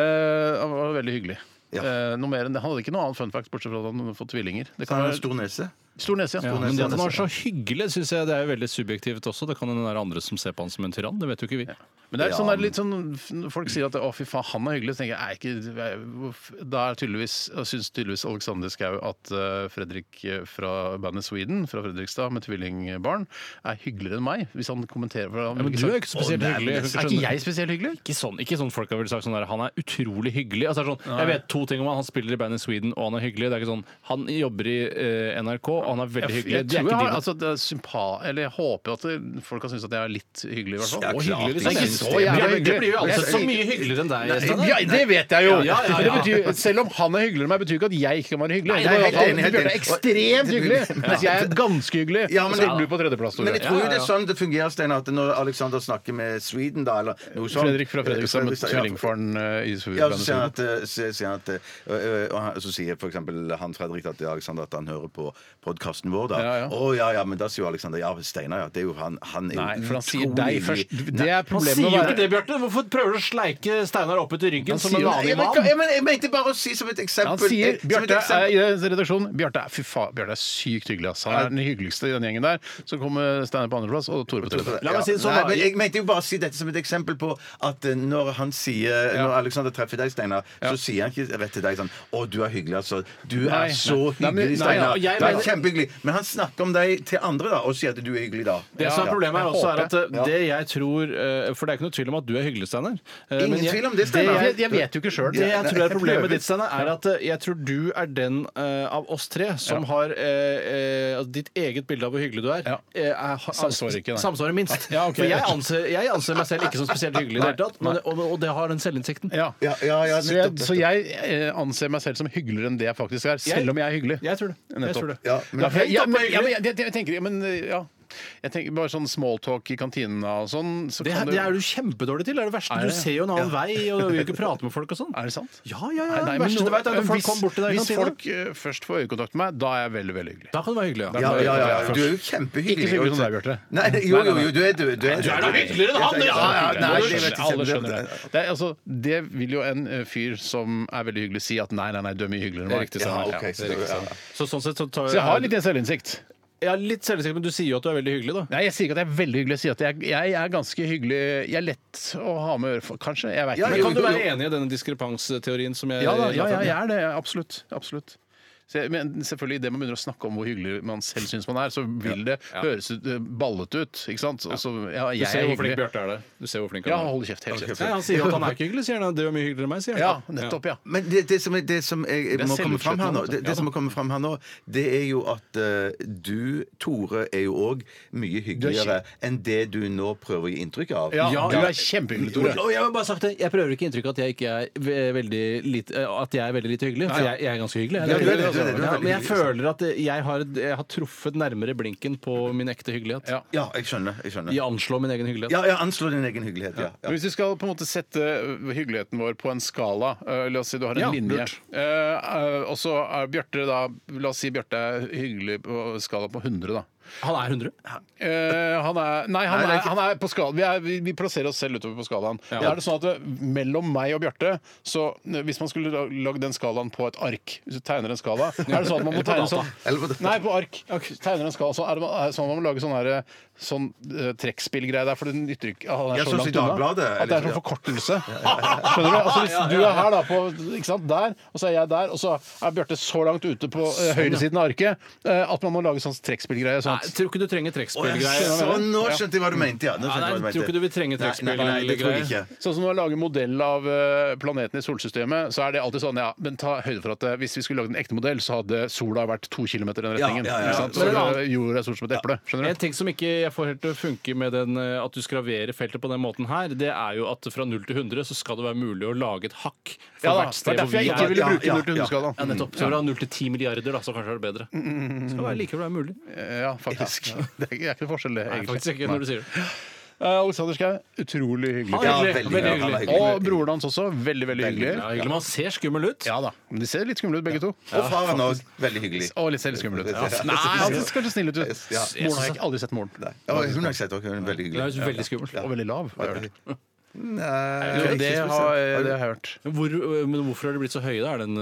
Speaker 4: Eh, han var veldig hyggelig.
Speaker 5: Ja.
Speaker 4: Eh, noe mer enn det. Han hadde ikke noe annet fun fact, bortsett fra at han hadde fått tvillinger. Det
Speaker 5: Så
Speaker 4: kan
Speaker 5: har jeg
Speaker 4: være
Speaker 5: en stor nese.
Speaker 4: stor nese, ja.
Speaker 6: Ja, men det at han var så hyggelig, syns jeg det er jo veldig subjektivt også. Det kan hende det er andre som ser på han som en tyrann. Det vet jo ikke vi.
Speaker 4: Men det er
Speaker 5: Ja,
Speaker 4: sånn, det er litt sånn folk sier at 'å, fy faen, han er hyggelig', så tenker jeg er ikke er- hvorf- Da er tydeligvis, syns tydeligvis Alexander Schou at eh, Fredrik eh, fra bandet Sweden, fra Fredrikstad, med tvillingbarn, er hyggeligere enn meg, hvis han kommenterer. For han,
Speaker 6: Ja, men du er jo ikke spesielt hyggelig.
Speaker 4: Er ikke jeg spesielt hyggelig?
Speaker 6: Ikke sånn, ikke sånn folk har vel sagt sånn der, Han er utrolig hyggelig. Altså, det er sånn, jeg vet to ting om han Han spiller i bandet Sweden, og han er hyggelig. Det er ikke sånn, Han jobber i eh, NRK, og han er veldig
Speaker 4: Jeg,
Speaker 6: hyggelig.
Speaker 4: jeg
Speaker 6: Det er
Speaker 4: tror jeg
Speaker 6: ikke
Speaker 4: har,
Speaker 6: de-
Speaker 4: altså, det er sympa... Eller jeg håper at det- folk kan synes at jeg er litt hyggelig, liksom. i hvert fall.
Speaker 6: Å,
Speaker 4: Og
Speaker 6: hyggelig, liksom.
Speaker 4: Det er ikke så jævla
Speaker 6: Det blir-
Speaker 4: hyggelig.
Speaker 6: Det blir jo ansett som mye hyggeligere enn deg. Steinar.
Speaker 4: Ja, det vet jeg jo!
Speaker 6: Ja, ja, ja.
Speaker 4: Det betyr, selv om han er hyggeligere enn meg, betyr ikke at jeg ikke kan være hyggelig.
Speaker 5: Nei,
Speaker 4: Det
Speaker 5: nei,
Speaker 4: er at
Speaker 5: helt
Speaker 4: han-
Speaker 5: enig, helt
Speaker 4: Bjørte er
Speaker 5: enig.
Speaker 4: ekstremt hyggelig, mens jeg er ganske hyggelig.
Speaker 5: Ja, men
Speaker 4: og så
Speaker 5: det-
Speaker 4: er du på tredjeplass,
Speaker 5: Men
Speaker 4: Tore.
Speaker 5: jeg tror jo det er sånn det fungerer, Steinar, at når Alexander snakker med Sweden, da, eller noe sånt
Speaker 4: Fredrik fra Fredrikstad med
Speaker 5: sånn- Fredrikstad, ja.
Speaker 4: tvillingfaren eh, i
Speaker 5: Ja, så sier
Speaker 4: Superbandet.
Speaker 5: han at, eh, så sier han at eh, ø, ø, og han- Så sier for eksempel han Fredrik at, Alexander, at han hører på podkasten vår, da. Å
Speaker 4: Ja,
Speaker 5: ja
Speaker 4: ja.
Speaker 5: ja. men da sier jo Alexander ja, Steinar, ja. Det er jo han. Han er jo
Speaker 4: Nei, for han sier
Speaker 5: utrolig
Speaker 4: deg
Speaker 5: hyggelig.
Speaker 4: først.
Speaker 5: Nei,
Speaker 4: Det er
Speaker 6: Han
Speaker 4: problemet
Speaker 6: sier
Speaker 4: med
Speaker 6: jo
Speaker 4: å
Speaker 6: ikke
Speaker 4: være
Speaker 6: det, Bjarte. Hvorfor prøver du å sleike Steinar opp etter ryggen som en
Speaker 4: sier-
Speaker 5: jeg,
Speaker 6: vanlig
Speaker 5: men,
Speaker 6: mann?
Speaker 5: jeg, men, jeg mente bare å si som et eksempel
Speaker 4: Han sier,
Speaker 5: eh, som et
Speaker 4: Bjarte
Speaker 5: eksempel-
Speaker 4: er i redaksjonen Bjarte er, fy faen, Bjarte er sykt hyggelig. Ass. Han er den hyggeligste i den gjengen der. Så kommer Steinar på andreplass og Tore på tredje.
Speaker 5: Ja.
Speaker 6: meg si det sånn,
Speaker 5: Nei,
Speaker 6: da.
Speaker 5: men jeg mente jo bare å si dette som et eksempel på at eh, når han sier Når Alexander treffer deg, Steinar, så sier han ikke rett til deg sånn Å, du er hyggelig, altså. Du
Speaker 4: Nei.
Speaker 5: er så
Speaker 4: Nei, men-
Speaker 5: hyggelig,
Speaker 4: nei,
Speaker 5: Steinar.
Speaker 6: ja, jeg
Speaker 5: Du er
Speaker 6: mener-
Speaker 5: kjempehyggelig. Men han snakker om deg til andre, da, og sier at du er hyggelig da.
Speaker 6: Det som er
Speaker 5: Ja.
Speaker 6: problemet her
Speaker 4: Jeg
Speaker 6: også er
Speaker 4: håper
Speaker 6: at eh, det jeg tror eh, For det er ikke noe tvil om at du er hyggelig, Steinar. Eh,
Speaker 5: Ingen
Speaker 6: men jeg-
Speaker 5: tvil om det,
Speaker 4: Jeg,
Speaker 5: Steinar.
Speaker 4: jeg, jeg vet jo ikke sjøl.
Speaker 6: Det jeg tror er problemet med ditt, Steinar, er at eh, jeg tror du er den eh, av oss tre som har eh, eh, altså ditt eget bilde av hvor hyggelig du er.
Speaker 4: Ja.
Speaker 6: eh, er- har-
Speaker 4: Samsvarer ikke, nei.
Speaker 6: Samsvarer minst.
Speaker 4: Ja, ok.
Speaker 6: For jeg anser, jeg anser meg selv ikke som spesielt hyggelig i det
Speaker 4: Nei.
Speaker 6: hele tatt, men, og, og det har den selvinnsikten.
Speaker 4: Ja.
Speaker 5: Ja, ja, ja,
Speaker 4: Så jeg,
Speaker 5: nettopp,
Speaker 4: så jeg eh, anser meg selv som hyggeligere enn det jeg faktisk er,
Speaker 6: Jeg-
Speaker 4: selv om jeg er hyggelig.
Speaker 6: Jeg tror det. Jeg
Speaker 4: Nettopp.
Speaker 6: tror det.
Speaker 5: Ja, men,
Speaker 4: Ja, for jeg, ja,
Speaker 6: Tenk om
Speaker 4: men,
Speaker 6: det er
Speaker 4: ja, men, jeg, jeg, jeg tenker, ja, men eh, ja. Jeg tenker bare sånn smalltalk i kantina og sånn. Så
Speaker 6: Det,
Speaker 4: kan
Speaker 6: det er du kjempedårlig til. Det er det verste.
Speaker 4: Er det?
Speaker 6: Du ser jo en annen vei og du vil ikke prate med folk og sånn.
Speaker 4: Er det sant?
Speaker 6: Ja, ja, ja.
Speaker 4: Nei, nei,
Speaker 6: det
Speaker 4: men
Speaker 6: verste
Speaker 4: nå-
Speaker 6: du vet er når folk
Speaker 4: hvis-
Speaker 6: kommer bort til deg i
Speaker 4: Hvis
Speaker 6: kantina.
Speaker 4: folk eh, først får øyekontakt med meg, da er jeg veldig, veldig hyggelig.
Speaker 6: Da kan du være hyggelig.
Speaker 5: ja, ja, ja, ja. Du er jo kjempehyggelig.
Speaker 4: Ikke så hyggelig som deg, Bjarte.
Speaker 5: Nei, jo, jo, jo, du er du. er- Du er
Speaker 6: Du er da hyggeligere enn han, du, ja.
Speaker 5: Ja, ja, nei,
Speaker 4: Alle
Speaker 5: det vet jeg
Speaker 4: skjønner-
Speaker 5: ikke.
Speaker 4: alle skjønner det. Det, er, altså, det vil jo en eh, fyr som er veldig hyggelig, si at nei, nei, nei, du er mye hyggeligere enn meg.
Speaker 5: Ja,
Speaker 4: Steinar.
Speaker 5: ok, så, ja.
Speaker 6: Så sånn sett så tar
Speaker 4: Så jeg har litt selvinnsikt.
Speaker 6: Ja, litt selvinnsikt, men du sier jo at du er veldig hyggelig, da.
Speaker 4: Nei, Jeg sier ikke at jeg er veldig hyggelig. Jeg sier at jeg, jeg er ganske hyggelig. Jeg er lett å ha med å gjøre for. Kanskje. Jeg veit
Speaker 5: Ja,
Speaker 4: ikke.
Speaker 6: Men kan
Speaker 5: jo, jo,
Speaker 6: du være enig i denne diskrepansteorien som jeg
Speaker 4: Ja, da, ja, ja, jeg er det. Absolutt. absolutt. Så jeg, men selvfølgelig, Idet man begynner å snakke om hvor hyggelig man selv syns man er, så vil det høres ut, eh, ballete ut. ikke sant? Og så, ja,
Speaker 6: Du
Speaker 4: jeg
Speaker 6: ser
Speaker 4: er
Speaker 6: hvor flink
Speaker 4: hyggelig.
Speaker 6: Bjarte er der. Du ser hvor flink
Speaker 4: Ja,
Speaker 6: han er.
Speaker 4: hold kjeft. Helt kjeft.
Speaker 6: Nei, han sier jo at han er ikke hyggelig, sier han. Du er mye hyggeligere enn meg, sier han.
Speaker 4: Ja, nettopp, ja.
Speaker 5: Men det, det som, er, det som jeg,
Speaker 4: er
Speaker 5: må komme fram her nå,
Speaker 4: selvutslettende,
Speaker 5: det, det som må komme fram her nå, det er jo at eh, du, Tore, er jo òg mye hyggeligere enn det du nå prøver å gi inntrykk av.
Speaker 4: Ja, du er kjempehyggelig, Tore.
Speaker 6: Og jeg har bare sagt det, jeg prøver ikke inntrykk av at jeg ikke er ve- veldig lite, eh, at jeg er veldig lite hyggelig, for jeg, jeg er ganske hyggelig. Jeg,
Speaker 5: Ja, du er det, du er det, du er veldig
Speaker 6: Ja, men
Speaker 5: hyggelig,
Speaker 6: jeg føler at jeg har, jeg har truffet nærmere blinken på min ekte hyggelighet.
Speaker 4: Ja.
Speaker 5: Ja, jeg skjønner. jeg skjønner.
Speaker 6: I å anslå min egen hyggelighet.
Speaker 5: Ja, ja, anslå din egen hyggelighet. Ja,
Speaker 4: Men
Speaker 5: ja.
Speaker 4: hvis du skal på en måte sette hyggeligheten vår på en skala eh, La oss si du har en
Speaker 6: Ja,
Speaker 4: linje.
Speaker 6: lurt.
Speaker 4: Eh, eh, og så er Bjarte da La oss si Bjarte er hyggelig på skala på 100, da.
Speaker 6: Han er 100.
Speaker 4: Eh, han er, nei, han,
Speaker 5: Nei, det er
Speaker 4: er,
Speaker 5: ikke-
Speaker 4: han er på skala vi, er, vi, vi plasserer oss selv utover på skalaen. Da Er det sånn at det, Mellom meg og Bjarte så eh, Hvis man skulle la- lagd den skalaen på et ark Hvis du tegner en skala Er det sånn at man må tegne sånn
Speaker 5: Eller på data.
Speaker 4: Nei, på ark. Tegner en skala, så er det er det sånn at man må lage sånn, her, eh, sånn eh, trekkspillgreie der, for det nytter ikke ah, det
Speaker 5: Ja,
Speaker 4: er så
Speaker 5: sånn
Speaker 4: langt
Speaker 5: som i
Speaker 4: unna.
Speaker 5: Dagbladet,
Speaker 4: At det er
Speaker 5: eller-
Speaker 4: sånn forkortelse. Skjønner du? Altså, hvis du er her, da, på, ikke sant, der, og så er jeg der, og så er Bjarte så langt ute på
Speaker 5: Sånn,
Speaker 4: eh, høyresiden av arket eh, at man må lage sånn trekkspillgreie.
Speaker 6: Nei,
Speaker 4: Sånn at
Speaker 6: jeg tror ikke du
Speaker 5: Å,
Speaker 6: trenger
Speaker 5: jeg
Speaker 6: trekkspillgreier.
Speaker 5: skjønner- Sånn, nå skjønte jeg hva du mente. Ja, nå
Speaker 6: Ja,
Speaker 5: skjønte jeg hva
Speaker 6: nei,
Speaker 5: mente.
Speaker 6: tror ikke du vil trenge
Speaker 5: Nei, nei, nei, det tror jeg ikke.
Speaker 4: Sånn som når man lager modell av eh, planeten i solsystemet, så er det alltid sånn ja, men ta høyde for at eh, hvis vi skulle lagd en ekte modell, så hadde sola vært to kilometer i den retningen.
Speaker 5: Ja, ja, ja.
Speaker 4: ikke sant?
Speaker 6: Men en
Speaker 4: Så
Speaker 6: annen-
Speaker 4: eh, jorda er stor som et eple. Skjønner
Speaker 6: En
Speaker 4: du?
Speaker 6: ting som ikke jeg får helt til å funke med den, eh, at du skraverer feltet på den måten her, det er jo at fra 0 til 100 så skal det være mulig å lage et hakk for
Speaker 4: Ja da,
Speaker 6: hvert
Speaker 4: Det
Speaker 6: sted
Speaker 4: er derfor jeg ikke
Speaker 6: hvor vi er.
Speaker 4: ville bruke
Speaker 5: Ja,
Speaker 4: 0
Speaker 5: ja,
Speaker 4: til 100-skala.
Speaker 6: Ja, nettopp. Så fra 0 til 10 milliarder, da, så kanskje er det bedre.
Speaker 4: Mm.
Speaker 6: Det skal være likevel være mulig. Nei,
Speaker 4: Ja, faktisk. Det er ikke- det er ikke noe forskjell, det.
Speaker 6: faktisk ikke når du sier det.
Speaker 4: Eh, Alexander Schou, utrolig hyggelig.
Speaker 5: Ja,
Speaker 6: Hyggelig,
Speaker 5: veldig,
Speaker 6: veldig
Speaker 5: ja, han er
Speaker 6: hyggelig.
Speaker 5: hyggelig.
Speaker 4: Og broren hans også. Veldig, veldig
Speaker 6: Ja,
Speaker 4: hyggelig.
Speaker 6: hyggelig. Man ser skummel ut.
Speaker 4: Ja da. Men de ser litt skumle ut, begge to.
Speaker 5: Og faren òg. Veldig hyggelig.
Speaker 4: Og litt selv skumle ut.
Speaker 5: Ja.
Speaker 4: Nei, han ser kanskje snill ut. du.
Speaker 5: Ja.
Speaker 4: Moren har jeg ikke- aldri sett moren.
Speaker 5: Nei. Å, hun har jeg sett òg. Hun er veldig
Speaker 6: Det er
Speaker 5: hyggelig.
Speaker 6: jo veldig skummelt.
Speaker 4: Og veldig lav, har jeg hørt.
Speaker 5: Nei, ikke
Speaker 4: Det har
Speaker 5: spesielt.
Speaker 4: jeg det har jeg hørt.
Speaker 6: Men Hvor, eh, men hvorfor har de blitt så høye, da? Er den,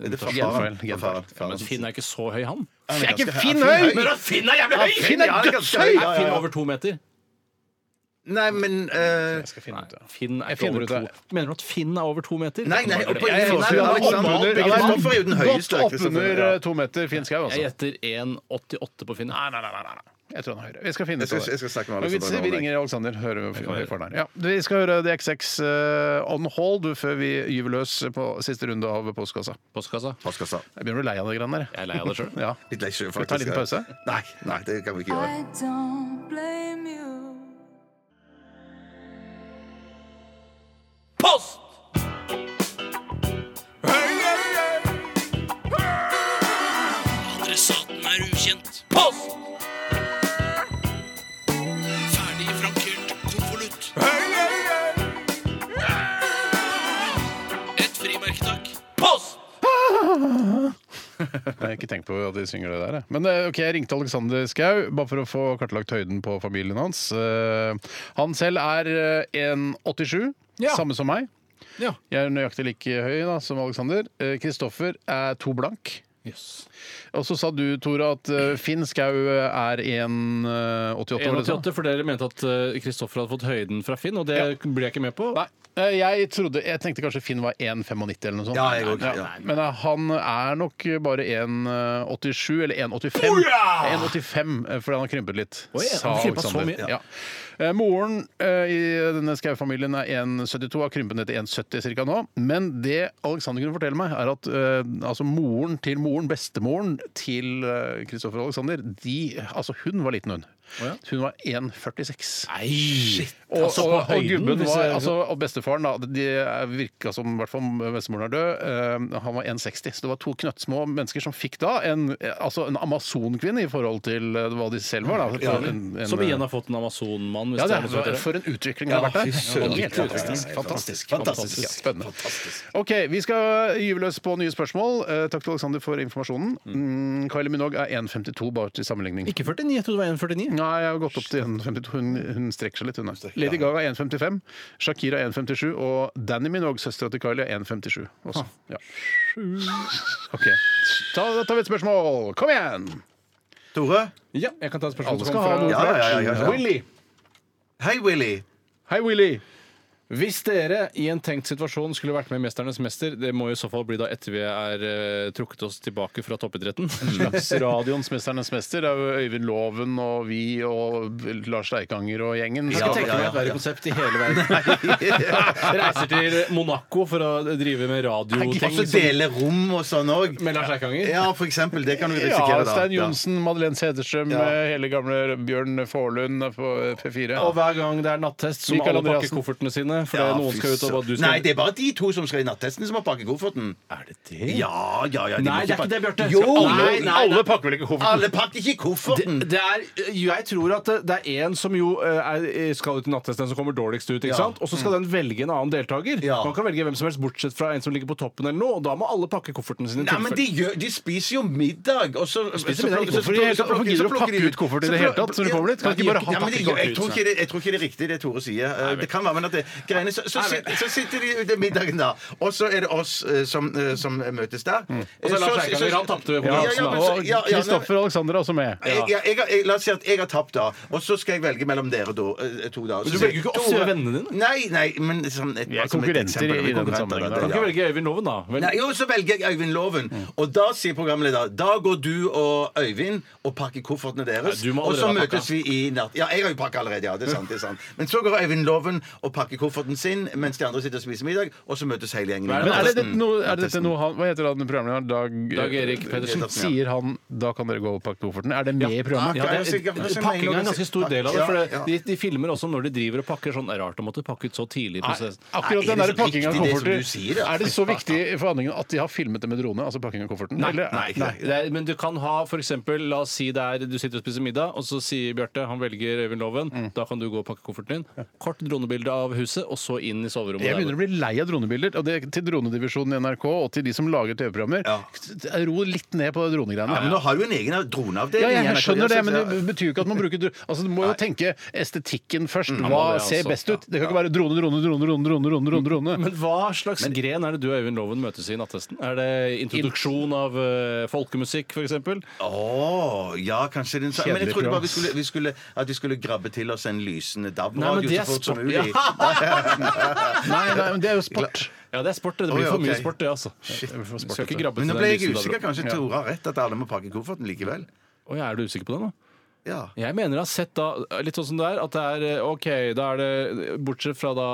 Speaker 5: Det er fra
Speaker 6: eh,
Speaker 5: faren.
Speaker 4: Genfeil,
Speaker 5: Fra faren.
Speaker 6: ja, men Finn er ikke så høy, han.
Speaker 5: Han
Speaker 4: Jeg er ikke
Speaker 5: ganske-
Speaker 4: Finn
Speaker 5: Ja,
Speaker 4: høy!
Speaker 6: Men Finn er jævlig høy!
Speaker 4: Finn er
Speaker 5: ganske
Speaker 4: dødshøy!
Speaker 5: høy.
Speaker 6: Er Finn over to meter?
Speaker 5: Nei, men eh,
Speaker 4: Jeg skal finne ut det.
Speaker 6: Finn er
Speaker 4: Jeg
Speaker 6: ikke
Speaker 4: finner
Speaker 6: over
Speaker 4: ut det.
Speaker 6: to. Mener du at Finn er over to meter?
Speaker 5: Nei, nei, opp-
Speaker 6: Jeg-
Speaker 4: Nei,
Speaker 5: Nei,
Speaker 4: han
Speaker 5: nei,
Speaker 4: er
Speaker 5: Alexander-
Speaker 4: oppunder- ja, han er
Speaker 5: Kristoffer er jo den høyeste,
Speaker 4: Godt
Speaker 5: Kristoffer,
Speaker 4: oppunder
Speaker 5: ja.
Speaker 4: eh, to meter Finn Skau,
Speaker 6: Jeg
Speaker 4: altså.
Speaker 6: gjetter 1,88 på Finn.
Speaker 4: Nei, nei, nei, nei, nei. Jeg tror han er høyre. Vi skal finne
Speaker 5: Jeg
Speaker 4: ut av
Speaker 5: skal-
Speaker 4: det.
Speaker 5: jeg skal snakke med
Speaker 4: Men vi-
Speaker 5: Alexander nå,
Speaker 4: Vi
Speaker 5: nei.
Speaker 4: ringer Alexander. Hører vi, hører for den her. ja, vi skal høre DXX eh, On Hold du, før vi gyver løs på siste runde av postkassa.
Speaker 6: Postkassa.
Speaker 5: Postkassa.
Speaker 4: Jeg begynner å bli lei av det greiene der.
Speaker 6: Jeg er lei av det sjøl.
Speaker 4: Ja.
Speaker 5: Litt lei sjø,
Speaker 4: vi ta en liten pause?
Speaker 5: Nei, nei, det kan vi ikke gjøre.
Speaker 10: I don't blame you.
Speaker 9: Post!
Speaker 11: Adressaten er ukjent.
Speaker 9: Post!
Speaker 11: Ferdig frankert konvolutt. Et frimerke, takk.
Speaker 9: Post!
Speaker 4: Jeg har ikke tenkt på at de synger det der. jeg. Men eh, ok, jeg ringte Alexander Skau bare for å få kartlagt høyden på familien hans. Eh, Han selv er eh, 1,87,
Speaker 6: Ja.
Speaker 4: samme som meg.
Speaker 6: Ja.
Speaker 4: Jeg er nøyaktig like høy da, som Alexander. Eh, Kristoffer er to blank. Og så sa du, Tora, at eh, Finn Skau eh, er 1,88. var det du sa?
Speaker 6: 1,88, for dere mente at eh, Kristoffer hadde fått høyden fra Finn, og det
Speaker 4: Ja.
Speaker 6: blir jeg ikke med på.
Speaker 4: Nei. eh, Jeg, trodde, jeg tenkte kanskje Finn var 1,95 eller noe sånt.
Speaker 5: Ja, jeg går ikke- ja.
Speaker 4: Men eh, han er nok bare 1,87 eller 1,85. 1,85 eh, fordi han har krympet litt,
Speaker 6: Oi, han
Speaker 4: sa
Speaker 6: har krympet så
Speaker 4: Alexander.
Speaker 6: mye.
Speaker 4: Ja. Eh, Moren eh, i denne Skau-familien er 1,72, har krympet ned til 1,70 ca. nå. Men det Alexander kunne fortelle meg, er at eh, altså moren til moren, bestemoren til eh, Kristoffer og Alexander, de, altså hun var liten, hun. Hun var 1,46.
Speaker 6: Nei!
Speaker 4: Og,
Speaker 6: Altså,
Speaker 4: og,
Speaker 6: på
Speaker 4: og
Speaker 6: høyden,
Speaker 4: gubben
Speaker 6: hvis
Speaker 4: var,
Speaker 6: jeg-
Speaker 4: altså, og bestefaren da, de virka som, i hvert fall bestemoren er død, eh, han var 1,60. Så det var to knøttsmå mennesker som fikk da en, eh, altså en amazonkvinne i forhold til eh, hva de selv var. Da. En, en, eh,
Speaker 6: Som igjen har fått en amazonmann. hvis
Speaker 4: ja, det
Speaker 6: er noe som heter
Speaker 4: er,
Speaker 6: det.
Speaker 4: for en utvikling det har vært der.
Speaker 5: søren.
Speaker 4: Helt fantastisk. Fantastisk. fantastisk. Ja, Spennende. OK, vi skal gyve løs på nye spørsmål. Eh, Takk til Alexander for informasjonen. Mm, Kylie Minogue er 1,52 bare til sammenligning.
Speaker 6: Ikke 49, jeg trodde det var 1,49.
Speaker 4: Nei, jeg har gått opp til 1,52. Hun, hun strekker seg litt, hun. er. Lady Gaga 1,55, Shakira 1,57 og Danny Minogue, søstera til Kylie, 1,57 også. Ja. OK. Ta, da tar vi et spørsmål. Kom igjen!
Speaker 5: Tore?
Speaker 6: Ja, jeg kan ta et spørsmål
Speaker 4: Alle
Speaker 6: som
Speaker 4: skal
Speaker 6: kom
Speaker 4: ha
Speaker 6: fra-
Speaker 4: noe
Speaker 5: Ja, ja, ja, ja, ja.
Speaker 4: Willy.
Speaker 5: Hei, Willy.
Speaker 4: Hei, Willy.
Speaker 6: Hvis dere i en tenkt situasjon skulle vært med i Mesternes mester, det må i så fall bli da etter vi er eh, trukket oss tilbake fra toppidretten
Speaker 4: Slags radioens Mesternes mester. Det er jo Øyvind Loven og vi og Lars Leikanger og gjengen.
Speaker 6: Jeg
Speaker 4: Skal-
Speaker 6: kan tenke meg et verre konsept i hele verden. Reiser til Monaco for å drive med radioting
Speaker 5: Og så
Speaker 6: som-
Speaker 5: dele rom og sånn òg.
Speaker 6: med Lars Eikanger.
Speaker 5: Ja, for eksempel. Det kan du risikere,
Speaker 4: Ja,
Speaker 5: da.
Speaker 4: Stein Johnsen, Madeleine Sederstrøm,
Speaker 5: Ja.
Speaker 4: eh, hele gamle Bjørn Forlund eh, på P4.
Speaker 6: Og hver gang det er nattest, så må
Speaker 4: Mikael
Speaker 6: alle pakke
Speaker 4: Andreassen.
Speaker 6: koffertene sine. For
Speaker 5: Ja,
Speaker 6: noen
Speaker 5: fy
Speaker 6: skal ut og
Speaker 5: søren.
Speaker 6: bare du
Speaker 5: Nei,
Speaker 6: skal
Speaker 5: det er bare de to som skal i nattesten, som har pakket kofferten. Er det det? Ja, ja, ja. de må
Speaker 6: Nei, det er ikke det,
Speaker 5: pakke-
Speaker 6: Bjørte.
Speaker 5: Jo,
Speaker 6: Skal alle-
Speaker 5: nei, nei,
Speaker 4: alle
Speaker 5: nei.
Speaker 4: pakker vel ikke kofferten?
Speaker 5: Alle pakker ikke kofferten!
Speaker 6: Det, det er, jeg tror at det er en som jo eh, er, skal ut i nattest, den som kommer dårligst ut. ikke
Speaker 5: Ja.
Speaker 6: sant? Og så skal den velge en annen deltaker.
Speaker 5: Ja.
Speaker 6: Man kan velge hvem som helst, bortsett fra en som ligger på toppen eller noe. Og da må alle pakke koffertene sine. i
Speaker 5: Nei, men de,
Speaker 6: tilfelle.
Speaker 5: gjør, de spiser jo middag, og så så
Speaker 6: Spiser middag,
Speaker 5: plukker- så- så-
Speaker 6: hvorfor
Speaker 4: gidder
Speaker 5: så
Speaker 4: de å
Speaker 5: plukker- så
Speaker 4: pakke
Speaker 5: plukker de
Speaker 4: ut koffert i
Speaker 5: så
Speaker 4: det hele
Speaker 5: plukker-
Speaker 4: tatt når de kommer dit? Kan
Speaker 5: Nei,
Speaker 4: de ikke bare
Speaker 5: gjør-
Speaker 4: ha
Speaker 5: Nei, men de
Speaker 4: pakke
Speaker 5: gjør- jeg
Speaker 4: ut,
Speaker 5: tror ikke det- Jeg tror ikke det er riktig, det Tore sier. Eh, Det kan være, men at det greiene Så, så, sit- så sitter de ute i middagen, da, og så er det oss eh, som, eh, som møtes der. Eh,
Speaker 6: Og så er Lars Eikanger, han tapte ved
Speaker 5: Ja,
Speaker 6: konkurransen,
Speaker 5: ja,
Speaker 6: da.
Speaker 5: men så-
Speaker 4: Og
Speaker 5: ja, ja, nei,
Speaker 4: Kristoffer og Alexander er også med.
Speaker 5: Jeg, jeg, jeg, har- jeg, la oss si at jeg har tapt, da. Og så skal jeg velge mellom dere do, eh, to. da Så
Speaker 6: Men du
Speaker 5: sier
Speaker 6: velger jo ikke
Speaker 5: jeg,
Speaker 6: oss,
Speaker 5: Tore-
Speaker 6: vi er vennene dine.
Speaker 5: Nei, nei, men som et,
Speaker 4: Vi er
Speaker 5: som et
Speaker 4: konkurrenter
Speaker 5: eksempel,
Speaker 4: i- i
Speaker 5: vi er
Speaker 4: denne
Speaker 5: konkurrenter,
Speaker 4: sammenhengen,
Speaker 5: da,
Speaker 4: da.
Speaker 6: Kan
Speaker 5: ja.
Speaker 6: ikke velge Øyvind Loven, da. Vel?
Speaker 5: Nei, jo, så velger jeg Øyvind Loven. Og da sier programleder da går du og Øyvind og pakker koffertene deres.
Speaker 6: Nei, du må
Speaker 5: og så
Speaker 6: allerede ha
Speaker 5: møtes vi i natt. Ja, jeg har jo pakket allerede, ja. Det er sant. det er sant Men så går Øyvind Loven og pakker kofferten sin mens de andre sitter og spiser middag, og så møtes hele gjengen. i
Speaker 4: Men er det,
Speaker 5: nattesten.
Speaker 4: noe, er dette noe han, Hva heter han programlederen? Dag, eh,
Speaker 6: Dag Erik Pedersen.
Speaker 4: Sier han 'da kan dere gå og pakke kofferten'? Er det med i programmet? eh,
Speaker 6: Ja, det
Speaker 5: Jeg er
Speaker 6: er,
Speaker 5: sikker på sin
Speaker 6: pakking er
Speaker 5: egen
Speaker 6: en ganske stor del av det.
Speaker 5: Ja,
Speaker 6: For det,
Speaker 5: ja.
Speaker 6: de, de filmer også når de driver og pakker. Sånn, det er rart å måtte pakke ut så tidlig i
Speaker 4: Nei,
Speaker 6: prosessen.
Speaker 4: akkurat
Speaker 5: Nei,
Speaker 4: den
Speaker 5: er
Speaker 4: der
Speaker 5: det så
Speaker 4: pakking av
Speaker 5: viktig det som
Speaker 4: kofferter
Speaker 5: du sier, altså. da?
Speaker 4: Er det så viktig i forhandlingene at de har filmet det med drone? Altså pakking av kofferten? eller?
Speaker 6: nei, nei. Det er, men du kan ha for eksempel, la oss si det er du sitter og spiser middag, og så sier Bjarte han velger Øyvind Loven, da kan du gå og pakke kofferten din. Kort dronebilde av huset, og så inn i soverommet.
Speaker 4: Jeg begynner å bli lei av dronebilder. Og det, til dronedivisjonen i NRK og til de som lager TV-programmer. Ro litt ned på dronegreiene.
Speaker 5: Ja, men nå har du en egen
Speaker 4: Ja,
Speaker 5: droneavdeling. i
Speaker 4: jeg,
Speaker 5: NRK,
Speaker 4: skjønner det,
Speaker 5: så-
Speaker 4: men det betyr jo ikke at man bruker dro- Altså, Du må jo tenke estetikken først.
Speaker 5: Mm.
Speaker 4: Hva
Speaker 6: det, altså.
Speaker 4: ser best ut? Det kan ikke være drone, drone, drone, drone, drone, drone, drone, drone.
Speaker 6: Men hva slags gren er det du og Øyvind Loven møtes i i nattesten? Er det introduksjon av eh, folkemusikk, for eksempel?
Speaker 5: Åh, ja, kanskje den sa Men jeg
Speaker 4: Kjedelig
Speaker 5: trodde bare
Speaker 4: program.
Speaker 5: vi skulle, vi skulle, at vi skulle grabbe til oss en lysende
Speaker 6: Nei, men
Speaker 5: DAB-radio
Speaker 6: det er
Speaker 5: så fort som
Speaker 6: sport-
Speaker 5: mulig.
Speaker 6: Ja.
Speaker 4: Nei, nei, men det er jo sport.
Speaker 6: Ja, det er sport. Det Det
Speaker 5: Å,
Speaker 6: blir
Speaker 5: ja,
Speaker 6: for mye
Speaker 5: ok.
Speaker 6: sport, det, altså.
Speaker 4: sport,
Speaker 6: Skal
Speaker 4: vet
Speaker 6: ikke
Speaker 4: du.
Speaker 6: grabbe
Speaker 5: Men
Speaker 6: til
Speaker 5: nå
Speaker 6: den
Speaker 5: ble jeg
Speaker 6: lysen der
Speaker 5: usikker.
Speaker 6: oppe.
Speaker 5: Kanskje Tore har rett at alle må pakke kofferten likevel?
Speaker 6: Å, ja, er du usikker på det nå?
Speaker 5: Ja.
Speaker 6: Jeg mener jeg har sett da litt sånn som det er, at det er eh, OK, da er det Bortsett fra da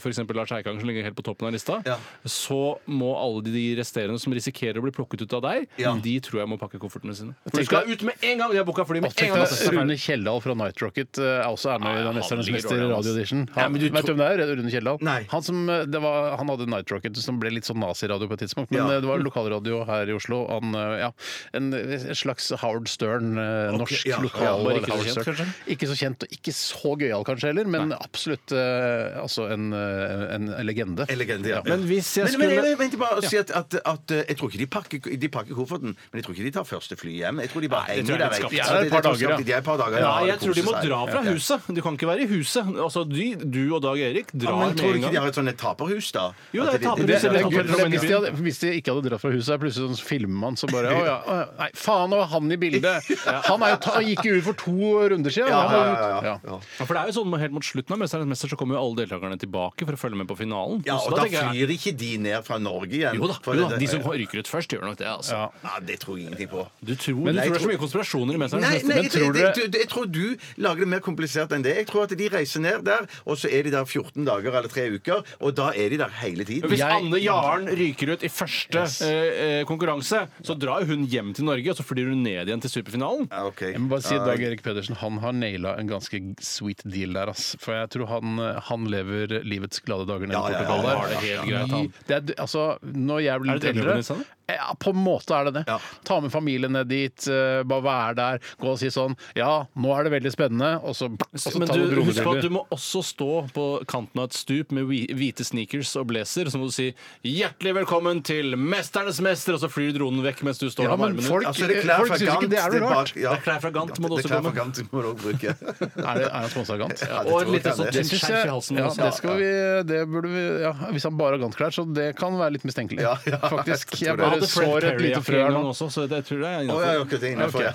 Speaker 6: f.eks. Lars Eikanger, som ligger helt på toppen av lista,
Speaker 5: Ja.
Speaker 6: så må alle de resterende som risikerer å bli plukket ut av deg, de tror jeg må pakke koffertene sine. For de skal ut med en gang! De har booka fly med en gang!
Speaker 4: Tenk deg Rune Kjeldal fra Night Rocket eh, er også er med i
Speaker 6: Nei,
Speaker 4: den
Speaker 6: han
Speaker 4: Mesternes
Speaker 6: ligger
Speaker 4: mester
Speaker 6: dårlig, ass.
Speaker 4: radioaudition.
Speaker 6: Ja, men du
Speaker 4: Vet
Speaker 6: tror-
Speaker 4: du hvem det er? Rune Kjeldal?
Speaker 5: Nei.
Speaker 4: Han, som, eh, det var, han hadde Night Rocket som ble litt sånn naziradio på et tidspunkt, men
Speaker 5: Ja.
Speaker 4: eh, det var lokalradio her i Oslo. Han, eh, ja, en, en slags Howard Stern, eh, norsk
Speaker 5: ja.
Speaker 4: lokal
Speaker 6: Ja, bare ikke så
Speaker 4: Howard
Speaker 6: kjent,
Speaker 4: Stern.
Speaker 6: kanskje?
Speaker 4: Ikke så kjent og ikke så gøyal kanskje heller, men absolutt eh, altså en, eh, en legende.
Speaker 5: En legende, ja.
Speaker 6: Men hvis jeg
Speaker 5: Men, men,
Speaker 6: skulle
Speaker 5: jeg venter bare å si at, at, at eh, jeg tror ikke de pakker, de pakker kofferten, men jeg tror ikke de tar første fly hjem. Jeg tror de bare
Speaker 6: Nei, det
Speaker 5: henger
Speaker 6: tror jeg
Speaker 5: der.
Speaker 6: er litt
Speaker 5: jeg.
Speaker 6: skapt.
Speaker 5: Ja,
Speaker 4: Det er et par
Speaker 5: tror jeg
Speaker 4: dager,
Speaker 5: skapt. De er et par dager, ja,
Speaker 6: Nei, jeg
Speaker 5: og
Speaker 6: tror de
Speaker 5: koser
Speaker 6: må
Speaker 5: seg.
Speaker 6: dra fra huset. Du kan ikke være i huset. Altså, de, du og Dag Erik
Speaker 5: Ja,
Speaker 6: drar
Speaker 5: men
Speaker 6: med
Speaker 5: tror du
Speaker 6: en
Speaker 5: ikke de
Speaker 6: gang.
Speaker 5: har et sånt et taperhus, da?
Speaker 6: Jo,
Speaker 5: At
Speaker 6: det er et
Speaker 5: de-
Speaker 6: taperhus,
Speaker 5: det-
Speaker 4: Det er
Speaker 6: Eller
Speaker 4: gøy,
Speaker 6: Tom
Speaker 4: for
Speaker 6: Brady.
Speaker 4: hvis, de hadde, hvis de ikke hadde dratt fra huset, er det plutselig sånn filmmann som bare å, ja, å, ja, Nei, faen, nå var han i bildet! Han er jo ta, gikk jo ut for to runder siden.
Speaker 5: Ja,
Speaker 4: Han var
Speaker 5: ja, ja, ja.
Speaker 4: ut. Ja.
Speaker 6: Ja, for det er jo sånn Helt mot slutten av Mesternes mester så kommer jo alle deltakerne tilbake for å følge med på finalen.
Speaker 5: Ja,
Speaker 6: Så
Speaker 5: og da
Speaker 6: tenker jeg-
Speaker 5: flyr ikke de ned fra Norge igjen.
Speaker 6: Jo da,
Speaker 5: For
Speaker 6: jo da,
Speaker 5: det-
Speaker 6: de som ryker ut først, gjør nok det. altså.
Speaker 4: Ja.
Speaker 5: Ja, det tror jeg ingenting på.
Speaker 6: Du tror,
Speaker 5: Men jeg
Speaker 6: du tror det Sånn er
Speaker 5: tror-
Speaker 6: så mye konspirasjoner i Mesternes
Speaker 5: Nei,
Speaker 6: mester.
Speaker 5: nei
Speaker 4: Men
Speaker 5: det,
Speaker 4: tror
Speaker 5: det,
Speaker 4: dere-
Speaker 5: det, jeg tror du lager det mer komplisert enn det. Jeg tror at de reiser ned der, og så er de der 14 dager eller 3 uker, og da er de der hele tiden.
Speaker 6: Hvis
Speaker 4: Jeg-
Speaker 6: Anne Jaren ryker ut i første eh, eh, konkurranse, så drar jo hun hjem til Norge, og så flyr hun ned igjen til superfinalen.
Speaker 5: Ja, ok.
Speaker 4: Jeg må bare si at Dag Erik Pedersen han har naila en ganske sweet deal der. Ass. For jeg tror han, han lever livets glade dager nede
Speaker 5: Ja,
Speaker 4: i
Speaker 5: ja, ja,
Speaker 4: Portugal
Speaker 5: han
Speaker 4: der.
Speaker 5: har det
Speaker 6: helt greit, han.
Speaker 4: I- det er, altså, når jeg blir
Speaker 6: Er
Speaker 4: litt
Speaker 6: det et
Speaker 4: eldre
Speaker 6: elleve-minutts, eller?
Speaker 4: ja, På en måte er det det.
Speaker 5: Ja.
Speaker 4: Ta med familien ned dit, eh, bare være der, gå og si sånn Ja, nå er det veldig spennende, og så, og så
Speaker 6: Altså,
Speaker 4: Altså,
Speaker 6: Men
Speaker 4: ta noen
Speaker 6: du, husk på at
Speaker 4: dronebilder.
Speaker 6: du må også stå på kanten av et stup med hvi- hvite sneakers og blazer, og så må du si 'Hjertelig velkommen til Mesternes mester', og så flyr dronen vekk mens du står
Speaker 4: Ja,
Speaker 6: der med
Speaker 4: men
Speaker 6: armene.
Speaker 4: folk-
Speaker 5: Altså, det er klær
Speaker 4: Folk
Speaker 5: fra
Speaker 4: synes ikke
Speaker 5: Gant
Speaker 4: det er noe
Speaker 5: tilbake-
Speaker 4: rart.
Speaker 5: ja.
Speaker 6: Det er klær fra Gant må du
Speaker 5: Det er
Speaker 6: også
Speaker 5: klær
Speaker 6: komme.
Speaker 5: fra Gant må du også bruke.
Speaker 4: Er, det, er han sponsoragant?
Speaker 5: Ja, det tror
Speaker 6: Og en liten
Speaker 5: jeg
Speaker 6: sånn
Speaker 5: det.
Speaker 4: synes
Speaker 6: skjerf i halsen.
Speaker 4: ja,
Speaker 5: altså.
Speaker 6: også.
Speaker 4: det skal vi, det burde vi ja. Hvis han bare har gantklær, så det kan være litt mistenkelig.
Speaker 5: Ja, ja,
Speaker 4: Faktisk.
Speaker 5: jeg
Speaker 4: Jeg
Speaker 5: tror det.
Speaker 4: bare
Speaker 6: hadde Fred
Speaker 4: sår et
Speaker 6: Perry
Speaker 4: lite
Speaker 6: jakke
Speaker 4: frø
Speaker 6: en
Speaker 4: her
Speaker 6: gang
Speaker 4: nå.
Speaker 6: også, så det jeg tror jeg er
Speaker 5: Å,
Speaker 6: innenfor.
Speaker 5: ja, ja, ok, det er innenfor,
Speaker 4: Ok.
Speaker 5: ja.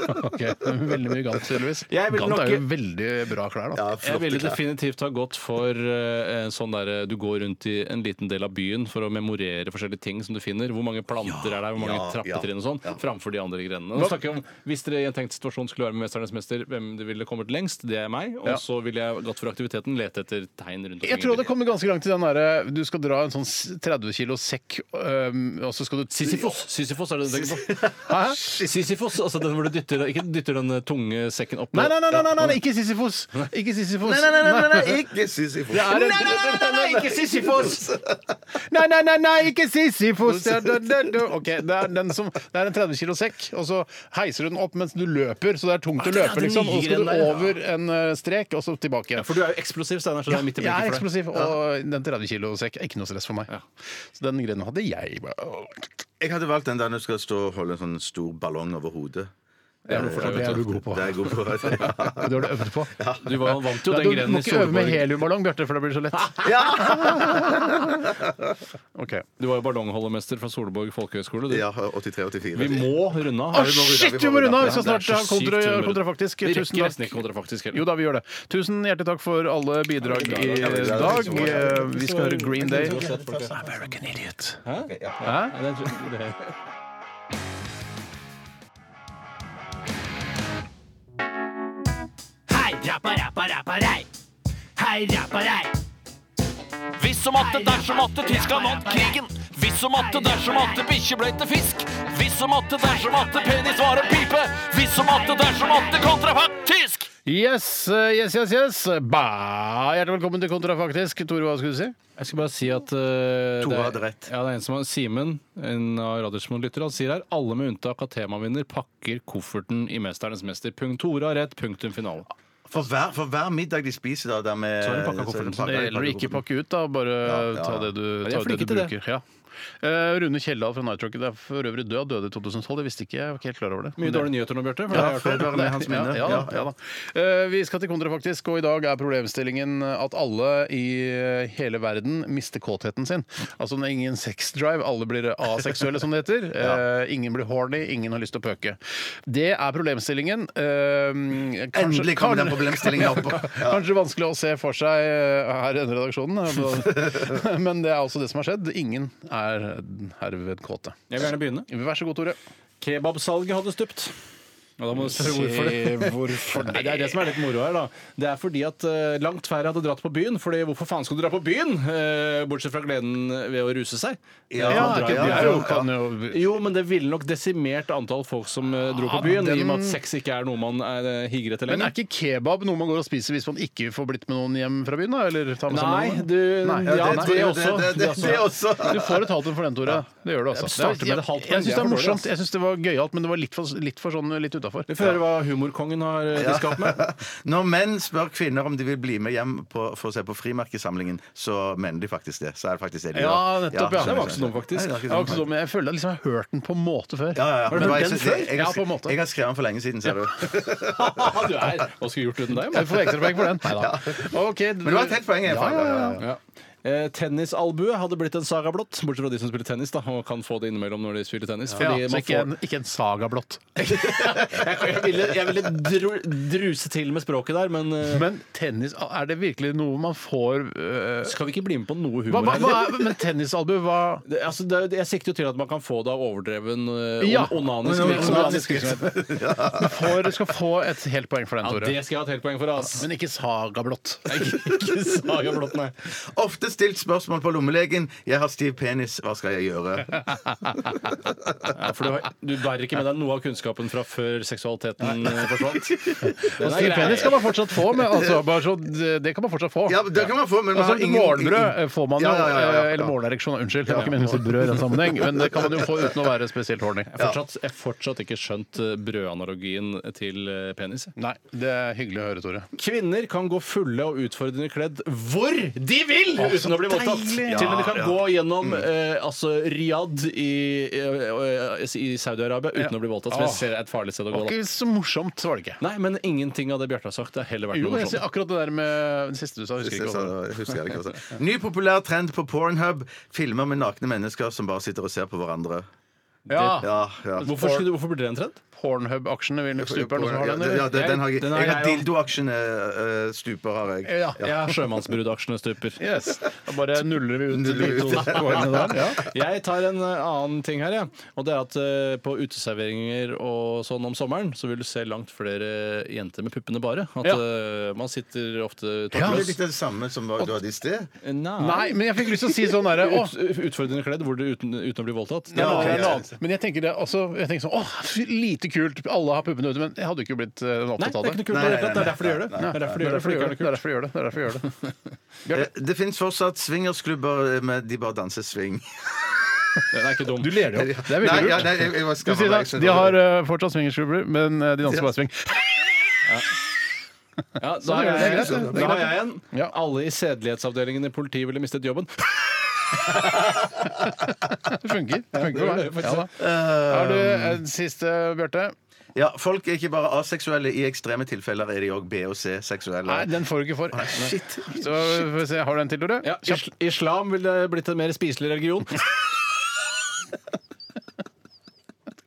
Speaker 4: Ok, Veldig mye gant, tydeligvis.
Speaker 6: Jeg vil
Speaker 4: Gant
Speaker 6: nok-
Speaker 4: er jo veldig bra klær, da.
Speaker 5: Ja,
Speaker 6: Jeg
Speaker 5: flotte
Speaker 6: ville
Speaker 5: klær.
Speaker 6: definitivt ha gått for eh, en sånn der eh, du går rundt i en liten del av byen for å memorere forskjellige ting som du finner. Hvor mange planter er der, hvor mange
Speaker 5: ja,
Speaker 6: trappetrinn og sånn.
Speaker 5: ja.
Speaker 6: Framfor de andre grenene. Nå snakker jeg om, Hvis dere i en tenkt situasjon skulle være med Mesternes mester, hvem det ville kommet lengst, det er meg. Og
Speaker 4: Ja.
Speaker 6: så ville jeg gått for aktiviteten, lete etter tegn rundt omkring.
Speaker 4: Jeg tror det kommer ganske langt i den derre du skal dra en sånn 30 kilo sekk, øhm, og så skal du
Speaker 6: Sisyfos. Sisyfos er det du tenker på. Hæ? Sisyfos, altså den hvor du dytter, ikke dytter den eh, tunge sekken opp
Speaker 4: Nei, nei, nei, nei, nei, nei, ikke Sisyfos! Ikke Sisyfos.
Speaker 5: Nei, nei, nei, nei, nei, nei, ikke Sisyfos.
Speaker 4: Det er en-
Speaker 6: ikke Sisyfos!
Speaker 4: Nei, nei, nei, nei, ikke Sisyfos! Det er- det er- det er- Ok, det er, den som, det er en 30 kilo sekk, og så heiser du den opp mens du løper, så det er tungt å
Speaker 6: det er
Speaker 4: løpe,
Speaker 6: den
Speaker 4: liksom. Og så skal du
Speaker 6: nye greien der, ja.
Speaker 4: over en eh, strek, og så tilbake igjen.
Speaker 6: For du er jo eksplosiv, Steinar. Så det er midt i
Speaker 4: Jeg er
Speaker 6: blinken for deg.
Speaker 4: eksplosiv, og den 30 kilo sekk er ikke noe stress for meg. Så den greia hadde jeg. bare-
Speaker 5: Jeg hadde valgt den der når du skal stå og holde en sånn stor ballong over hodet. Eh,
Speaker 4: for det er du god på.
Speaker 5: Det er jeg god på.
Speaker 4: Det har du øvd på.
Speaker 6: Du var, vant jo
Speaker 4: Nei,
Speaker 6: den
Speaker 4: du
Speaker 6: grenen
Speaker 4: må
Speaker 6: i
Speaker 4: ikke øve med
Speaker 6: Solborg.
Speaker 4: heliumballong, Bjarte, for da blir det så lett. Ok.
Speaker 6: Du var jo ballongholdermester fra Solborg folkehøgskole. Du.
Speaker 5: Ja, 83-84.
Speaker 6: Vi må runde
Speaker 4: Å,
Speaker 6: av. Har du noe-
Speaker 4: shit, vi må runde av! Vi skal snart ha kontra, kontrafaktisk.
Speaker 6: Vi
Speaker 4: Tusen
Speaker 6: rekker nesten ikke
Speaker 4: takk.
Speaker 6: kontrafaktisk heller.
Speaker 4: Jo da, vi gjør det. Tusen hjertelig takk for alle bidrag i dag. Eh, Vi skal høre Green Day. American Idiot.
Speaker 6: Ja, det tror- det-
Speaker 9: Hei, rappa, rappa, rappa, rei. Hei, rappa, rei.
Speaker 11: Hvis og matte, dersom matte, tysk har vant krigen. Hvis og matte, dersom matte, bikkje ble til fisk. Hvis og matte, dersom matte, penis var en pipe. Hvis og matte, dersom matte, kontrafaktisk.
Speaker 4: Yes, eh, yes, yes, yes. Ba. Hjertelig velkommen til Kontrafaktisk. Tore, hva skulle du si?
Speaker 6: Jeg skal bare si at eh, det,
Speaker 5: hadde
Speaker 6: er,
Speaker 5: rett.
Speaker 6: ja, det er en som har Simen, en av Radioresepsjonen-lytter, han sier her alle med unntak av temavinner pakker kofferten i 'Mesternes mester'. Punkt Tore har rett, punktum finale.
Speaker 5: For hver, for hver middag de spiser da, der med
Speaker 6: Så er det pakka kofferten.
Speaker 5: så er det pakka-
Speaker 4: Det gjelder å ikke pakke ut, da. Bare
Speaker 5: Ja, ja,
Speaker 4: ta
Speaker 5: ja.
Speaker 4: det du,
Speaker 6: de er
Speaker 4: ta det du
Speaker 6: flinke til det.
Speaker 4: bruker. Ja. Eh, Rune Kjeldal fra Night Rocket er for øvrig død. Døde i 2012. Jeg visste ikke, jeg var ikke helt klar over det.
Speaker 6: Mye
Speaker 4: Men det-
Speaker 6: dårlige nyheter nå, Bjarte. for det har
Speaker 5: Ja,
Speaker 6: jeg hørt om.
Speaker 5: fred være med hans
Speaker 4: Ja,
Speaker 5: minne.
Speaker 4: ja, da, ja,
Speaker 5: Ja.
Speaker 4: da. Eh, Vi skal til Kontra, faktisk. Og i dag er problemstillingen at alle i eh, hele verden mister kåtheten sin. Altså det er ingen sexdrive. Alle blir aseksuelle, som det heter. Eh, Ingen blir horny, ingen har lyst til å pøke. Det er problemstillingen. Eh, kanskje-
Speaker 5: Endelig kommer den
Speaker 4: kanskje-
Speaker 5: problemstillingen opp. Ja.
Speaker 4: Kanskje vanskelig å se for seg eh, her i denne redaksjonen, men det er altså det som har skjedd. Ingen er herved kåte.
Speaker 6: Jeg vil gjerne begynne.
Speaker 4: Vær så god, Tore.
Speaker 6: Kebabsalget hadde stupt. Ja, da må du spørre hvorfor det. Nei, det er det som er litt moro her, da. Det er fordi at eh, langt færre hadde dratt på byen. Fordi hvorfor faen skal du dra på byen? Eh, bortsett fra gleden ved å ruse seg.
Speaker 5: Ja,
Speaker 6: Man drar
Speaker 5: ja,
Speaker 6: jo-
Speaker 5: ja, ja.
Speaker 4: Kan jo
Speaker 6: Jo, men det ville nok desimert antall folk som eh, dro på
Speaker 4: Ja,
Speaker 6: byen, i og med
Speaker 4: den-
Speaker 6: at sex ikke er noe man er, eh, higer etter
Speaker 4: Men
Speaker 6: lenger.
Speaker 4: er ikke kebab noe man går og spiser hvis man ikke får blitt med noen hjem fra byen? da? Eller tar med seg
Speaker 6: Nei,
Speaker 4: noen?
Speaker 6: du
Speaker 4: Nei.
Speaker 6: Ja,
Speaker 5: Ja,
Speaker 6: det,
Speaker 5: det-
Speaker 6: det,
Speaker 5: det-
Speaker 6: også.
Speaker 5: det- det-
Speaker 6: Det også.
Speaker 5: det også.
Speaker 4: Du får et halvt en for den, Tore. Det gjør du altså.
Speaker 6: Jeg starter med det halvt,
Speaker 4: jeg jeg syns
Speaker 6: men det
Speaker 4: det
Speaker 6: er
Speaker 4: er
Speaker 6: for dårlig,
Speaker 4: morsomt.
Speaker 6: altså.
Speaker 4: Jeg syns det var gøyalt, men det var litt for, litt for sånn litt utafor.
Speaker 6: Vi får høre hva humorkongen har eh, diska opp med.
Speaker 5: Når menn spør kvinner om de vil bli med hjem på, for å se på frimerkesamlingen, så mener de faktisk det. Så er det faktisk det de
Speaker 4: Ja,
Speaker 5: gjør.
Speaker 4: nettopp, ja.
Speaker 5: så-
Speaker 4: Det
Speaker 6: var ikke så dumt,
Speaker 5: Nei,
Speaker 6: faktisk.
Speaker 5: det var
Speaker 4: Jeg, har ikke
Speaker 5: ikke så
Speaker 4: så,
Speaker 5: dumt.
Speaker 4: men jeg føler jeg liksom har hørt den på en måte før.
Speaker 5: Ja, ja, ja.
Speaker 4: Har
Speaker 5: Men
Speaker 4: du hørt
Speaker 5: jeg-
Speaker 4: den
Speaker 5: jeg-
Speaker 4: før?
Speaker 5: jeg-
Speaker 4: ja, på en måte.
Speaker 5: Jeg har skrevet den for lenge siden, ser du.
Speaker 6: du er, Hva skulle vi gjort uten deg?
Speaker 4: Jeg får ekstrapoeng for den. Ok,
Speaker 5: Men det var et helt poeng. i hvert fall.
Speaker 4: Ja, ja, ja.
Speaker 6: Ja. Eh, tennisalbue hadde blitt en saga blått, bortsett fra de som spiller tennis da, og kan få det innimellom når de spiller tennis.
Speaker 4: Ja,
Speaker 6: Fordi
Speaker 4: så
Speaker 6: man
Speaker 4: ikke
Speaker 6: får...
Speaker 4: en, ikke en saga blått.
Speaker 6: jeg, jeg ville, jeg ville dru, druse til med språket der, men eh,
Speaker 4: Men tennis, er det virkelig noe man får øh,
Speaker 6: skal vi ikke bli med på noe
Speaker 4: hva,
Speaker 6: humor
Speaker 4: hva, hva,
Speaker 6: her?
Speaker 4: er- Men tennisalbu, hva
Speaker 6: Det, altså, det, er- jeg sikter jo til at man kan få det av overdreven eh,
Speaker 4: Ja.
Speaker 6: on- onanisk virksomhet.
Speaker 4: Onanisk virksomhet. Du får- skal få et helt poeng for den,
Speaker 6: Ja,
Speaker 4: Tore.
Speaker 6: det skal jeg ha et helt poeng for, ass.
Speaker 4: Men ikke saga blått.
Speaker 6: Ikke, ikke saga blått, nei.
Speaker 5: Ofte stilt spørsmål på lommelegen. 'Jeg har stiv penis, hva skal jeg gjøre?'
Speaker 6: Ja, for du, har- du bærer ikke med deg noe av kunnskapen fra før seksualiteten eh, forsvant. Den er
Speaker 4: Stiv
Speaker 6: grei.
Speaker 4: penis kan man fortsatt få, men altså, bare så, det det kan man fortsatt få.
Speaker 5: Ja, det kan man få, men man
Speaker 4: altså,
Speaker 5: har ingen-
Speaker 4: Morgenbrød får man jo, eh,
Speaker 5: Ja, ja, ja, ja, ja.
Speaker 4: eller morgenereksjon, unnskyld. Det var ikke meningen å si brød i den sammenheng, men det kan man jo få uten å være spesielt horny.
Speaker 6: Jeg har fortsatt, jeg har fortsatt ikke skjønt eh, brødanalogien til eh, penis. jeg.
Speaker 4: Nei, det er hyggelig å høre, Tore.
Speaker 6: Kvinner kan gå fulle og utfordrende kledd hvor de vil!
Speaker 4: Å, så
Speaker 6: uten å bli voldtatt.
Speaker 4: deilig!
Speaker 6: Til og med de
Speaker 4: Ja, Mm.
Speaker 6: kan gå gjennom eh, altså Riyadh i, eh, eh, i Saudi-Arabia uten
Speaker 4: Ja.
Speaker 6: å bli voldtatt. Som
Speaker 4: Åh.
Speaker 6: jeg ser er et farlig sted å
Speaker 4: Det
Speaker 6: gå.
Speaker 4: var
Speaker 6: Da.
Speaker 4: ikke så morsomt, var det ikke.
Speaker 6: Nei, men ingenting av det Bjarte har sagt, det har heller vært
Speaker 4: Jo,
Speaker 6: noe
Speaker 4: jeg sier
Speaker 6: morsomt.
Speaker 4: akkurat det der med den siste du sa. Husker jeg ikke hva det var.
Speaker 5: Jeg husker det ikke også. Ny populær trend på Pornhub. Filmer med nakne mennesker som bare sitter og ser på hverandre.
Speaker 4: Ja,
Speaker 5: Ja, ja.
Speaker 6: Hvorfor, skulle du, hvorfor blir det en trend?
Speaker 4: Pornhub-aksjene vil nok stupe. Er det noen som har
Speaker 5: Ja,
Speaker 4: den?
Speaker 5: det- ja,
Speaker 4: eller?
Speaker 5: det- den har jeg.
Speaker 6: Den har
Speaker 5: Jeg har
Speaker 6: jeg også.
Speaker 5: dildoaksjene eh, stuper, har jeg.
Speaker 4: Ja.
Speaker 6: Ja, Sjømannsbrudaksjene stuper.
Speaker 4: Yes. Da bare nuller vi ut de
Speaker 5: Nuller vi
Speaker 4: to
Speaker 5: ut.
Speaker 4: poengene der. Ja.
Speaker 6: Jeg tar en eh, annen ting her, ja. og det er at eh, på uteserveringer og sånn om sommeren, så vil du se langt flere jenter med puppene bare. At
Speaker 4: Ja.
Speaker 6: eh, man sitter ofte
Speaker 5: Det er
Speaker 6: toppløs.
Speaker 5: litt det samme som hva du hadde i sted.
Speaker 4: Nei, men jeg fikk lyst til å si sånn derre Å,
Speaker 6: Ut, Eh, utfordrende kledd hvor du uten, uten å bli voldtatt.
Speaker 4: Ja,
Speaker 5: ok,
Speaker 4: det er
Speaker 5: ja.
Speaker 4: noe annet. Men jeg tenker det også, jeg tenker sånn, åh, fy- lite kult, alle har puppene ute, men jeg hadde jo ikke blitt eh,
Speaker 6: Nei,
Speaker 4: opptatt
Speaker 6: det
Speaker 4: av
Speaker 6: er ikke
Speaker 4: det.
Speaker 6: noe kult.
Speaker 5: Nei,
Speaker 6: det er
Speaker 5: nei,
Speaker 6: klart, Det er derfor du gjør det.
Speaker 5: nei,
Speaker 6: Det er derfor du gjør det, for
Speaker 4: Derfor
Speaker 6: det
Speaker 4: gjør
Speaker 6: er
Speaker 4: det,
Speaker 6: ikke noe kult.
Speaker 4: derfor gjør det. det er derfor gjør det. det er derfor gjør det.
Speaker 5: Eh, Det fins fortsatt swingersklubber eh, med de bare danser swing.
Speaker 6: Den er ikke dum.
Speaker 4: Du ler det jo. Det er
Speaker 5: Nei,
Speaker 4: veldig
Speaker 5: ja,
Speaker 4: lurt.
Speaker 5: nei, jeg, jeg
Speaker 4: Du
Speaker 5: var
Speaker 4: sier
Speaker 5: skammet meg,
Speaker 4: det,
Speaker 5: jeg skjønner
Speaker 4: de
Speaker 5: det.
Speaker 4: har eh, fortsatt swingersklubber, men eh, de danser bare swing.
Speaker 6: Ja,
Speaker 4: gjør
Speaker 6: da, har
Speaker 4: det.
Speaker 6: jeg,
Speaker 4: Det er greit, det.
Speaker 6: da har jeg en.
Speaker 4: Ja.
Speaker 6: Alle i sedelighetsavdelingen i politiet ville mistet jobben.
Speaker 4: Det funker. Det funker for
Speaker 6: det gjør det
Speaker 4: meg.
Speaker 6: faktisk.
Speaker 4: Ja, da. Har du en siste, Bjarte?
Speaker 5: Ja, folk er ikke bare aseksuelle. I ekstreme tilfeller er de òg B- og C-seksuelle.
Speaker 4: Nei, den får du ikke for.
Speaker 5: Shit.
Speaker 4: Så får vi se, Har du en til, Tore?
Speaker 6: Ja,
Speaker 4: Kjapt.
Speaker 6: is- islam ville blitt en mer spiselig religion.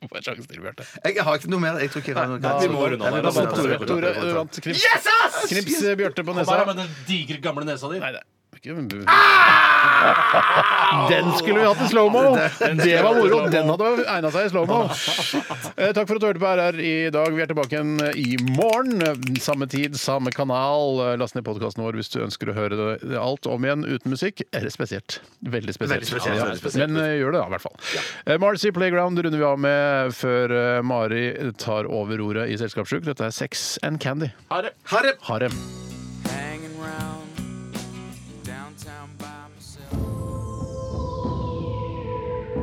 Speaker 4: Du får en sjanse til, Bjarte.
Speaker 5: Jeg har ikke noe mer. Jeg tror ikke jeg har noe
Speaker 6: vi må runde av
Speaker 5: Jeg
Speaker 4: Da
Speaker 5: vil
Speaker 6: her.
Speaker 5: bare
Speaker 4: vant Tore.
Speaker 5: ta-
Speaker 4: Tore du vant knips. Yes, ass! Knips eh, Bjarte på nesa.
Speaker 6: Bare med den digre, gamle nesa di.
Speaker 4: Nei, det er ikke en bu-
Speaker 5: Ah!
Speaker 4: Den skulle vi hatt i slow-mo! Det var moro. Den hadde egna seg i slow-mo.
Speaker 5: Ah,
Speaker 4: Eh, Takk for at du hørte på RR i dag. Vi er tilbake igjen eh, i morgen. Samme tid, samme kanal. Eh, Last ned podkasten vår hvis du ønsker å høre det alt om igjen uten musikk. Eller spesielt. Veldig spesielt.
Speaker 5: Veldig spesielt,
Speaker 4: Ja,
Speaker 5: veldig spesielt.
Speaker 4: Men eh, gjør det, da, i hvert fall. Eh, Marcy Playground runder vi av med før eh, Mari tar over roret i Selskapssjuk. Dette er Sex and Candy.
Speaker 6: Ha det.
Speaker 5: Ha det!
Speaker 4: Ha det.
Speaker 2: Hanging round downtown by myself.